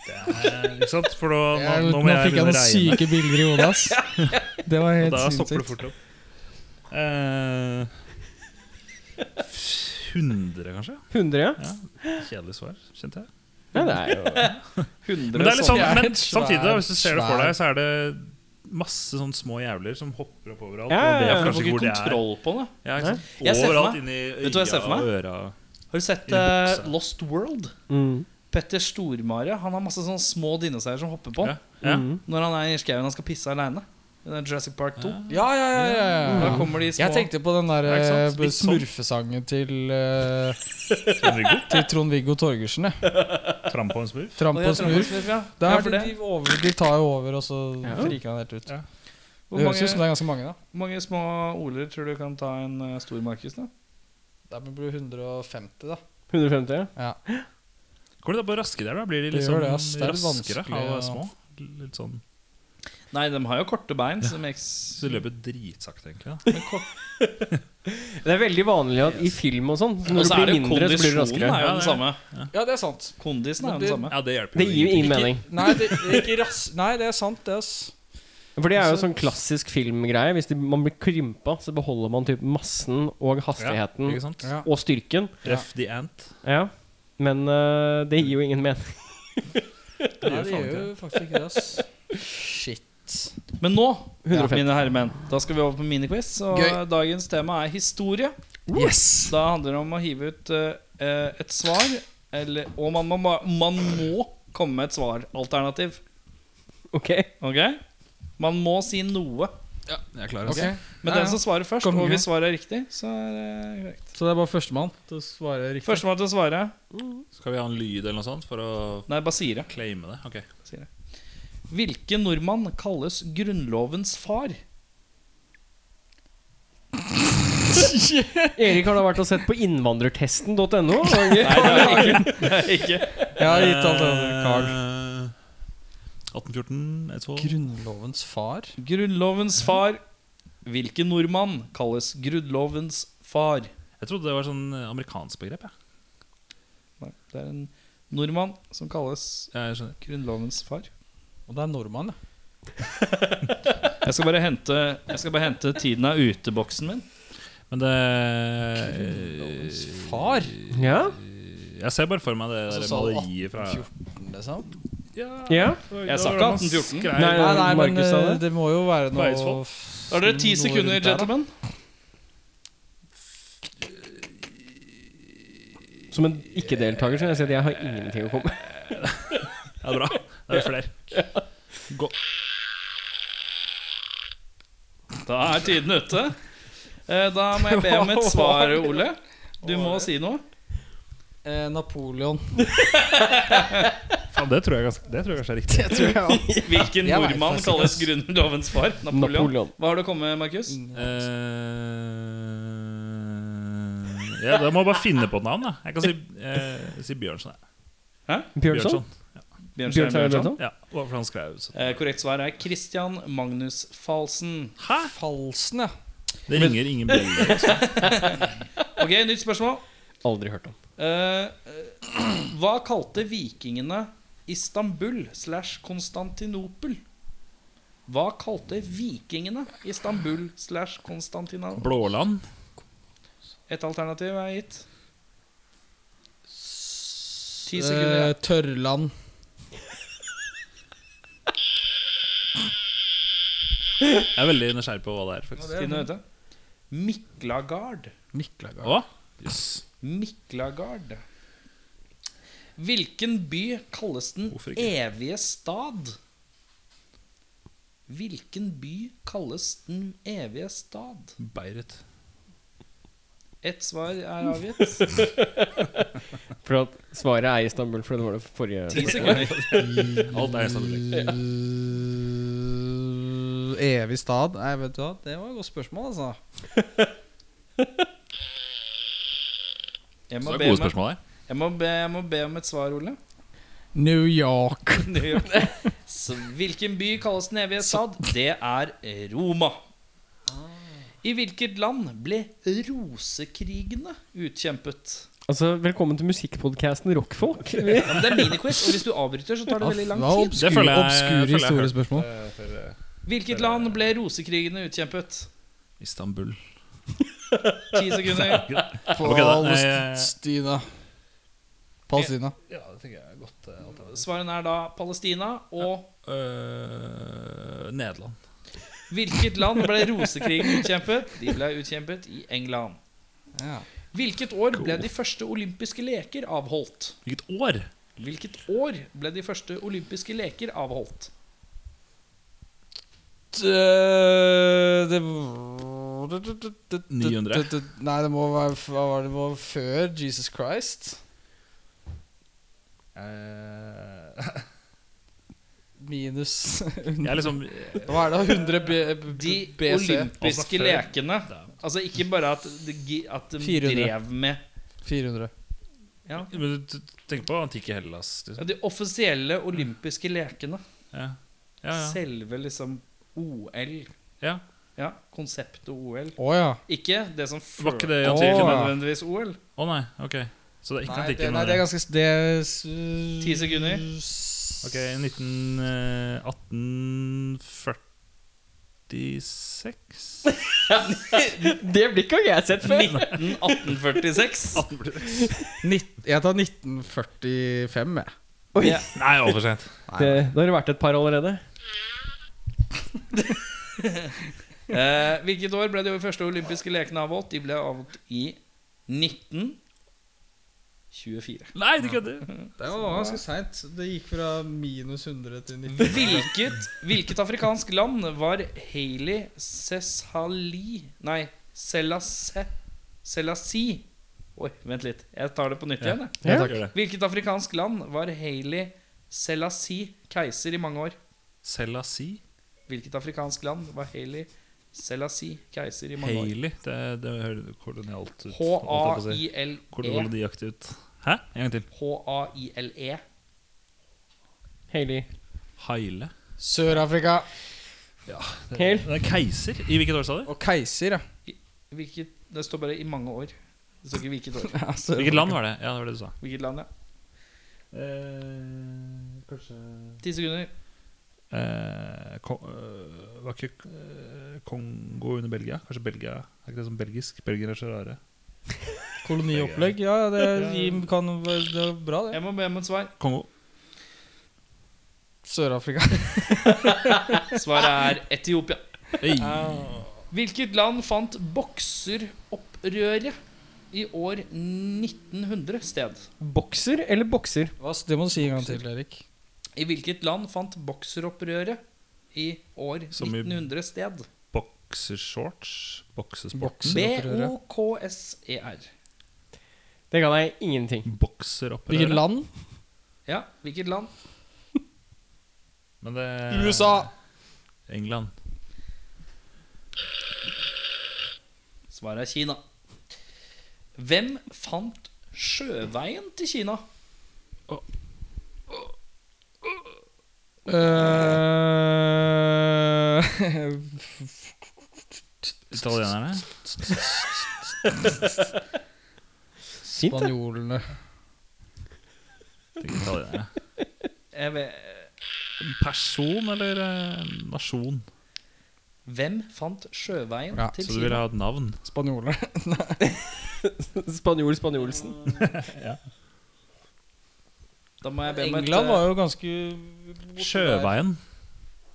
Speaker 6: Det er, ikke sant? For nå, nå,
Speaker 5: Jeg-
Speaker 6: nå må jeg
Speaker 5: fikk jeg
Speaker 6: begynne å
Speaker 5: noen
Speaker 6: regne.
Speaker 5: syke bilder i hodet, ass. Det var
Speaker 6: Og
Speaker 5: helt
Speaker 6: da stopper det
Speaker 5: sinnssykt.
Speaker 6: fort opp. Eh, 100, kanskje?
Speaker 2: 100, ja?
Speaker 6: Kjedelig svar, kjente jeg.
Speaker 2: ja det er jo
Speaker 1: 100
Speaker 6: Men, det er litt sånn,
Speaker 5: Det er
Speaker 6: men
Speaker 5: et svær-
Speaker 6: samtidig, da, hvis du ser det for
Speaker 5: svær-
Speaker 6: deg, så er det masse sånne små jævler som hopper opp overalt.
Speaker 2: Ja, ja,
Speaker 6: og det er
Speaker 2: ja.
Speaker 1: Du får
Speaker 6: kanskje ikke
Speaker 1: ikke
Speaker 6: hvor de er.
Speaker 1: kontroll på det.
Speaker 6: Ja, ikke sant?
Speaker 1: Jeg ser for
Speaker 6: Overalt
Speaker 1: meg-
Speaker 6: inni
Speaker 1: Vet du hva jeg ser for
Speaker 6: øya og øra.
Speaker 1: Har du sett
Speaker 6: I en
Speaker 1: eh,
Speaker 6: bukse.
Speaker 1: Lost World?
Speaker 2: mm.
Speaker 1: Petter Stormare Han har masse sånne små dinosaurer som hopper på han
Speaker 6: Ja. Ja.
Speaker 2: Mm.
Speaker 1: når han er i skauen og skal pisse aleine. Jurassic Park 2.
Speaker 5: Ja, ja, ja, ja,
Speaker 1: Da
Speaker 5: ja.
Speaker 1: kommer de små
Speaker 5: Jeg tenkte på den der
Speaker 6: Ja, ikke sant?
Speaker 5: eh,
Speaker 6: Litt sånn.
Speaker 5: smurfesangen til, eh,
Speaker 6: Trond-Viggo,
Speaker 5: til Trond-Viggo Torgersen. jeg.
Speaker 6: tramp og en smurf.
Speaker 5: Tramp
Speaker 1: Å,
Speaker 5: og
Speaker 1: jeg tror det var
Speaker 5: smurf.
Speaker 1: smurf, ja.
Speaker 5: Der,
Speaker 1: ja, for
Speaker 5: de,
Speaker 1: det.
Speaker 5: de, over, de tar jo over, og så
Speaker 2: Ja.
Speaker 5: friker han helt ut.
Speaker 6: Ja.
Speaker 1: Hvor
Speaker 5: Det høres ut som
Speaker 1: mange,
Speaker 5: det er ganske mange, da.
Speaker 1: mange små oler tror du kan ta en eh, stor Markus? da?
Speaker 5: Det blir 150, da.
Speaker 2: 150, ja?
Speaker 6: Kommer de da på raske der, da? Blir de
Speaker 5: Det
Speaker 6: litt
Speaker 5: gjør
Speaker 6: sånn
Speaker 5: det, ass. Det er litt
Speaker 6: raskere
Speaker 5: vanskelig
Speaker 6: av å være små?
Speaker 5: å-
Speaker 6: Litt sånn
Speaker 1: Nei, de har jo korte bein. Så de eks...
Speaker 6: Så de løper dritsakte, egentlig. da
Speaker 2: Det er veldig vanlig at i film og sånn så
Speaker 1: Og
Speaker 2: Når
Speaker 1: så
Speaker 2: du
Speaker 1: Altså, er
Speaker 2: blir
Speaker 1: det jo
Speaker 2: mindre, så blir du
Speaker 1: kondisjonen er
Speaker 2: raskere.
Speaker 1: jo
Speaker 6: Ja, det
Speaker 1: den
Speaker 6: er-
Speaker 1: samme.
Speaker 5: Ja, det er sant.
Speaker 1: Kondisen er jo
Speaker 5: Men
Speaker 1: den
Speaker 5: det-
Speaker 1: samme.
Speaker 6: Ja, det hjelper
Speaker 2: Det
Speaker 6: jo
Speaker 2: gir jo
Speaker 6: ingenting.
Speaker 2: ingen mening.
Speaker 5: Nei, det, det er ikke ras Nei, det er sant, det, ass.
Speaker 2: For det er jo sånn klassisk filmgreie. Hvis det, man blir krympa, så beholder man typ massen og hastigheten
Speaker 6: Ja, ikke sant?
Speaker 5: Ja.
Speaker 2: og styrken.
Speaker 5: Ja.
Speaker 6: F the ant.
Speaker 2: Ja. Men øh, det gir jo ingen mening.
Speaker 5: Nei,
Speaker 6: gjør
Speaker 5: det
Speaker 6: faen
Speaker 5: gjør jo faktisk ikke det, ass. Shit.
Speaker 1: Men nå,
Speaker 2: 150.
Speaker 1: mine herremenn, da skal vi over på miniquiz. Og
Speaker 5: Gøy.
Speaker 1: dagens tema er historie.
Speaker 5: Yes!
Speaker 1: Da handler det om å hive ut eh, et svar, eller, og man må, ba- man må komme med et svaralternativ.
Speaker 2: Ok?
Speaker 1: Ok? Man må si noe.
Speaker 6: Ja, jeg er klar.
Speaker 5: Ok,
Speaker 1: Men
Speaker 5: Ja,
Speaker 1: den
Speaker 5: ja.
Speaker 1: som svarer først,
Speaker 5: Konge.
Speaker 1: og hvis svaret er riktig, så er det korrekt.
Speaker 5: Så det er bare førstemann til å svare riktig?
Speaker 1: Førstemann til å svare.
Speaker 6: Skal vi ha en lyd eller noe sånt for å
Speaker 1: Nei, bare sier det.
Speaker 6: claime det? Ok.
Speaker 1: Hvilken nordmann kalles Grunnlovens far?
Speaker 2: Erik har da vært og sett på innvandrertesten.no. og-
Speaker 1: Nei, det er ikke. Det er ikke.
Speaker 5: Eh, Jeg har gitt alt over Carl.
Speaker 6: Eh, 1814, et så.
Speaker 5: Grunnlovens far.
Speaker 1: Grunnlovens far. Hvilken nordmann kalles Grunnlovens far?
Speaker 6: Jeg trodde det var sånn amerikansk begrep. Jeg.
Speaker 1: Nei, det er en nordmann som kalles
Speaker 6: Jeg skjønner.
Speaker 1: Grunnlovens far.
Speaker 5: Og det er nordmann, ja.
Speaker 1: Jeg skal bare hente, jeg skal bare hente tiden av uteboksen min.
Speaker 6: Men det eh,
Speaker 5: Grunnlovens far.
Speaker 2: Ja.
Speaker 6: Jeg ser bare for meg det
Speaker 5: Så
Speaker 6: der
Speaker 5: sa du
Speaker 6: maleriet fra
Speaker 5: 1814, liksom.
Speaker 2: ja.
Speaker 1: Jeg sa ikke 1814.
Speaker 2: Nei,
Speaker 5: Nei, nei, men
Speaker 2: Markus sa
Speaker 5: eh,
Speaker 2: det.
Speaker 5: det må jo være noe
Speaker 6: Eidsvoll.
Speaker 1: Da har dere ti
Speaker 5: noe
Speaker 1: sekunder,
Speaker 5: rundt der, da.
Speaker 1: gentlemen.
Speaker 2: Som en ikke-deltaker så vil jeg si at jeg har ingenting å komme med.
Speaker 6: Ja, bra. Det er flere.
Speaker 1: Da er tiden ute. Eh, Da må jeg be om et svar, Ole. Du må si noe.
Speaker 5: Eh, Napoleon.
Speaker 6: Faen, det tror jeg ganske- det tror jeg kanskje er riktig.
Speaker 1: Hvilken
Speaker 5: Jeg vet
Speaker 1: nordmann
Speaker 5: faktisk
Speaker 1: kalles
Speaker 5: ikke.
Speaker 1: Grunnlovens far? Napoleon. Mm.
Speaker 2: Napoleon.
Speaker 1: Hva har du kommet med, Markus?
Speaker 6: Eh, ja, da må jeg bare finne på et navn, da. Jeg kan si, eh, si Bjørnson. jeg.
Speaker 2: Bjørnson?
Speaker 1: Bjørnstein
Speaker 2: Bjørnstein
Speaker 1: Bjørnson.
Speaker 2: Bjørnson?
Speaker 6: Ja, og for han skrev jo så-
Speaker 1: Eh, Korrekt svar er Christian Magnus Falsen.
Speaker 6: Hæ?
Speaker 5: Falsen, ja.
Speaker 6: Det ringer ingen bjeller. altså.
Speaker 1: Ok, nytt spørsmål.
Speaker 2: Aldri hørt om.
Speaker 1: Eh, eh, hva kalte vikingene Istanbul slash Konstantinopel? Hva kalte vikingene Istanbul slash Konstantinopel?
Speaker 6: Blåland.
Speaker 1: Et alternativ er gitt. Ti
Speaker 5: Eh,
Speaker 1: sekunder.
Speaker 5: Tørrland.
Speaker 6: Jeg er veldig nysgjerrig på hva det er. faktisk
Speaker 1: Tiden er ute. Miklagard.
Speaker 5: Miklagard.
Speaker 6: Å? Yes.
Speaker 1: Miklagard. Hvilken by kalles den
Speaker 6: Hvorfor ikke?
Speaker 1: evige stad? Hvilken by kalles den evige stad?
Speaker 6: Beirut.
Speaker 1: Ett svar er avgitt.
Speaker 2: For at svaret er Istanbul, for det var det forrige
Speaker 1: Ti sekunder.
Speaker 6: Alt er sammen.
Speaker 5: Eh, Evig stad. Nei, vet du hva, det var et godt spørsmål, altså.
Speaker 1: Jeg
Speaker 6: Så
Speaker 1: må,
Speaker 6: det
Speaker 1: be
Speaker 6: er gode
Speaker 1: om,
Speaker 6: spørsmål her.
Speaker 1: jeg, må be, jeg må be om et svar, Ole.
Speaker 5: New York.
Speaker 1: New York. Så Hvilken by kalles den evige stad? Det er Roma. I hvilket land ble rosekrigene utkjempet?
Speaker 2: Altså, Velkommen til musikkpodkasten Rockfolk.
Speaker 1: Ja, men det er miniquiz, og hvis du avbryter, så tar det veldig lang tid.
Speaker 6: Det føler jeg-
Speaker 5: obskure
Speaker 6: føler jeg har hørt.
Speaker 5: historiske spørsmål.
Speaker 1: Hvilket land ble rosekrigene utkjempet?
Speaker 6: Istanbul.
Speaker 1: Ti sekunder.
Speaker 6: Eh, Ok, da. Nei,
Speaker 5: Palestina. Palestina.
Speaker 6: Ja, det tenker jeg er godt eh, alternativ.
Speaker 1: Svaren er da Palestina. Og
Speaker 6: Øh, Nederland.
Speaker 1: hvilket land ble rosekrigen utkjempet? De ble utkjempet i England.
Speaker 5: Ja.
Speaker 1: Hvilket år ble de første olympiske leker avholdt?
Speaker 6: Hvilket år?
Speaker 1: Hvilket år ble de første olympiske leker avholdt?
Speaker 5: Eh, Det
Speaker 6: 900.
Speaker 5: Nei, det må være hva var det, det må være før Jesus Christ.
Speaker 6: Eh,
Speaker 5: Minus
Speaker 6: Jeg er liksom
Speaker 5: Hva er det? 100 B eh,
Speaker 1: De
Speaker 5: B- BC?
Speaker 6: Altså, før-
Speaker 1: olympiske lekene
Speaker 6: Da.
Speaker 1: Altså ikke bare at de, gi- at de
Speaker 5: 400.
Speaker 1: drev med
Speaker 5: 400.
Speaker 1: ja.
Speaker 6: Men du tenker på antikke Hellas,
Speaker 1: Ja,
Speaker 6: liksom.
Speaker 1: De offisielle olympiske lekene.
Speaker 6: Ja. Ja, ja.
Speaker 1: Selve liksom OL.
Speaker 6: ja.
Speaker 1: Ja, konseptet OL.
Speaker 5: Å ja.
Speaker 1: Ikke det som
Speaker 6: Var ikke
Speaker 1: førte
Speaker 6: det i
Speaker 1: til
Speaker 6: antikken? da? Å
Speaker 1: nødvendigvis OL.
Speaker 6: nei, ok. Så det er ikke
Speaker 5: Nei, det,
Speaker 6: antikken?
Speaker 5: nei,
Speaker 6: men
Speaker 5: det er
Speaker 6: det-
Speaker 5: ganske Det er s-
Speaker 1: Ti sekunder.
Speaker 6: Ok, 19, eh, 1846
Speaker 2: det blikket har ikke jeg sett før.
Speaker 1: 1846.
Speaker 6: 1846.
Speaker 5: Nitt- Jeg tar 1945, jeg.
Speaker 6: Nei, altfor sent.
Speaker 2: Det, da har det vært et par allerede.
Speaker 1: Eh, hvilket år ble de første olympiske lekene avholdt? De ble avholdt i 1924.
Speaker 6: Nei, du kødder.
Speaker 5: Det var ganske seint. Det gikk fra minus 100 til 90.
Speaker 1: Hvilket, hvilket afrikansk land var Hailey Sesali Nei, Selasse Selassie Oi, vent litt. Jeg tar det på nytt igjen. jeg.
Speaker 2: Ja,
Speaker 6: takk. Gjør det.
Speaker 1: Hvilket afrikansk land var Hailey Selassie keiser i mange år?
Speaker 6: Selassie.
Speaker 1: Hvilket afrikansk land var Hailey Selassie keiser i mange år?
Speaker 6: Haley. Det, det høres kolonialt ut. holdt jeg på å si.
Speaker 1: H-a-i-l-e.
Speaker 6: Koloniaktig ut. Hæ? En gang til.
Speaker 1: E. H-a-i-l-e.
Speaker 2: Hailey.
Speaker 6: Haile.
Speaker 5: Sør-Afrika
Speaker 2: Hel.
Speaker 6: Det er Keiser? I hvilket år, sa du?
Speaker 5: og keiser, ja.
Speaker 1: Hvilket, det står bare 'i mange år'. Det står ikke hvilket år.
Speaker 5: ja. Sør-
Speaker 6: Hvilket land var det? Ja, det var det du sa.
Speaker 1: Hvilket land, ja.
Speaker 6: kanskje
Speaker 1: Ti sekunder.
Speaker 6: Eh, Var ikke eh, Kongo under Belgia? Kanskje Belgia? Er ikke det sånn belgisk? Belgiere er så rare.
Speaker 5: Koloniopplegg. Ja, det rim kan være det er bra, det.
Speaker 1: Jeg må be om et svar.
Speaker 6: Kongo.
Speaker 5: Sør-Afrika.
Speaker 1: Svaret er Etiopia.
Speaker 6: Eh,
Speaker 1: Hvilket land fant bokseropprøret i år 1900 sted?
Speaker 2: Bokser eller bokser?
Speaker 5: Hva s- Det må du si en gang til, Erik.
Speaker 1: I hvilket land fant bokseropprøret i år
Speaker 6: Som i-
Speaker 1: 1900 sted?
Speaker 6: Boksershorts? Boksesport?
Speaker 5: Bokseropprøret.
Speaker 1: B-O-K-S-E-R.
Speaker 2: Det ga deg ingenting.
Speaker 5: Hvilket
Speaker 6: Bokseropprør?
Speaker 5: land?
Speaker 1: Ja, hvilket land?
Speaker 6: Men det
Speaker 5: USA.
Speaker 6: England.
Speaker 1: Svaret er Kina. Hvem fant sjøveien til Kina?
Speaker 5: Eh,
Speaker 6: Italienerne?
Speaker 2: Fint, det.
Speaker 5: Spanjolene.
Speaker 6: Tenk italienere.
Speaker 1: Jeg vet-
Speaker 6: Person eller eh, nasjon?
Speaker 1: Hvem fant sjøveien
Speaker 5: Ja,
Speaker 1: til
Speaker 6: Så du vil
Speaker 1: Kina?
Speaker 6: ha et navn?
Speaker 5: Spanjolene.
Speaker 2: Spanjol Spanjolsen.
Speaker 1: Da må jeg be om et,
Speaker 5: England var jo ganske
Speaker 6: Sjøveien.
Speaker 1: eh,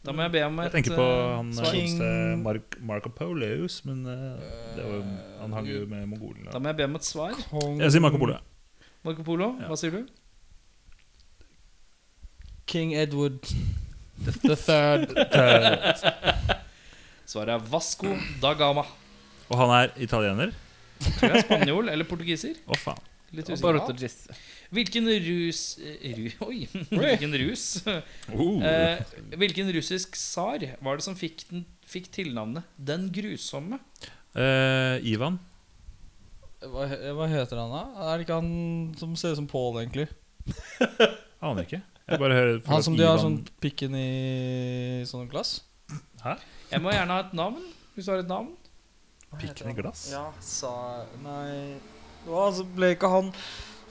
Speaker 1: da må jeg be om et
Speaker 6: Jeg tenker på
Speaker 1: eh,
Speaker 6: han
Speaker 1: svar.
Speaker 6: godeste Mark, Marco Poleus, men eh, det var, jo- han hang jo med
Speaker 1: Da
Speaker 6: mongolene.
Speaker 1: må jeg be om et svar.
Speaker 5: Kong-
Speaker 6: Jeg sier Marco Polo.
Speaker 1: Marco Polo,
Speaker 6: Ja.
Speaker 1: hva sier du?
Speaker 5: King Edward the third.
Speaker 1: Svaret er Vasco da Gama.
Speaker 6: Og han er italiener?
Speaker 1: Tror jeg er spanjol eller portugiser.
Speaker 6: Å, faen.
Speaker 1: Litt
Speaker 2: Bare
Speaker 1: usikker.
Speaker 2: til å gisse.
Speaker 1: Hvilken rus eh, ru, Oi, hvilken rus
Speaker 6: Eh,
Speaker 1: eh, Hvilken russisk tsar var det som fikk, den, fikk tilnavnet Den grusomme?
Speaker 6: eh, Ivan?
Speaker 5: Hva, hva heter han, da? Er det ikke han som ser ut som Paul, egentlig?
Speaker 6: Aner ikke. Jeg bare hører
Speaker 5: Han som de har sånn pikken i sånn glass?
Speaker 1: Jeg må gjerne ha et navn. Hvis du har et navn.
Speaker 6: Pikken i glass?
Speaker 5: Ja, sa Nei Hva, altså ble ikke han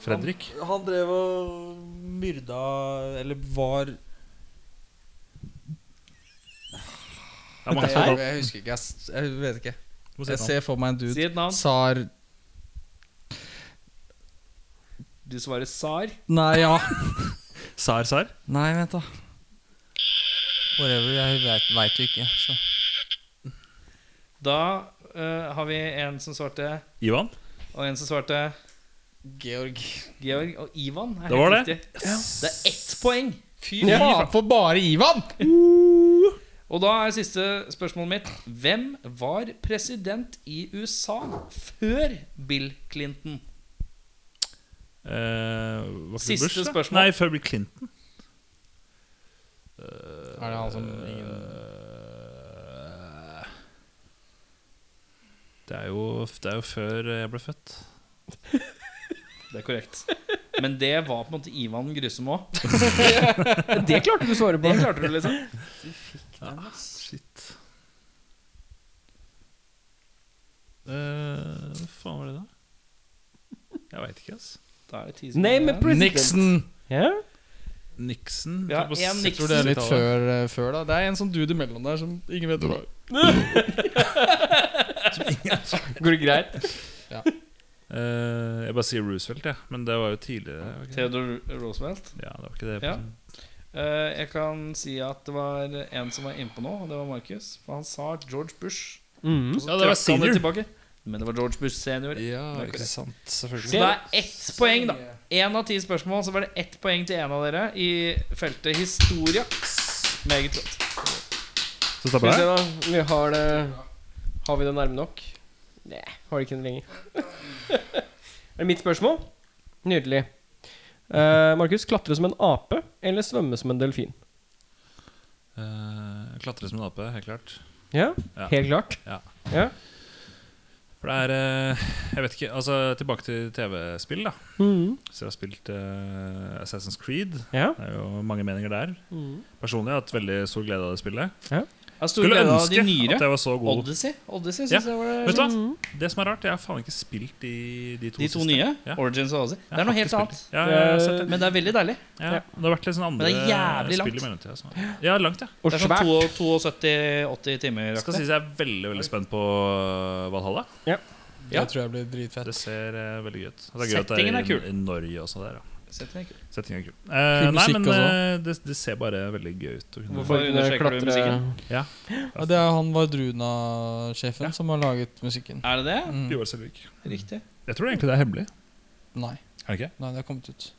Speaker 6: Fredrik?
Speaker 5: Han, han drev og myrda Eller var
Speaker 6: Det er mange som
Speaker 5: jeg,
Speaker 6: har
Speaker 5: jeg husker ikke. Jeg, s- jeg vet ikke.
Speaker 6: Må si
Speaker 5: Jeg
Speaker 6: et navn.
Speaker 5: ser for meg en
Speaker 1: Si
Speaker 5: dude.
Speaker 1: et navn.
Speaker 5: Tsar
Speaker 1: Du svarer tsar.
Speaker 5: Nei, ja.
Speaker 6: Sar Sar?
Speaker 5: Nei, vent, da. Whatever. Jeg vet- vet jo ikke. Så.
Speaker 1: Da eh, har vi en som svarte,
Speaker 6: Ivan?
Speaker 1: og en som svarte
Speaker 5: Georg.
Speaker 1: Georg. Og Ivan er
Speaker 6: Det var
Speaker 1: helt
Speaker 6: det.
Speaker 1: riktig. Det er ett poeng.
Speaker 5: Fy faen for bare Ivan!
Speaker 1: Og da er siste spørsmålet mitt Hvem var president i USA før Bill Clinton?
Speaker 6: Eh, var ikke det
Speaker 1: Siste
Speaker 6: Bush, da?
Speaker 1: spørsmål.
Speaker 6: Nei, før Bill Clinton.
Speaker 5: Er det han som
Speaker 6: Det er, jo, det er jo før jeg ble født.
Speaker 1: Det er korrekt. Men det var på en måte Ivan Grusom òg.
Speaker 2: Det klarte du å svare på.
Speaker 1: Det klarte du, liksom.
Speaker 6: Shit. Eh, hva faen var det, da? Jeg veit ikke, altså.
Speaker 1: Da er det ti sekunder
Speaker 2: Name a
Speaker 1: igjen.
Speaker 2: president.
Speaker 5: Nixon.
Speaker 2: Ja?
Speaker 6: Nixon.
Speaker 1: Vi har
Speaker 6: på
Speaker 1: en
Speaker 6: s-
Speaker 1: Nixon.
Speaker 5: Tror det er litt før, eh, før, da. Det er en sånn dude imellom der som ingen vet hva er.
Speaker 2: Går det greit?
Speaker 6: Eh, jeg bare sier Roosevelt, jeg. Ja. Men det var jo tidligere. var ikke det?
Speaker 1: Theodore Roosevelt.
Speaker 6: Ja, det var ikke det.
Speaker 1: Ja. Eh, jeg kan si at det var en som var innpå nå, og det var Markus. For han sa George Bush.
Speaker 2: Mhm.
Speaker 1: Og så
Speaker 6: Ja, det
Speaker 1: trakk
Speaker 6: var
Speaker 1: han
Speaker 6: senior.
Speaker 1: tilbake. Men det var George Bush senior.
Speaker 6: Ja,
Speaker 1: ikke
Speaker 6: sant,
Speaker 1: Så
Speaker 6: selvfølgelig.
Speaker 1: det er ett poeng, da. Én av ti spørsmål, så var det ett poeng til en av dere i feltet historie. Meget flott.
Speaker 6: Så
Speaker 2: Skal vi
Speaker 6: stopper det
Speaker 2: se,
Speaker 6: her?
Speaker 2: da. Vi har det Har vi det nærme nok? Nei, har det ikke det lenger. er det mitt spørsmål? Nydelig. Eh, Markus, klatre som en ape eller svømme som en delfin?
Speaker 6: Eh, klatre som en ape, helt klart.
Speaker 2: Ja,
Speaker 6: Ja.
Speaker 2: helt klart.
Speaker 6: Ja.
Speaker 2: Ja.
Speaker 6: For det er eh, Jeg vet ikke Altså, tilbake til TV-spill, da.
Speaker 2: Mm.
Speaker 6: Så jeg har spilt eh, Assassin's Creed.
Speaker 2: Ja.
Speaker 6: Det er jo mange meninger der. Personlig har jeg hatt veldig stor glede av det spillet.
Speaker 1: Jeg har stor
Speaker 6: Skulle
Speaker 1: glede av
Speaker 6: ønske
Speaker 1: de nyere.
Speaker 6: at jeg var så god.
Speaker 1: Odyssey. Odyssey
Speaker 6: Ja.
Speaker 1: synes jeg var
Speaker 6: Vet du hva? Det som er rart, jeg har faen ikke spilt de, de to
Speaker 1: De to
Speaker 6: siste.
Speaker 1: nye.
Speaker 6: Ja.
Speaker 1: Origins og Odyssey.
Speaker 6: Jeg
Speaker 1: Det er
Speaker 6: har
Speaker 1: noe
Speaker 6: ikke
Speaker 1: helt
Speaker 6: spilt
Speaker 1: annet.
Speaker 6: de. Ja, jeg har sett det.
Speaker 1: Men det er veldig deilig.
Speaker 6: Ja, det har vært litt sånn andre
Speaker 1: Men det er jævlig
Speaker 6: spill i mellomtida. som er- Ja, langt, ja.
Speaker 2: Og
Speaker 1: Det er sånn
Speaker 2: svært.
Speaker 1: 72-80 timer.
Speaker 6: Jeg skal sies jeg er veldig veldig spent på øh, Valhalla.
Speaker 5: Det
Speaker 1: Ja.
Speaker 5: tror jeg blir dritfett.
Speaker 6: Det ser eh, veldig gøy ut. Og Det er gøy at det
Speaker 1: Settingen
Speaker 6: er,
Speaker 1: er kul.
Speaker 6: i, i Norge også der, ja.
Speaker 1: Settingen er kul.
Speaker 6: Settingen er kul. Eh, nei,
Speaker 5: musikk
Speaker 6: men
Speaker 5: også.
Speaker 6: eh, det, det ser bare veldig gøy ut. å kunne-
Speaker 1: Hvorfor understreker du musikken?
Speaker 5: Ja, det er han Vardruna-sjefen som har laget musikken.
Speaker 1: Er det det?
Speaker 5: Mm.
Speaker 6: Joar Selvik.
Speaker 1: Riktig.
Speaker 6: Jeg tror egentlig det er hemmelig.
Speaker 5: Nei,
Speaker 6: Er det ikke?
Speaker 5: nei, det har kommet ut.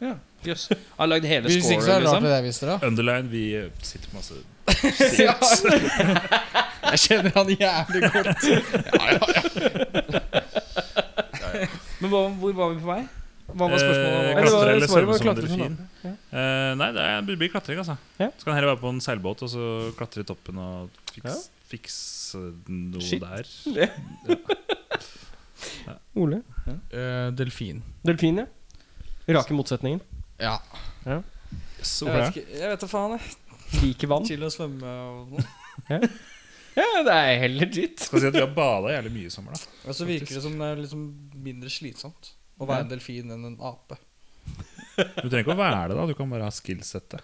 Speaker 1: Ja. Jøss. Jeg har lagd hele
Speaker 5: Hvis ikke så
Speaker 1: scoren,
Speaker 5: er det rart
Speaker 1: liksom.
Speaker 5: det jeg visste, da.
Speaker 6: Underline, vi eh, sitter på masse
Speaker 5: Jeg kjenner han jævlig godt.
Speaker 1: Men hva, hvor var vi på vei? Hva var
Speaker 6: Eh,
Speaker 1: spørsmålet?
Speaker 2: Eller
Speaker 6: klatre
Speaker 2: var
Speaker 6: eller
Speaker 2: svaret
Speaker 6: svømme
Speaker 2: var
Speaker 6: som en
Speaker 2: klatre som
Speaker 6: delfin? Eh, nei, det er- det blir klatring, altså.
Speaker 2: Ja.
Speaker 6: Så kan jeg heller være på en seilbåt og så klatre i toppen og fikse
Speaker 2: Ja.
Speaker 6: fikse noe
Speaker 2: Shit.
Speaker 6: der.
Speaker 2: Ole.
Speaker 5: Eh, delfin.
Speaker 2: Delfin, ja. Rake motsetningen.
Speaker 5: Ja.
Speaker 6: Yes,
Speaker 5: Jeg vet
Speaker 6: hvorfor det?
Speaker 5: ikke- jeg vet da faen, jeg.
Speaker 2: Liker vann.
Speaker 5: Chill å svømme og noe.
Speaker 2: Ja, det er helt legit.
Speaker 6: Skal si at vi har bada jævlig mye i sommer, da.
Speaker 5: Og så virker det som det er liksom mindre slitsomt å være en delfin enn en ape.
Speaker 6: Du trenger ikke å være det, da. Du kan bare ha skillsettet.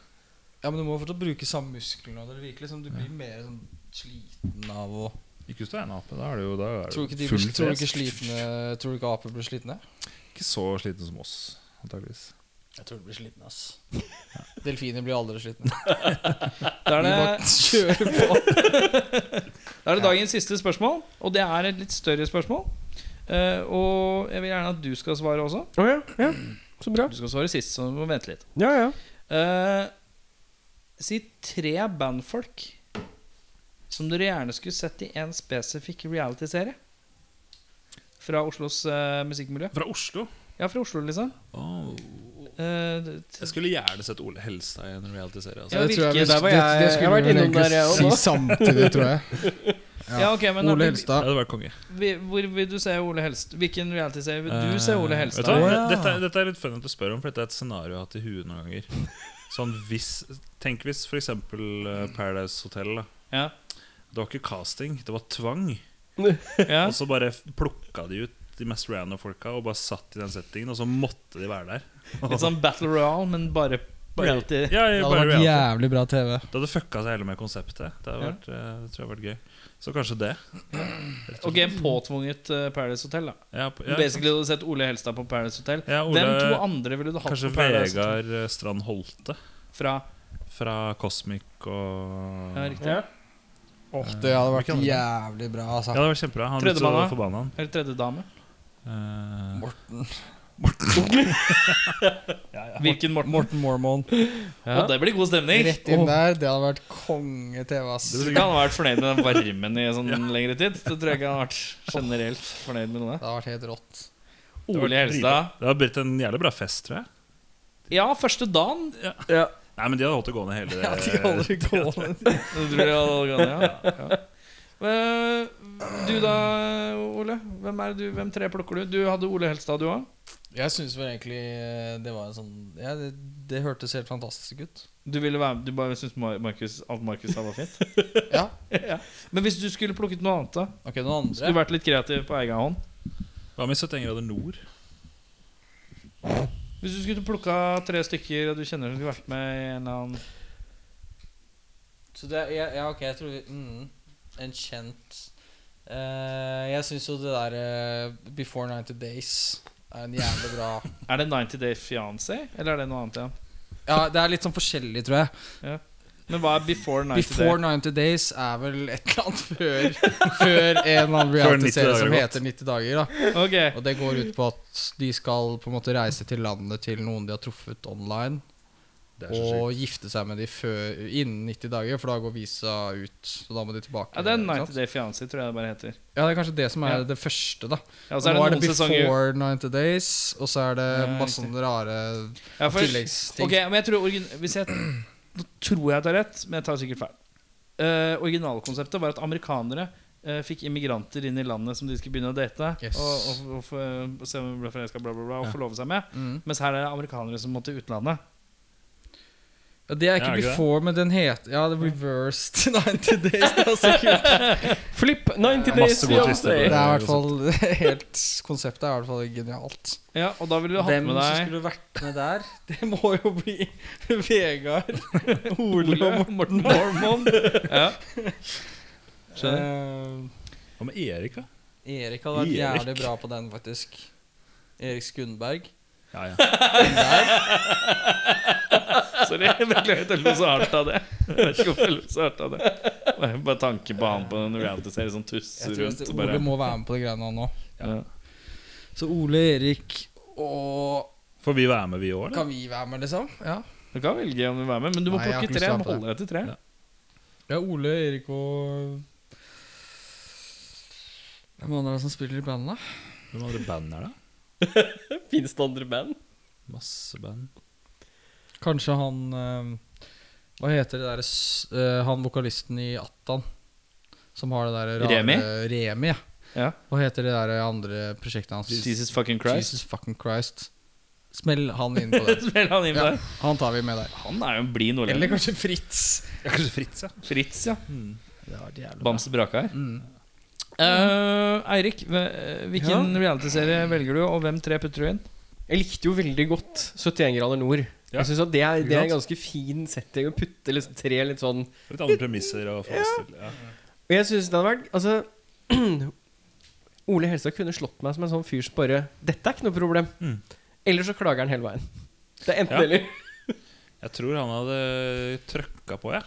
Speaker 5: Ja, men du må fortsatt bruke samme musklene. og Det virker liksom, du blir mer sånn sliten av å
Speaker 6: Ikke hvis du er en ape. Da er du jo da er
Speaker 5: Tror du ikke, de
Speaker 6: full
Speaker 5: blir, tror du ikke,
Speaker 6: fres.
Speaker 5: slitne, tror du ikke aper blir slitne?
Speaker 6: Ikke så sliten som oss, antageligvis.
Speaker 5: Jeg tror de blir slitne, ass. Delfiner blir aldri slitne.
Speaker 1: Da er det
Speaker 5: Kjør på.
Speaker 1: Da er det dagens siste spørsmål, og det er et litt større spørsmål. Eh, og jeg vil gjerne at du skal svare også.
Speaker 2: Å ja, ja. Så bra.
Speaker 1: Du skal svare sist, så du må vente litt.
Speaker 2: Ja, ja.
Speaker 1: Eh, si tre bandfolk som dere gjerne skulle sett i en spesifikk realityserie. Fra Oslos eh, musikkmiljø.
Speaker 6: Fra Oslo?
Speaker 1: Ja, fra Oslo, liksom. Eh, det-
Speaker 6: Jeg skulle gjerne sett Ole Helstad i en realityserie. Altså.
Speaker 1: Ja,
Speaker 5: Det tror jeg,
Speaker 1: hvilke-
Speaker 5: det,
Speaker 1: der
Speaker 5: det,
Speaker 1: var
Speaker 5: det
Speaker 2: jeg- jeg
Speaker 5: skulle
Speaker 2: har vært
Speaker 5: vi vel
Speaker 2: innom der, jeg
Speaker 5: egentlig
Speaker 2: også.
Speaker 5: si samtidig, tror jeg.
Speaker 1: ja. ok, men
Speaker 5: Ole
Speaker 1: vi-
Speaker 6: Det
Speaker 5: Helstad.
Speaker 6: hadde vært konge.
Speaker 1: vi- Hvor vil du se Ole Helstad? Hvilken realityserie vil du se Ole
Speaker 6: Eh,
Speaker 1: Helstad
Speaker 6: vet du hva?
Speaker 1: i?
Speaker 5: Å, ja.
Speaker 6: dette, dette er litt fun at du spør om, for dette er et scenario jeg har hatt i huet noen ganger. Sånn hvis, Tenk hvis f.eks. Paradise Hotel. Da.
Speaker 1: Ja.
Speaker 6: Det var ikke casting, det var tvang.
Speaker 1: Ja.
Speaker 6: Og så bare f- plukka de ut de mest random folka og bare satt i den settingen, og så måtte de være der.
Speaker 1: Litt sånn Battle Royale, men bare, bare litt i-
Speaker 6: Ja,
Speaker 5: Det hadde
Speaker 6: jeg, bare,
Speaker 5: vært
Speaker 6: reality.
Speaker 5: jævlig bra TV.
Speaker 6: det hadde fucka seg hele med konseptet. Det, hadde
Speaker 1: Ja.
Speaker 6: vært, eh, det tror jeg hadde vært gøy. Så kanskje det.
Speaker 1: Ok, en påtvunget eh, Paradise Hotel, da.
Speaker 6: Ja, på-
Speaker 1: Du
Speaker 6: ja,
Speaker 1: basically hadde sett Ole Helstad på Paradise Hotel.
Speaker 6: ja, Ole,
Speaker 1: Hvem to andre ville du hatt
Speaker 6: Kanskje
Speaker 1: på Paradise Hotel?
Speaker 6: Vegard eh, Strand Holte
Speaker 1: Fra
Speaker 6: fra Cosmic og
Speaker 1: ja, riktig.
Speaker 2: Ja.
Speaker 5: Åh, det hadde vært
Speaker 6: Hvilke andre?
Speaker 5: jævlig bra,
Speaker 6: Ja,
Speaker 5: altså.
Speaker 6: det var kjempebra. Han ble så
Speaker 1: Tredjemann, da?
Speaker 6: forbanna, han.
Speaker 1: Eller tredje dame.
Speaker 6: Eh,
Speaker 5: Morten,
Speaker 1: Hvilken Morten?
Speaker 5: Morten Mormon.
Speaker 1: Å, det blir god stemning!
Speaker 5: Rett inn der. Det hadde vært konge-TV, ass.
Speaker 1: Tror ikke han har vært fornøyd med den varmen i sånn lengre tid. Det tror jeg ikke han har vært generelt fornøyd med noe.
Speaker 5: Det hadde vært helt rått.
Speaker 6: var
Speaker 1: Ole Helstad.
Speaker 6: det har blitt en jævlig bra fest, tror jeg.
Speaker 1: Ja, første dagen.
Speaker 6: Nei, men de hadde holdt det gående hele
Speaker 5: Ja, de holder det gående.
Speaker 1: Det tror jeg alle kan, ja. ja. Eh, Du da, Ole? Hvem, er det du, hvem tre plukker du? Du hadde Ole Helstad, du òg?
Speaker 5: Jeg syns vel egentlig eh, det var en sånn ja, det, det hørtes helt fantastisk ut.
Speaker 1: Du, ville være, med- du bare syntes Mar- Markus, alt Markus sa var fint?
Speaker 5: Ja.
Speaker 1: ja. Men hvis du skulle plukket noe annet, da?
Speaker 5: Ok, noen andre?
Speaker 1: Skulle vært litt kreativ på egen hånd.
Speaker 6: Hva med 71 grader nord?
Speaker 1: Hvis du skulle plukka tre stykker og du kjenner som skulle vært med i en eller annen
Speaker 5: Så det, ja, ja, ok, jeg tror vi mm, En kjent Eh, Jeg syns jo det der eh, Before 90 Days er en jævlig bra
Speaker 1: Er det 90 Day Fiancé, eller er det noe annet igjen?
Speaker 5: Ja, det er litt sånn forskjellig, tror jeg.
Speaker 1: Men hva er Before 90
Speaker 5: Before
Speaker 1: Day?
Speaker 5: 90 Days er vel et eller annet før, før en eller annen
Speaker 6: 90
Speaker 5: reality-serie
Speaker 6: dager
Speaker 5: som
Speaker 6: har gått.
Speaker 5: heter 90 dager. Da.
Speaker 1: Ok,
Speaker 5: Og det går ut på at de skal på en måte reise til landet til noen de har truffet online,
Speaker 6: Det er så sykt.
Speaker 5: og gifte seg med de før, innen 90 dager, for da går visa ut. Så da må de tilbake.
Speaker 1: ja, det er
Speaker 5: ikke
Speaker 1: 90
Speaker 5: sant?
Speaker 1: Day Fiancé, tror jeg det bare heter.
Speaker 5: ja, det er kanskje det som er
Speaker 1: Ja.
Speaker 5: det første, da.
Speaker 1: Ja, og
Speaker 5: Og
Speaker 1: så er det
Speaker 5: nå er det
Speaker 1: noen sesonger
Speaker 5: Before 90 Days, og så er det
Speaker 1: Ja,
Speaker 5: masse
Speaker 1: riktig.
Speaker 5: sånne rare
Speaker 1: ja, for,
Speaker 5: tilleggsting.
Speaker 1: Ok, men jeg tror origin- Hvis jeg Nå tror jeg jeg tar rett, men jeg tar sikkert feil. Eh, originalkonseptet var at amerikanere eh, fikk immigranter inn i landet som de skulle begynne å date.
Speaker 5: Yes.
Speaker 1: Og, og, og, få- se om hun ble forelska, bla, bla, bla, og
Speaker 5: Ja.
Speaker 1: forlove seg med.
Speaker 5: mm.
Speaker 1: Mens her er det amerikanere som må til utlandet.
Speaker 5: Ja, det er
Speaker 6: Ja,
Speaker 5: ikke
Speaker 6: er det ikke
Speaker 5: before, men den heter Ja, det er reversed 90 days. Det er så kult.
Speaker 2: Flip 90 days
Speaker 6: Masse gode
Speaker 2: beyond
Speaker 6: twister
Speaker 5: Det
Speaker 2: day.
Speaker 5: er i hvert fall helt Konseptet er i hvert fall genialt.
Speaker 1: Ja, Og da ville du hatt
Speaker 5: Hvem
Speaker 1: med
Speaker 5: som
Speaker 1: deg
Speaker 5: skulle vært med der, det må jo bli Vegard, Ole og Morten Mormon.
Speaker 1: ja.
Speaker 5: Eh,
Speaker 6: Hva med Erik, da?
Speaker 5: Erik hadde vært
Speaker 6: Erik.
Speaker 5: jævlig bra på den, faktisk. Erik Skundberg.
Speaker 6: Ja, ja.
Speaker 1: Eh, Sorry, jeg beklager at jeg lo så hardt av det. Jeg vet ikke hvorfor jeg lo så hardt av det. Bare, bare tanke på han på en reality-serie som tusser
Speaker 5: Jeg tror
Speaker 1: rundt.
Speaker 5: at
Speaker 1: og
Speaker 5: Ole
Speaker 1: Bare,
Speaker 5: må være med på de greiene han nå.
Speaker 1: ja.
Speaker 5: Så Ole, Erik og
Speaker 6: Får vi være med, vi òg, eller?
Speaker 5: Kan vi være med, liksom? Ja.
Speaker 1: Du kan velge om du vil være med, men du må
Speaker 5: Nei, jeg har ikke
Speaker 1: plukke
Speaker 5: lyst
Speaker 1: tre.
Speaker 5: til å
Speaker 1: Du må
Speaker 5: være med på
Speaker 1: holde deg til tre.
Speaker 6: Ja.
Speaker 5: Ja, Ole, Erik og Hvem andre er det som spiller i bandet? da?
Speaker 6: Hvem andre band er det?
Speaker 2: Finnes det andre band?
Speaker 6: Masse band.
Speaker 5: Kanskje han eh, Hva heter det derre Han vokalisten i Attan som har det derre rare-
Speaker 1: Remi?
Speaker 5: Remi, ja.
Speaker 1: Ja.
Speaker 5: Hva heter det derre andre prosjektet hans?
Speaker 1: Jesus fucking Christ.
Speaker 5: Jesus fucking Christ. Smell han inn på det.
Speaker 1: Smell han inn
Speaker 5: ja,
Speaker 1: der.
Speaker 5: han tar vi med der.
Speaker 1: Han er jo en blid
Speaker 5: Eller
Speaker 1: nordlending.
Speaker 5: kanskje Fritz.
Speaker 6: Ja, kanskje Fritz, ja.
Speaker 1: Fritz, ja.
Speaker 5: Det var jævlig
Speaker 1: Bamse Brakar.
Speaker 5: Mm.
Speaker 1: Eh, Eirik, hve- hvilken reality-serie velger du, og hvem tre putter du inn?
Speaker 2: Jeg likte jo veldig godt 71 grader nord. Jeg synes at Det er, det er en ganske fin setting å putte liksom tre litt sånn
Speaker 6: Litt andre premisser å forholde seg til. Ja.
Speaker 2: Og jeg synes det hadde vært Altså Ole Helstad kunne slått meg som en sånn fyr som bare Dette er ikke noe problem.
Speaker 6: Mm.
Speaker 2: Eller så klager han hele veien. Det er enten
Speaker 6: Ja.
Speaker 2: eller.
Speaker 6: Jeg tror han hadde trøkka på, jeg.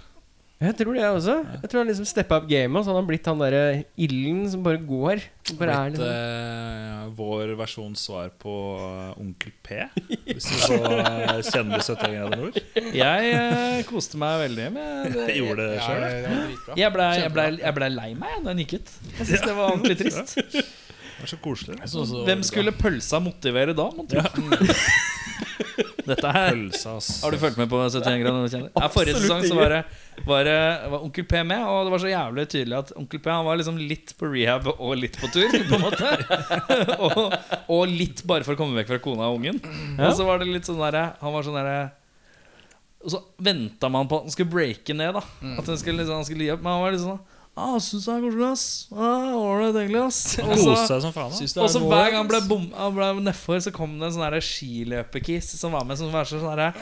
Speaker 2: Jeg tror det, jeg også. Jeg tror han liksom steppa opp gamet, og så hadde han blitt han derre ilden som bare går. Som bare er
Speaker 6: Blitt
Speaker 2: liksom.
Speaker 6: eh, vår versjons svar på eh, Onkel P, hvis du så eh, kjenner 71 grader nord.
Speaker 1: Jeg eh, koste meg veldig med
Speaker 6: Jeg gjorde det sjøl.
Speaker 5: det var dritbra.
Speaker 1: Jeg blei ble, jeg ble lei meg da jeg nikket. Jeg syns det var ordentlig trist.
Speaker 6: Det var så koselig.
Speaker 1: Hvem skulle pølsa motivere da, mon tro? Dette her
Speaker 6: Pølsa, ass.
Speaker 1: Har du fulgt med på 71 grader nord? kjenner du? Ja, forrige sesong så var det, var det var Onkel P med, og det var så jævlig tydelig at Onkel P han var liksom litt på rehab og litt på tur, på en måte. og, og litt bare for å komme vekk fra kona og ungen. Og så var det litt sånn derre Han var sånn derre og så venta man på at han skulle breake ned. da At han skulle, liksom, han skulle gi opp. Men han var litt sånn ah, 'Syns det er koselig, ass. Ah, Ålreit, egentlig, ass.'
Speaker 6: Han
Speaker 1: Og så-
Speaker 6: koste seg som faen. da.
Speaker 1: og så hver gang han ble, bom- han ble nedfor, så kom det en sånn her skiløpekiss som var med. Som var så sånn her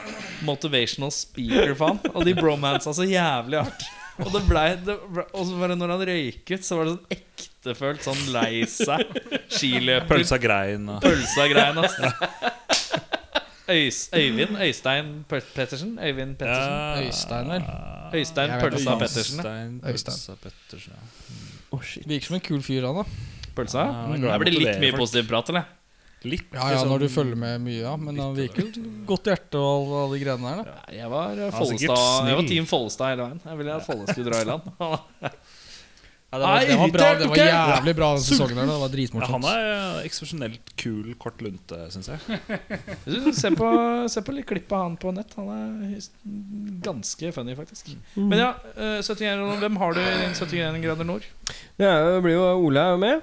Speaker 1: motivational speaker for han. Og de bromansa så jævlig hardt. Og det ble, det ble, og så bare når han røyket, så var det sånn ektefølt sånn lei seg. Skiløper.
Speaker 6: Pølsa grein og
Speaker 1: Pølsa-greien, ass. Øys, Øyvind Øystein Pe- Pettersen? Øyvind Pettersen?
Speaker 6: Ja.
Speaker 5: Øystein, vel?
Speaker 1: Øystein
Speaker 5: Jeg vet
Speaker 1: Pølsa
Speaker 5: ikke.
Speaker 1: Pettersen.
Speaker 6: Øystein,
Speaker 5: Øystein.
Speaker 6: Pølsa Pettersen, ja.
Speaker 5: Virker som en kul fyr, han da.
Speaker 1: Pølsa?
Speaker 6: Ja, han er glad
Speaker 1: Det
Speaker 6: i å
Speaker 1: blir litt
Speaker 6: motivere
Speaker 1: mye
Speaker 6: folk.
Speaker 1: positiv prat, eller?
Speaker 6: Litt
Speaker 5: Ja, ja,
Speaker 6: liksom-
Speaker 5: når du følger med mye, ja. Men han virker jo Mm. godt hjerte og alle, alle greiene der. da
Speaker 1: Nei, Jeg var, eh,
Speaker 6: er sikkert
Speaker 1: Follestad, jeg var
Speaker 6: snill.
Speaker 1: Team Follestad hele veien. Jeg ville at Folle skulle dra i land.
Speaker 5: Ja, det, var, det, var bra,
Speaker 1: irritert,
Speaker 5: det var
Speaker 1: ok?
Speaker 5: jævlig bra den sesongen der. da. Det var
Speaker 6: ja, Han
Speaker 5: dritmorsomt.
Speaker 6: er eh, eksepsjonelt kul, kort lunte, syns jeg.
Speaker 1: Se på, se på litt klipp av han på nett. Han er hys- ganske funny, faktisk. Men ja, eh, 71 grader nord. Hvem har du i den 71 grader nord?
Speaker 2: Det er jo- blir jo Ole er jo med.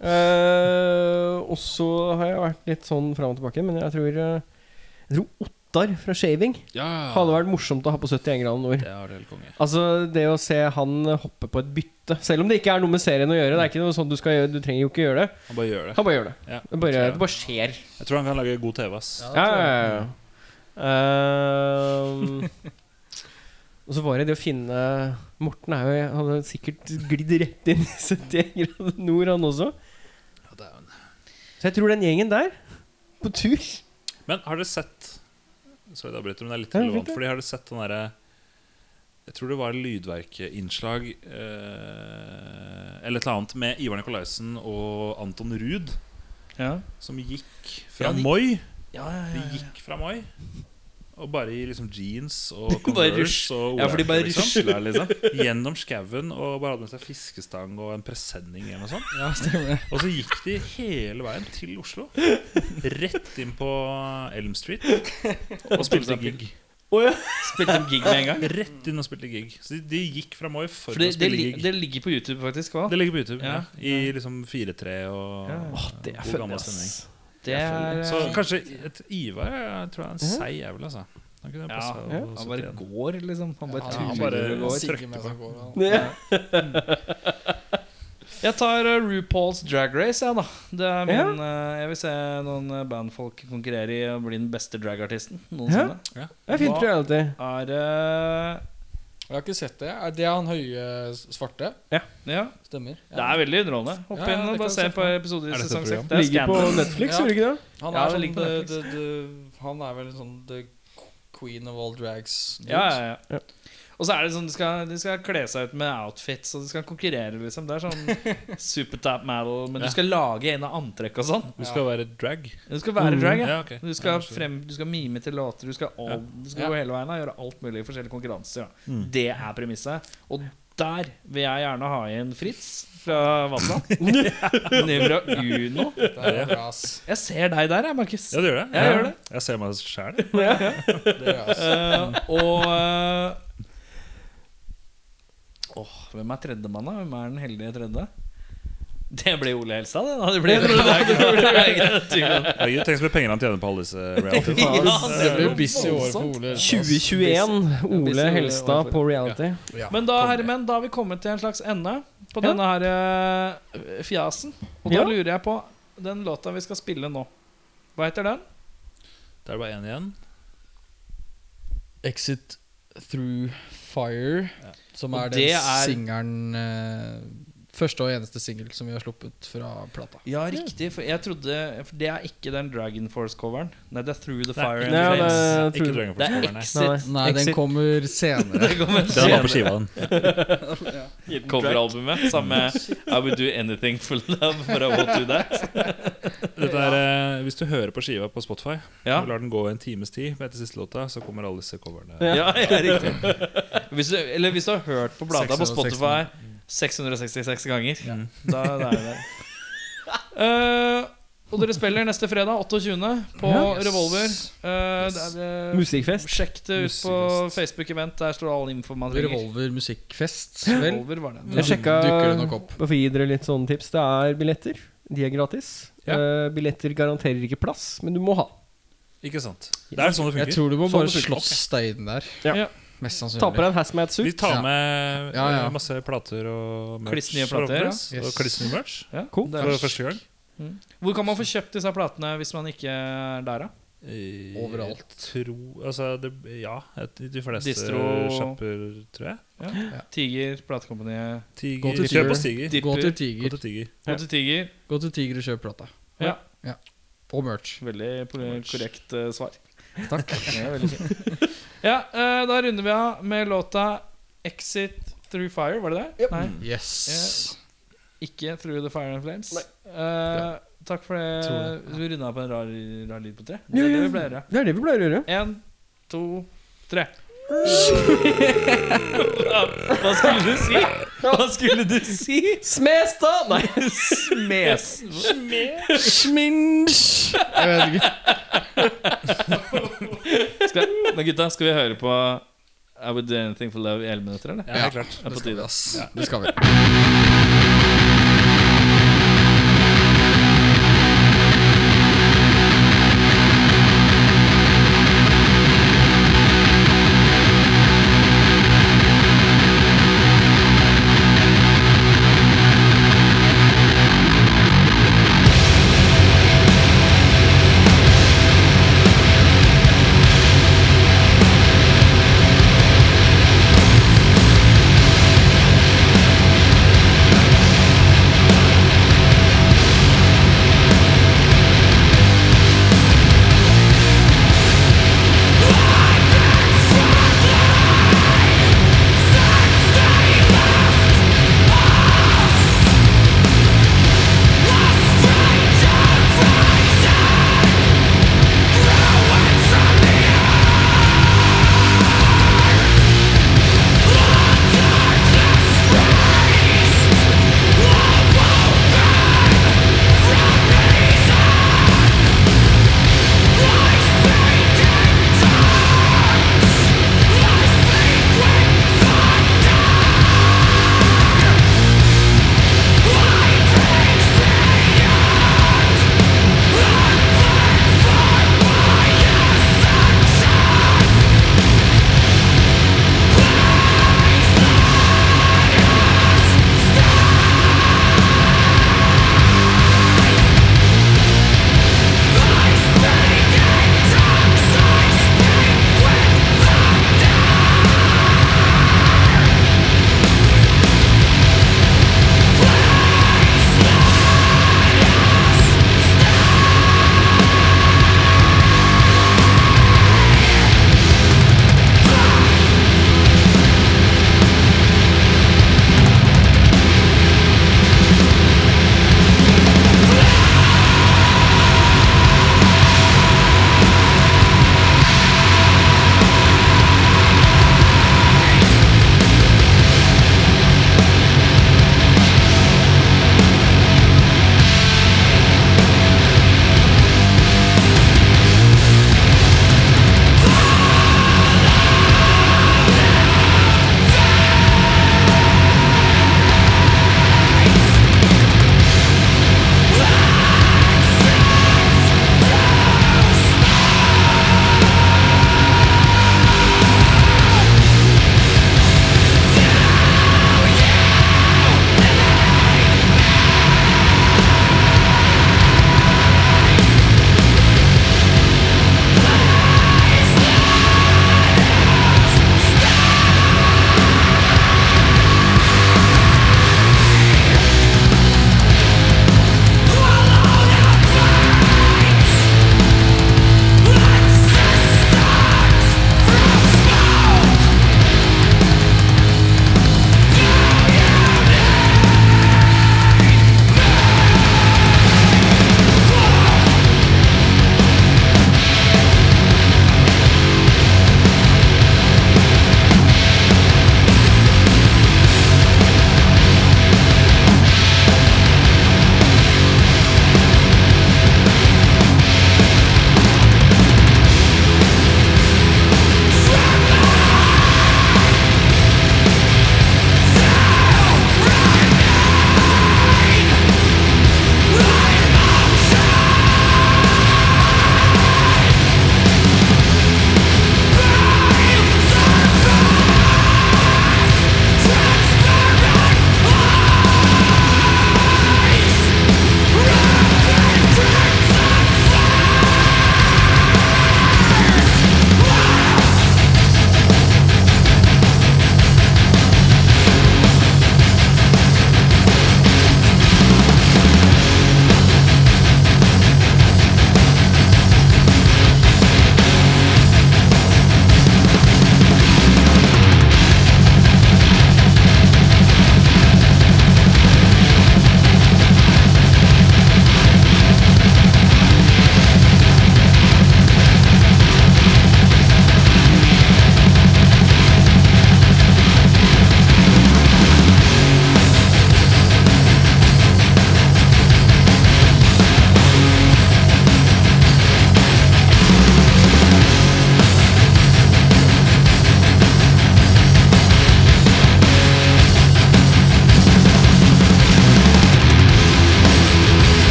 Speaker 2: Eh, og så har jeg vært litt sånn fram og tilbake, men jeg tror, eh, jeg tror Ottar fra Shaving hadde vært morsomt å ha på 71 grader nord.
Speaker 6: Det har du helt konge.
Speaker 2: Altså Det å se han hoppe på et bytte, selv om det ikke er noe med serien å gjøre Det er ikke noe sånn Du skal gjøre Du trenger jo ikke gjøre det.
Speaker 6: Han bare gjør det.
Speaker 2: Han bare gjør det.
Speaker 6: Ja.
Speaker 2: Det bare, det bare skjer.
Speaker 6: Jeg tror han kan lage god TV, ass.
Speaker 2: Ja, ja, ja, ja. Ehm, og så var det det å finne Morten er jo hadde sikkert glidd rett inn i 71 grader nord, han også. Så jeg tror den gjengen der, på tur
Speaker 6: Men har dere sett Sorry, det avbryter, men det er litt
Speaker 2: Ja,
Speaker 6: relevant.
Speaker 2: fint, ja.
Speaker 6: Fordi har dere sett den derre Jeg tror det var lydverkeinnslag eh, eller et eller annet med Ivar Nikolaisen og Anton Ruud,
Speaker 1: Ja.
Speaker 6: som gikk fra
Speaker 1: Ja, de-
Speaker 6: Moi.
Speaker 1: Ja, ja,
Speaker 6: De gikk fra Moi. Og bare i liksom jeans og
Speaker 1: Bare
Speaker 6: Converse
Speaker 1: rusj-
Speaker 6: og
Speaker 1: ja, for de
Speaker 6: Oracle,
Speaker 1: bare
Speaker 6: liksom.
Speaker 1: rusler, liksom.
Speaker 6: Gjennom skauen og bare hadde med seg fiskestang og en presenning hjem og sånn.
Speaker 5: Ja, stemmer det.
Speaker 6: Og så gikk de hele veien til Oslo. Rett inn på Elm Street og spilte gig.
Speaker 1: Spilte de gig med en gang?
Speaker 6: Rett inn og spilte gig. Så de, de gikk fra Moi for,
Speaker 1: For det, det,
Speaker 6: å spille
Speaker 1: li-
Speaker 6: gig.
Speaker 1: det ligger på YouTube, faktisk. Hva?
Speaker 6: Det ligger på YouTube.
Speaker 1: Ja.
Speaker 6: Ja. I liksom 4-3 og
Speaker 1: Ja, ja.
Speaker 6: Åh,
Speaker 1: Det er
Speaker 6: god
Speaker 1: fett,
Speaker 6: gammel
Speaker 1: ass.
Speaker 6: stemning.
Speaker 1: Det er
Speaker 6: Så kanskje et Ivar jeg tror jeg
Speaker 1: Mhm.
Speaker 6: er en seig jævel, altså. Han kunne
Speaker 1: Ja,
Speaker 6: passa
Speaker 2: ja.
Speaker 6: å
Speaker 1: Han
Speaker 6: sitte
Speaker 1: bare
Speaker 6: igjen.
Speaker 1: går, liksom. Han bare
Speaker 5: Ja,
Speaker 6: han
Speaker 1: turer
Speaker 6: bare-
Speaker 1: og går.
Speaker 5: Sigge med seg går, og-
Speaker 1: Jeg tar eh, RuPaul's Drag Race, jeg, da. Det er min,
Speaker 2: Ja.
Speaker 1: eh, jeg vil se noen eh, bandfolk konkurrere i å bli den beste dragartisten noensinne.
Speaker 2: Det er fint reality.
Speaker 1: Er eh, det
Speaker 5: Jeg har ikke sett det. Er det han høye s- svarte?
Speaker 1: Ja.
Speaker 5: Stemmer.
Speaker 1: Det er veldig underholdende. Hopp
Speaker 5: Ja, ja,
Speaker 1: inn
Speaker 5: det
Speaker 1: og
Speaker 5: kan
Speaker 1: bare se
Speaker 5: jeg se
Speaker 1: på episoder i
Speaker 6: Er dette et
Speaker 1: sesong seks.
Speaker 6: program?
Speaker 1: Det er
Speaker 2: Ligger på
Speaker 1: Scandal.
Speaker 2: Netflix,
Speaker 5: Ja.
Speaker 2: gjorde ikke det?
Speaker 5: Han,
Speaker 1: Ja,
Speaker 5: er
Speaker 1: det
Speaker 5: sånn,
Speaker 1: ligger på
Speaker 5: the,
Speaker 1: Netflix.
Speaker 5: the, the, han er vel sånn the queen of all drags. dude.
Speaker 1: Ja, ja, ja. Og så er det sånn de skal, de skal kle seg ut med outfits, og de skal konkurrere, liksom. Det er sånn supertap model, men du skal lage en av antrekk og sånn.
Speaker 6: Du skal være drag?
Speaker 1: Du skal være drag, ja.
Speaker 6: Ja, ok.
Speaker 1: Du skal, frem, du skal mime til låter, du skal, all, du skal
Speaker 5: Ja.
Speaker 1: gå hele veien og gjøre alt mulig i forskjellige konkurranser. Da.
Speaker 6: Mm.
Speaker 1: Det er premisset. Og der vil jeg gjerne ha inn Fritz fra Vasa. Nevra Uno.
Speaker 5: Det er bra, ass.
Speaker 1: Jeg ser deg der, jeg, Markus.
Speaker 6: Ja, du gjør det?
Speaker 1: Jeg gjør det.
Speaker 6: Jeg ser meg sjæl.
Speaker 5: Det er bra, ass.
Speaker 1: Eh, og eh, Åh, Hvem er tredjemann, da? Hvem er den heldige tredje? Det blir Ole Helsa, det. da Det blir det er ikke- det er ikke noe tvil om.
Speaker 6: Tenk så mye penger han tjener på alle disse realityene.
Speaker 5: Det blir busy år for Ole. ass.
Speaker 2: 2021. Ole Helstad på reality.
Speaker 5: Ja.
Speaker 1: Men da herre menn, da har vi kommet til en slags ende på denne her eh, fjasen. Og da
Speaker 2: Ja.
Speaker 1: lurer jeg på den låta vi skal spille nå. Hva heter den?
Speaker 6: Det er bare én igjen.
Speaker 5: Exit Through Fire, som
Speaker 1: Og
Speaker 5: er
Speaker 1: det
Speaker 5: den
Speaker 1: er-
Speaker 5: singelen eh, Første og eneste singel som vi har sluppet fra plata.
Speaker 1: Ja, riktig. For jeg trodde For det er ikke den Dragon Force-coveren. Nei, det er Through the
Speaker 6: Nei.
Speaker 1: Fire
Speaker 2: Nei,
Speaker 1: and Flames.
Speaker 2: det- Jeg tror-
Speaker 6: Ikke Dragon
Speaker 1: Det
Speaker 6: Force.
Speaker 1: er
Speaker 6: Nei,
Speaker 1: Exit.
Speaker 5: Nei, den
Speaker 1: Exit.
Speaker 5: kommer senere.
Speaker 1: Det kommer
Speaker 6: Den var på skiva, den.
Speaker 1: coveralbumet sammen med I Would Do Anything For Love For I Won't Do That.
Speaker 6: Dette er, eh, hvis du hører på skiva på Spotify
Speaker 1: Ja.
Speaker 6: og lar den gå en times tid etter siste låta, så kommer alle disse coverne.
Speaker 1: Ja, ja, riktig. Hvis du, eller hvis du har hørt på plata på Spotify 666 ganger,
Speaker 6: Ja.
Speaker 1: da da er det der. Eh, og dere spiller neste fredag, 28., på
Speaker 5: Yes.
Speaker 1: Revolver. Eh, det er, eh,
Speaker 2: Musikkfest.
Speaker 1: Sjekk det ut på
Speaker 6: Musikkfest.
Speaker 1: Facebook-event. Der står all info man trenger.
Speaker 5: Revolver musikkfest, vel.
Speaker 1: Revolver var det.
Speaker 5: Da
Speaker 2: Jeg sjekka
Speaker 5: dukker det nok opp.
Speaker 2: Bare for å gi dere litt sånne tips. Det er billetter. De er gratis.
Speaker 6: Ja.
Speaker 2: Eh, billetter garanterer ikke plass, men du må ha.
Speaker 6: Ikke sant? Det er sånn det
Speaker 5: Jeg
Speaker 6: funker.
Speaker 5: tror du må
Speaker 6: Sånn
Speaker 5: bare
Speaker 6: det funker.
Speaker 5: slåss deg inn der.
Speaker 2: Ja.
Speaker 1: Ja.
Speaker 5: Mest
Speaker 2: Ta på
Speaker 5: sannsynlig.
Speaker 2: deg en hazmat-suit.
Speaker 6: Vi tar
Speaker 5: Ja.
Speaker 6: med
Speaker 5: Ja, ja.
Speaker 6: eh, masse plater og merch.
Speaker 1: Kliss nye plater,
Speaker 6: forhåpentligvis,
Speaker 5: ja.
Speaker 6: Og kliss nye merch.
Speaker 1: Ja,
Speaker 2: Cool.
Speaker 1: det
Speaker 6: For
Speaker 1: er-
Speaker 6: første gang.
Speaker 1: Hvor kan man få kjøpt disse platene hvis man ikke er der, da?
Speaker 6: Eh,
Speaker 5: Overalt.
Speaker 6: Tro Altså, det, ja. et- De fleste
Speaker 1: Distro-
Speaker 6: sjapper, tror jeg.
Speaker 1: Tiger, platekompaniet
Speaker 5: Gå
Speaker 6: Tiger.
Speaker 5: til
Speaker 6: Kjøp
Speaker 5: Tiger.
Speaker 6: hos Tiger.
Speaker 5: Gå
Speaker 1: Dipper.
Speaker 5: til
Speaker 6: Gå
Speaker 5: Tiger.
Speaker 6: til Tiger.
Speaker 1: Gå til Tiger.
Speaker 5: Gå til Tiger og kjøp plata.
Speaker 1: Ja.
Speaker 5: Og merch.
Speaker 1: Veldig pol- korrekt eh, svar. Takk. Det er veldig fint. ja, eh, da runder vi av med låta 'Exit Through Fire', var det det? Nei.
Speaker 5: Yes.
Speaker 1: Ikke 'Through the Fire and Flames'. Eh, Takk for det. Vi runda av på en rar, rar lyd på tre. Det
Speaker 2: Ja,
Speaker 1: er det vi
Speaker 2: ja.
Speaker 1: pleier å gjøre.
Speaker 2: Det er det vi pleier å gjøre.
Speaker 1: Én, to, tre. Hva skulle du si? Hva skulle du si?
Speaker 2: Smesta! Nei.
Speaker 1: Smes.
Speaker 2: Sminsj!
Speaker 5: Jeg vet ikke.
Speaker 1: Skal, men gutta, skal vi høre på I Would Do Anything For Love i 11 minutter, eller?
Speaker 6: Ja, helt klart.
Speaker 1: Det er på tide.
Speaker 5: Ass, Det skal vi.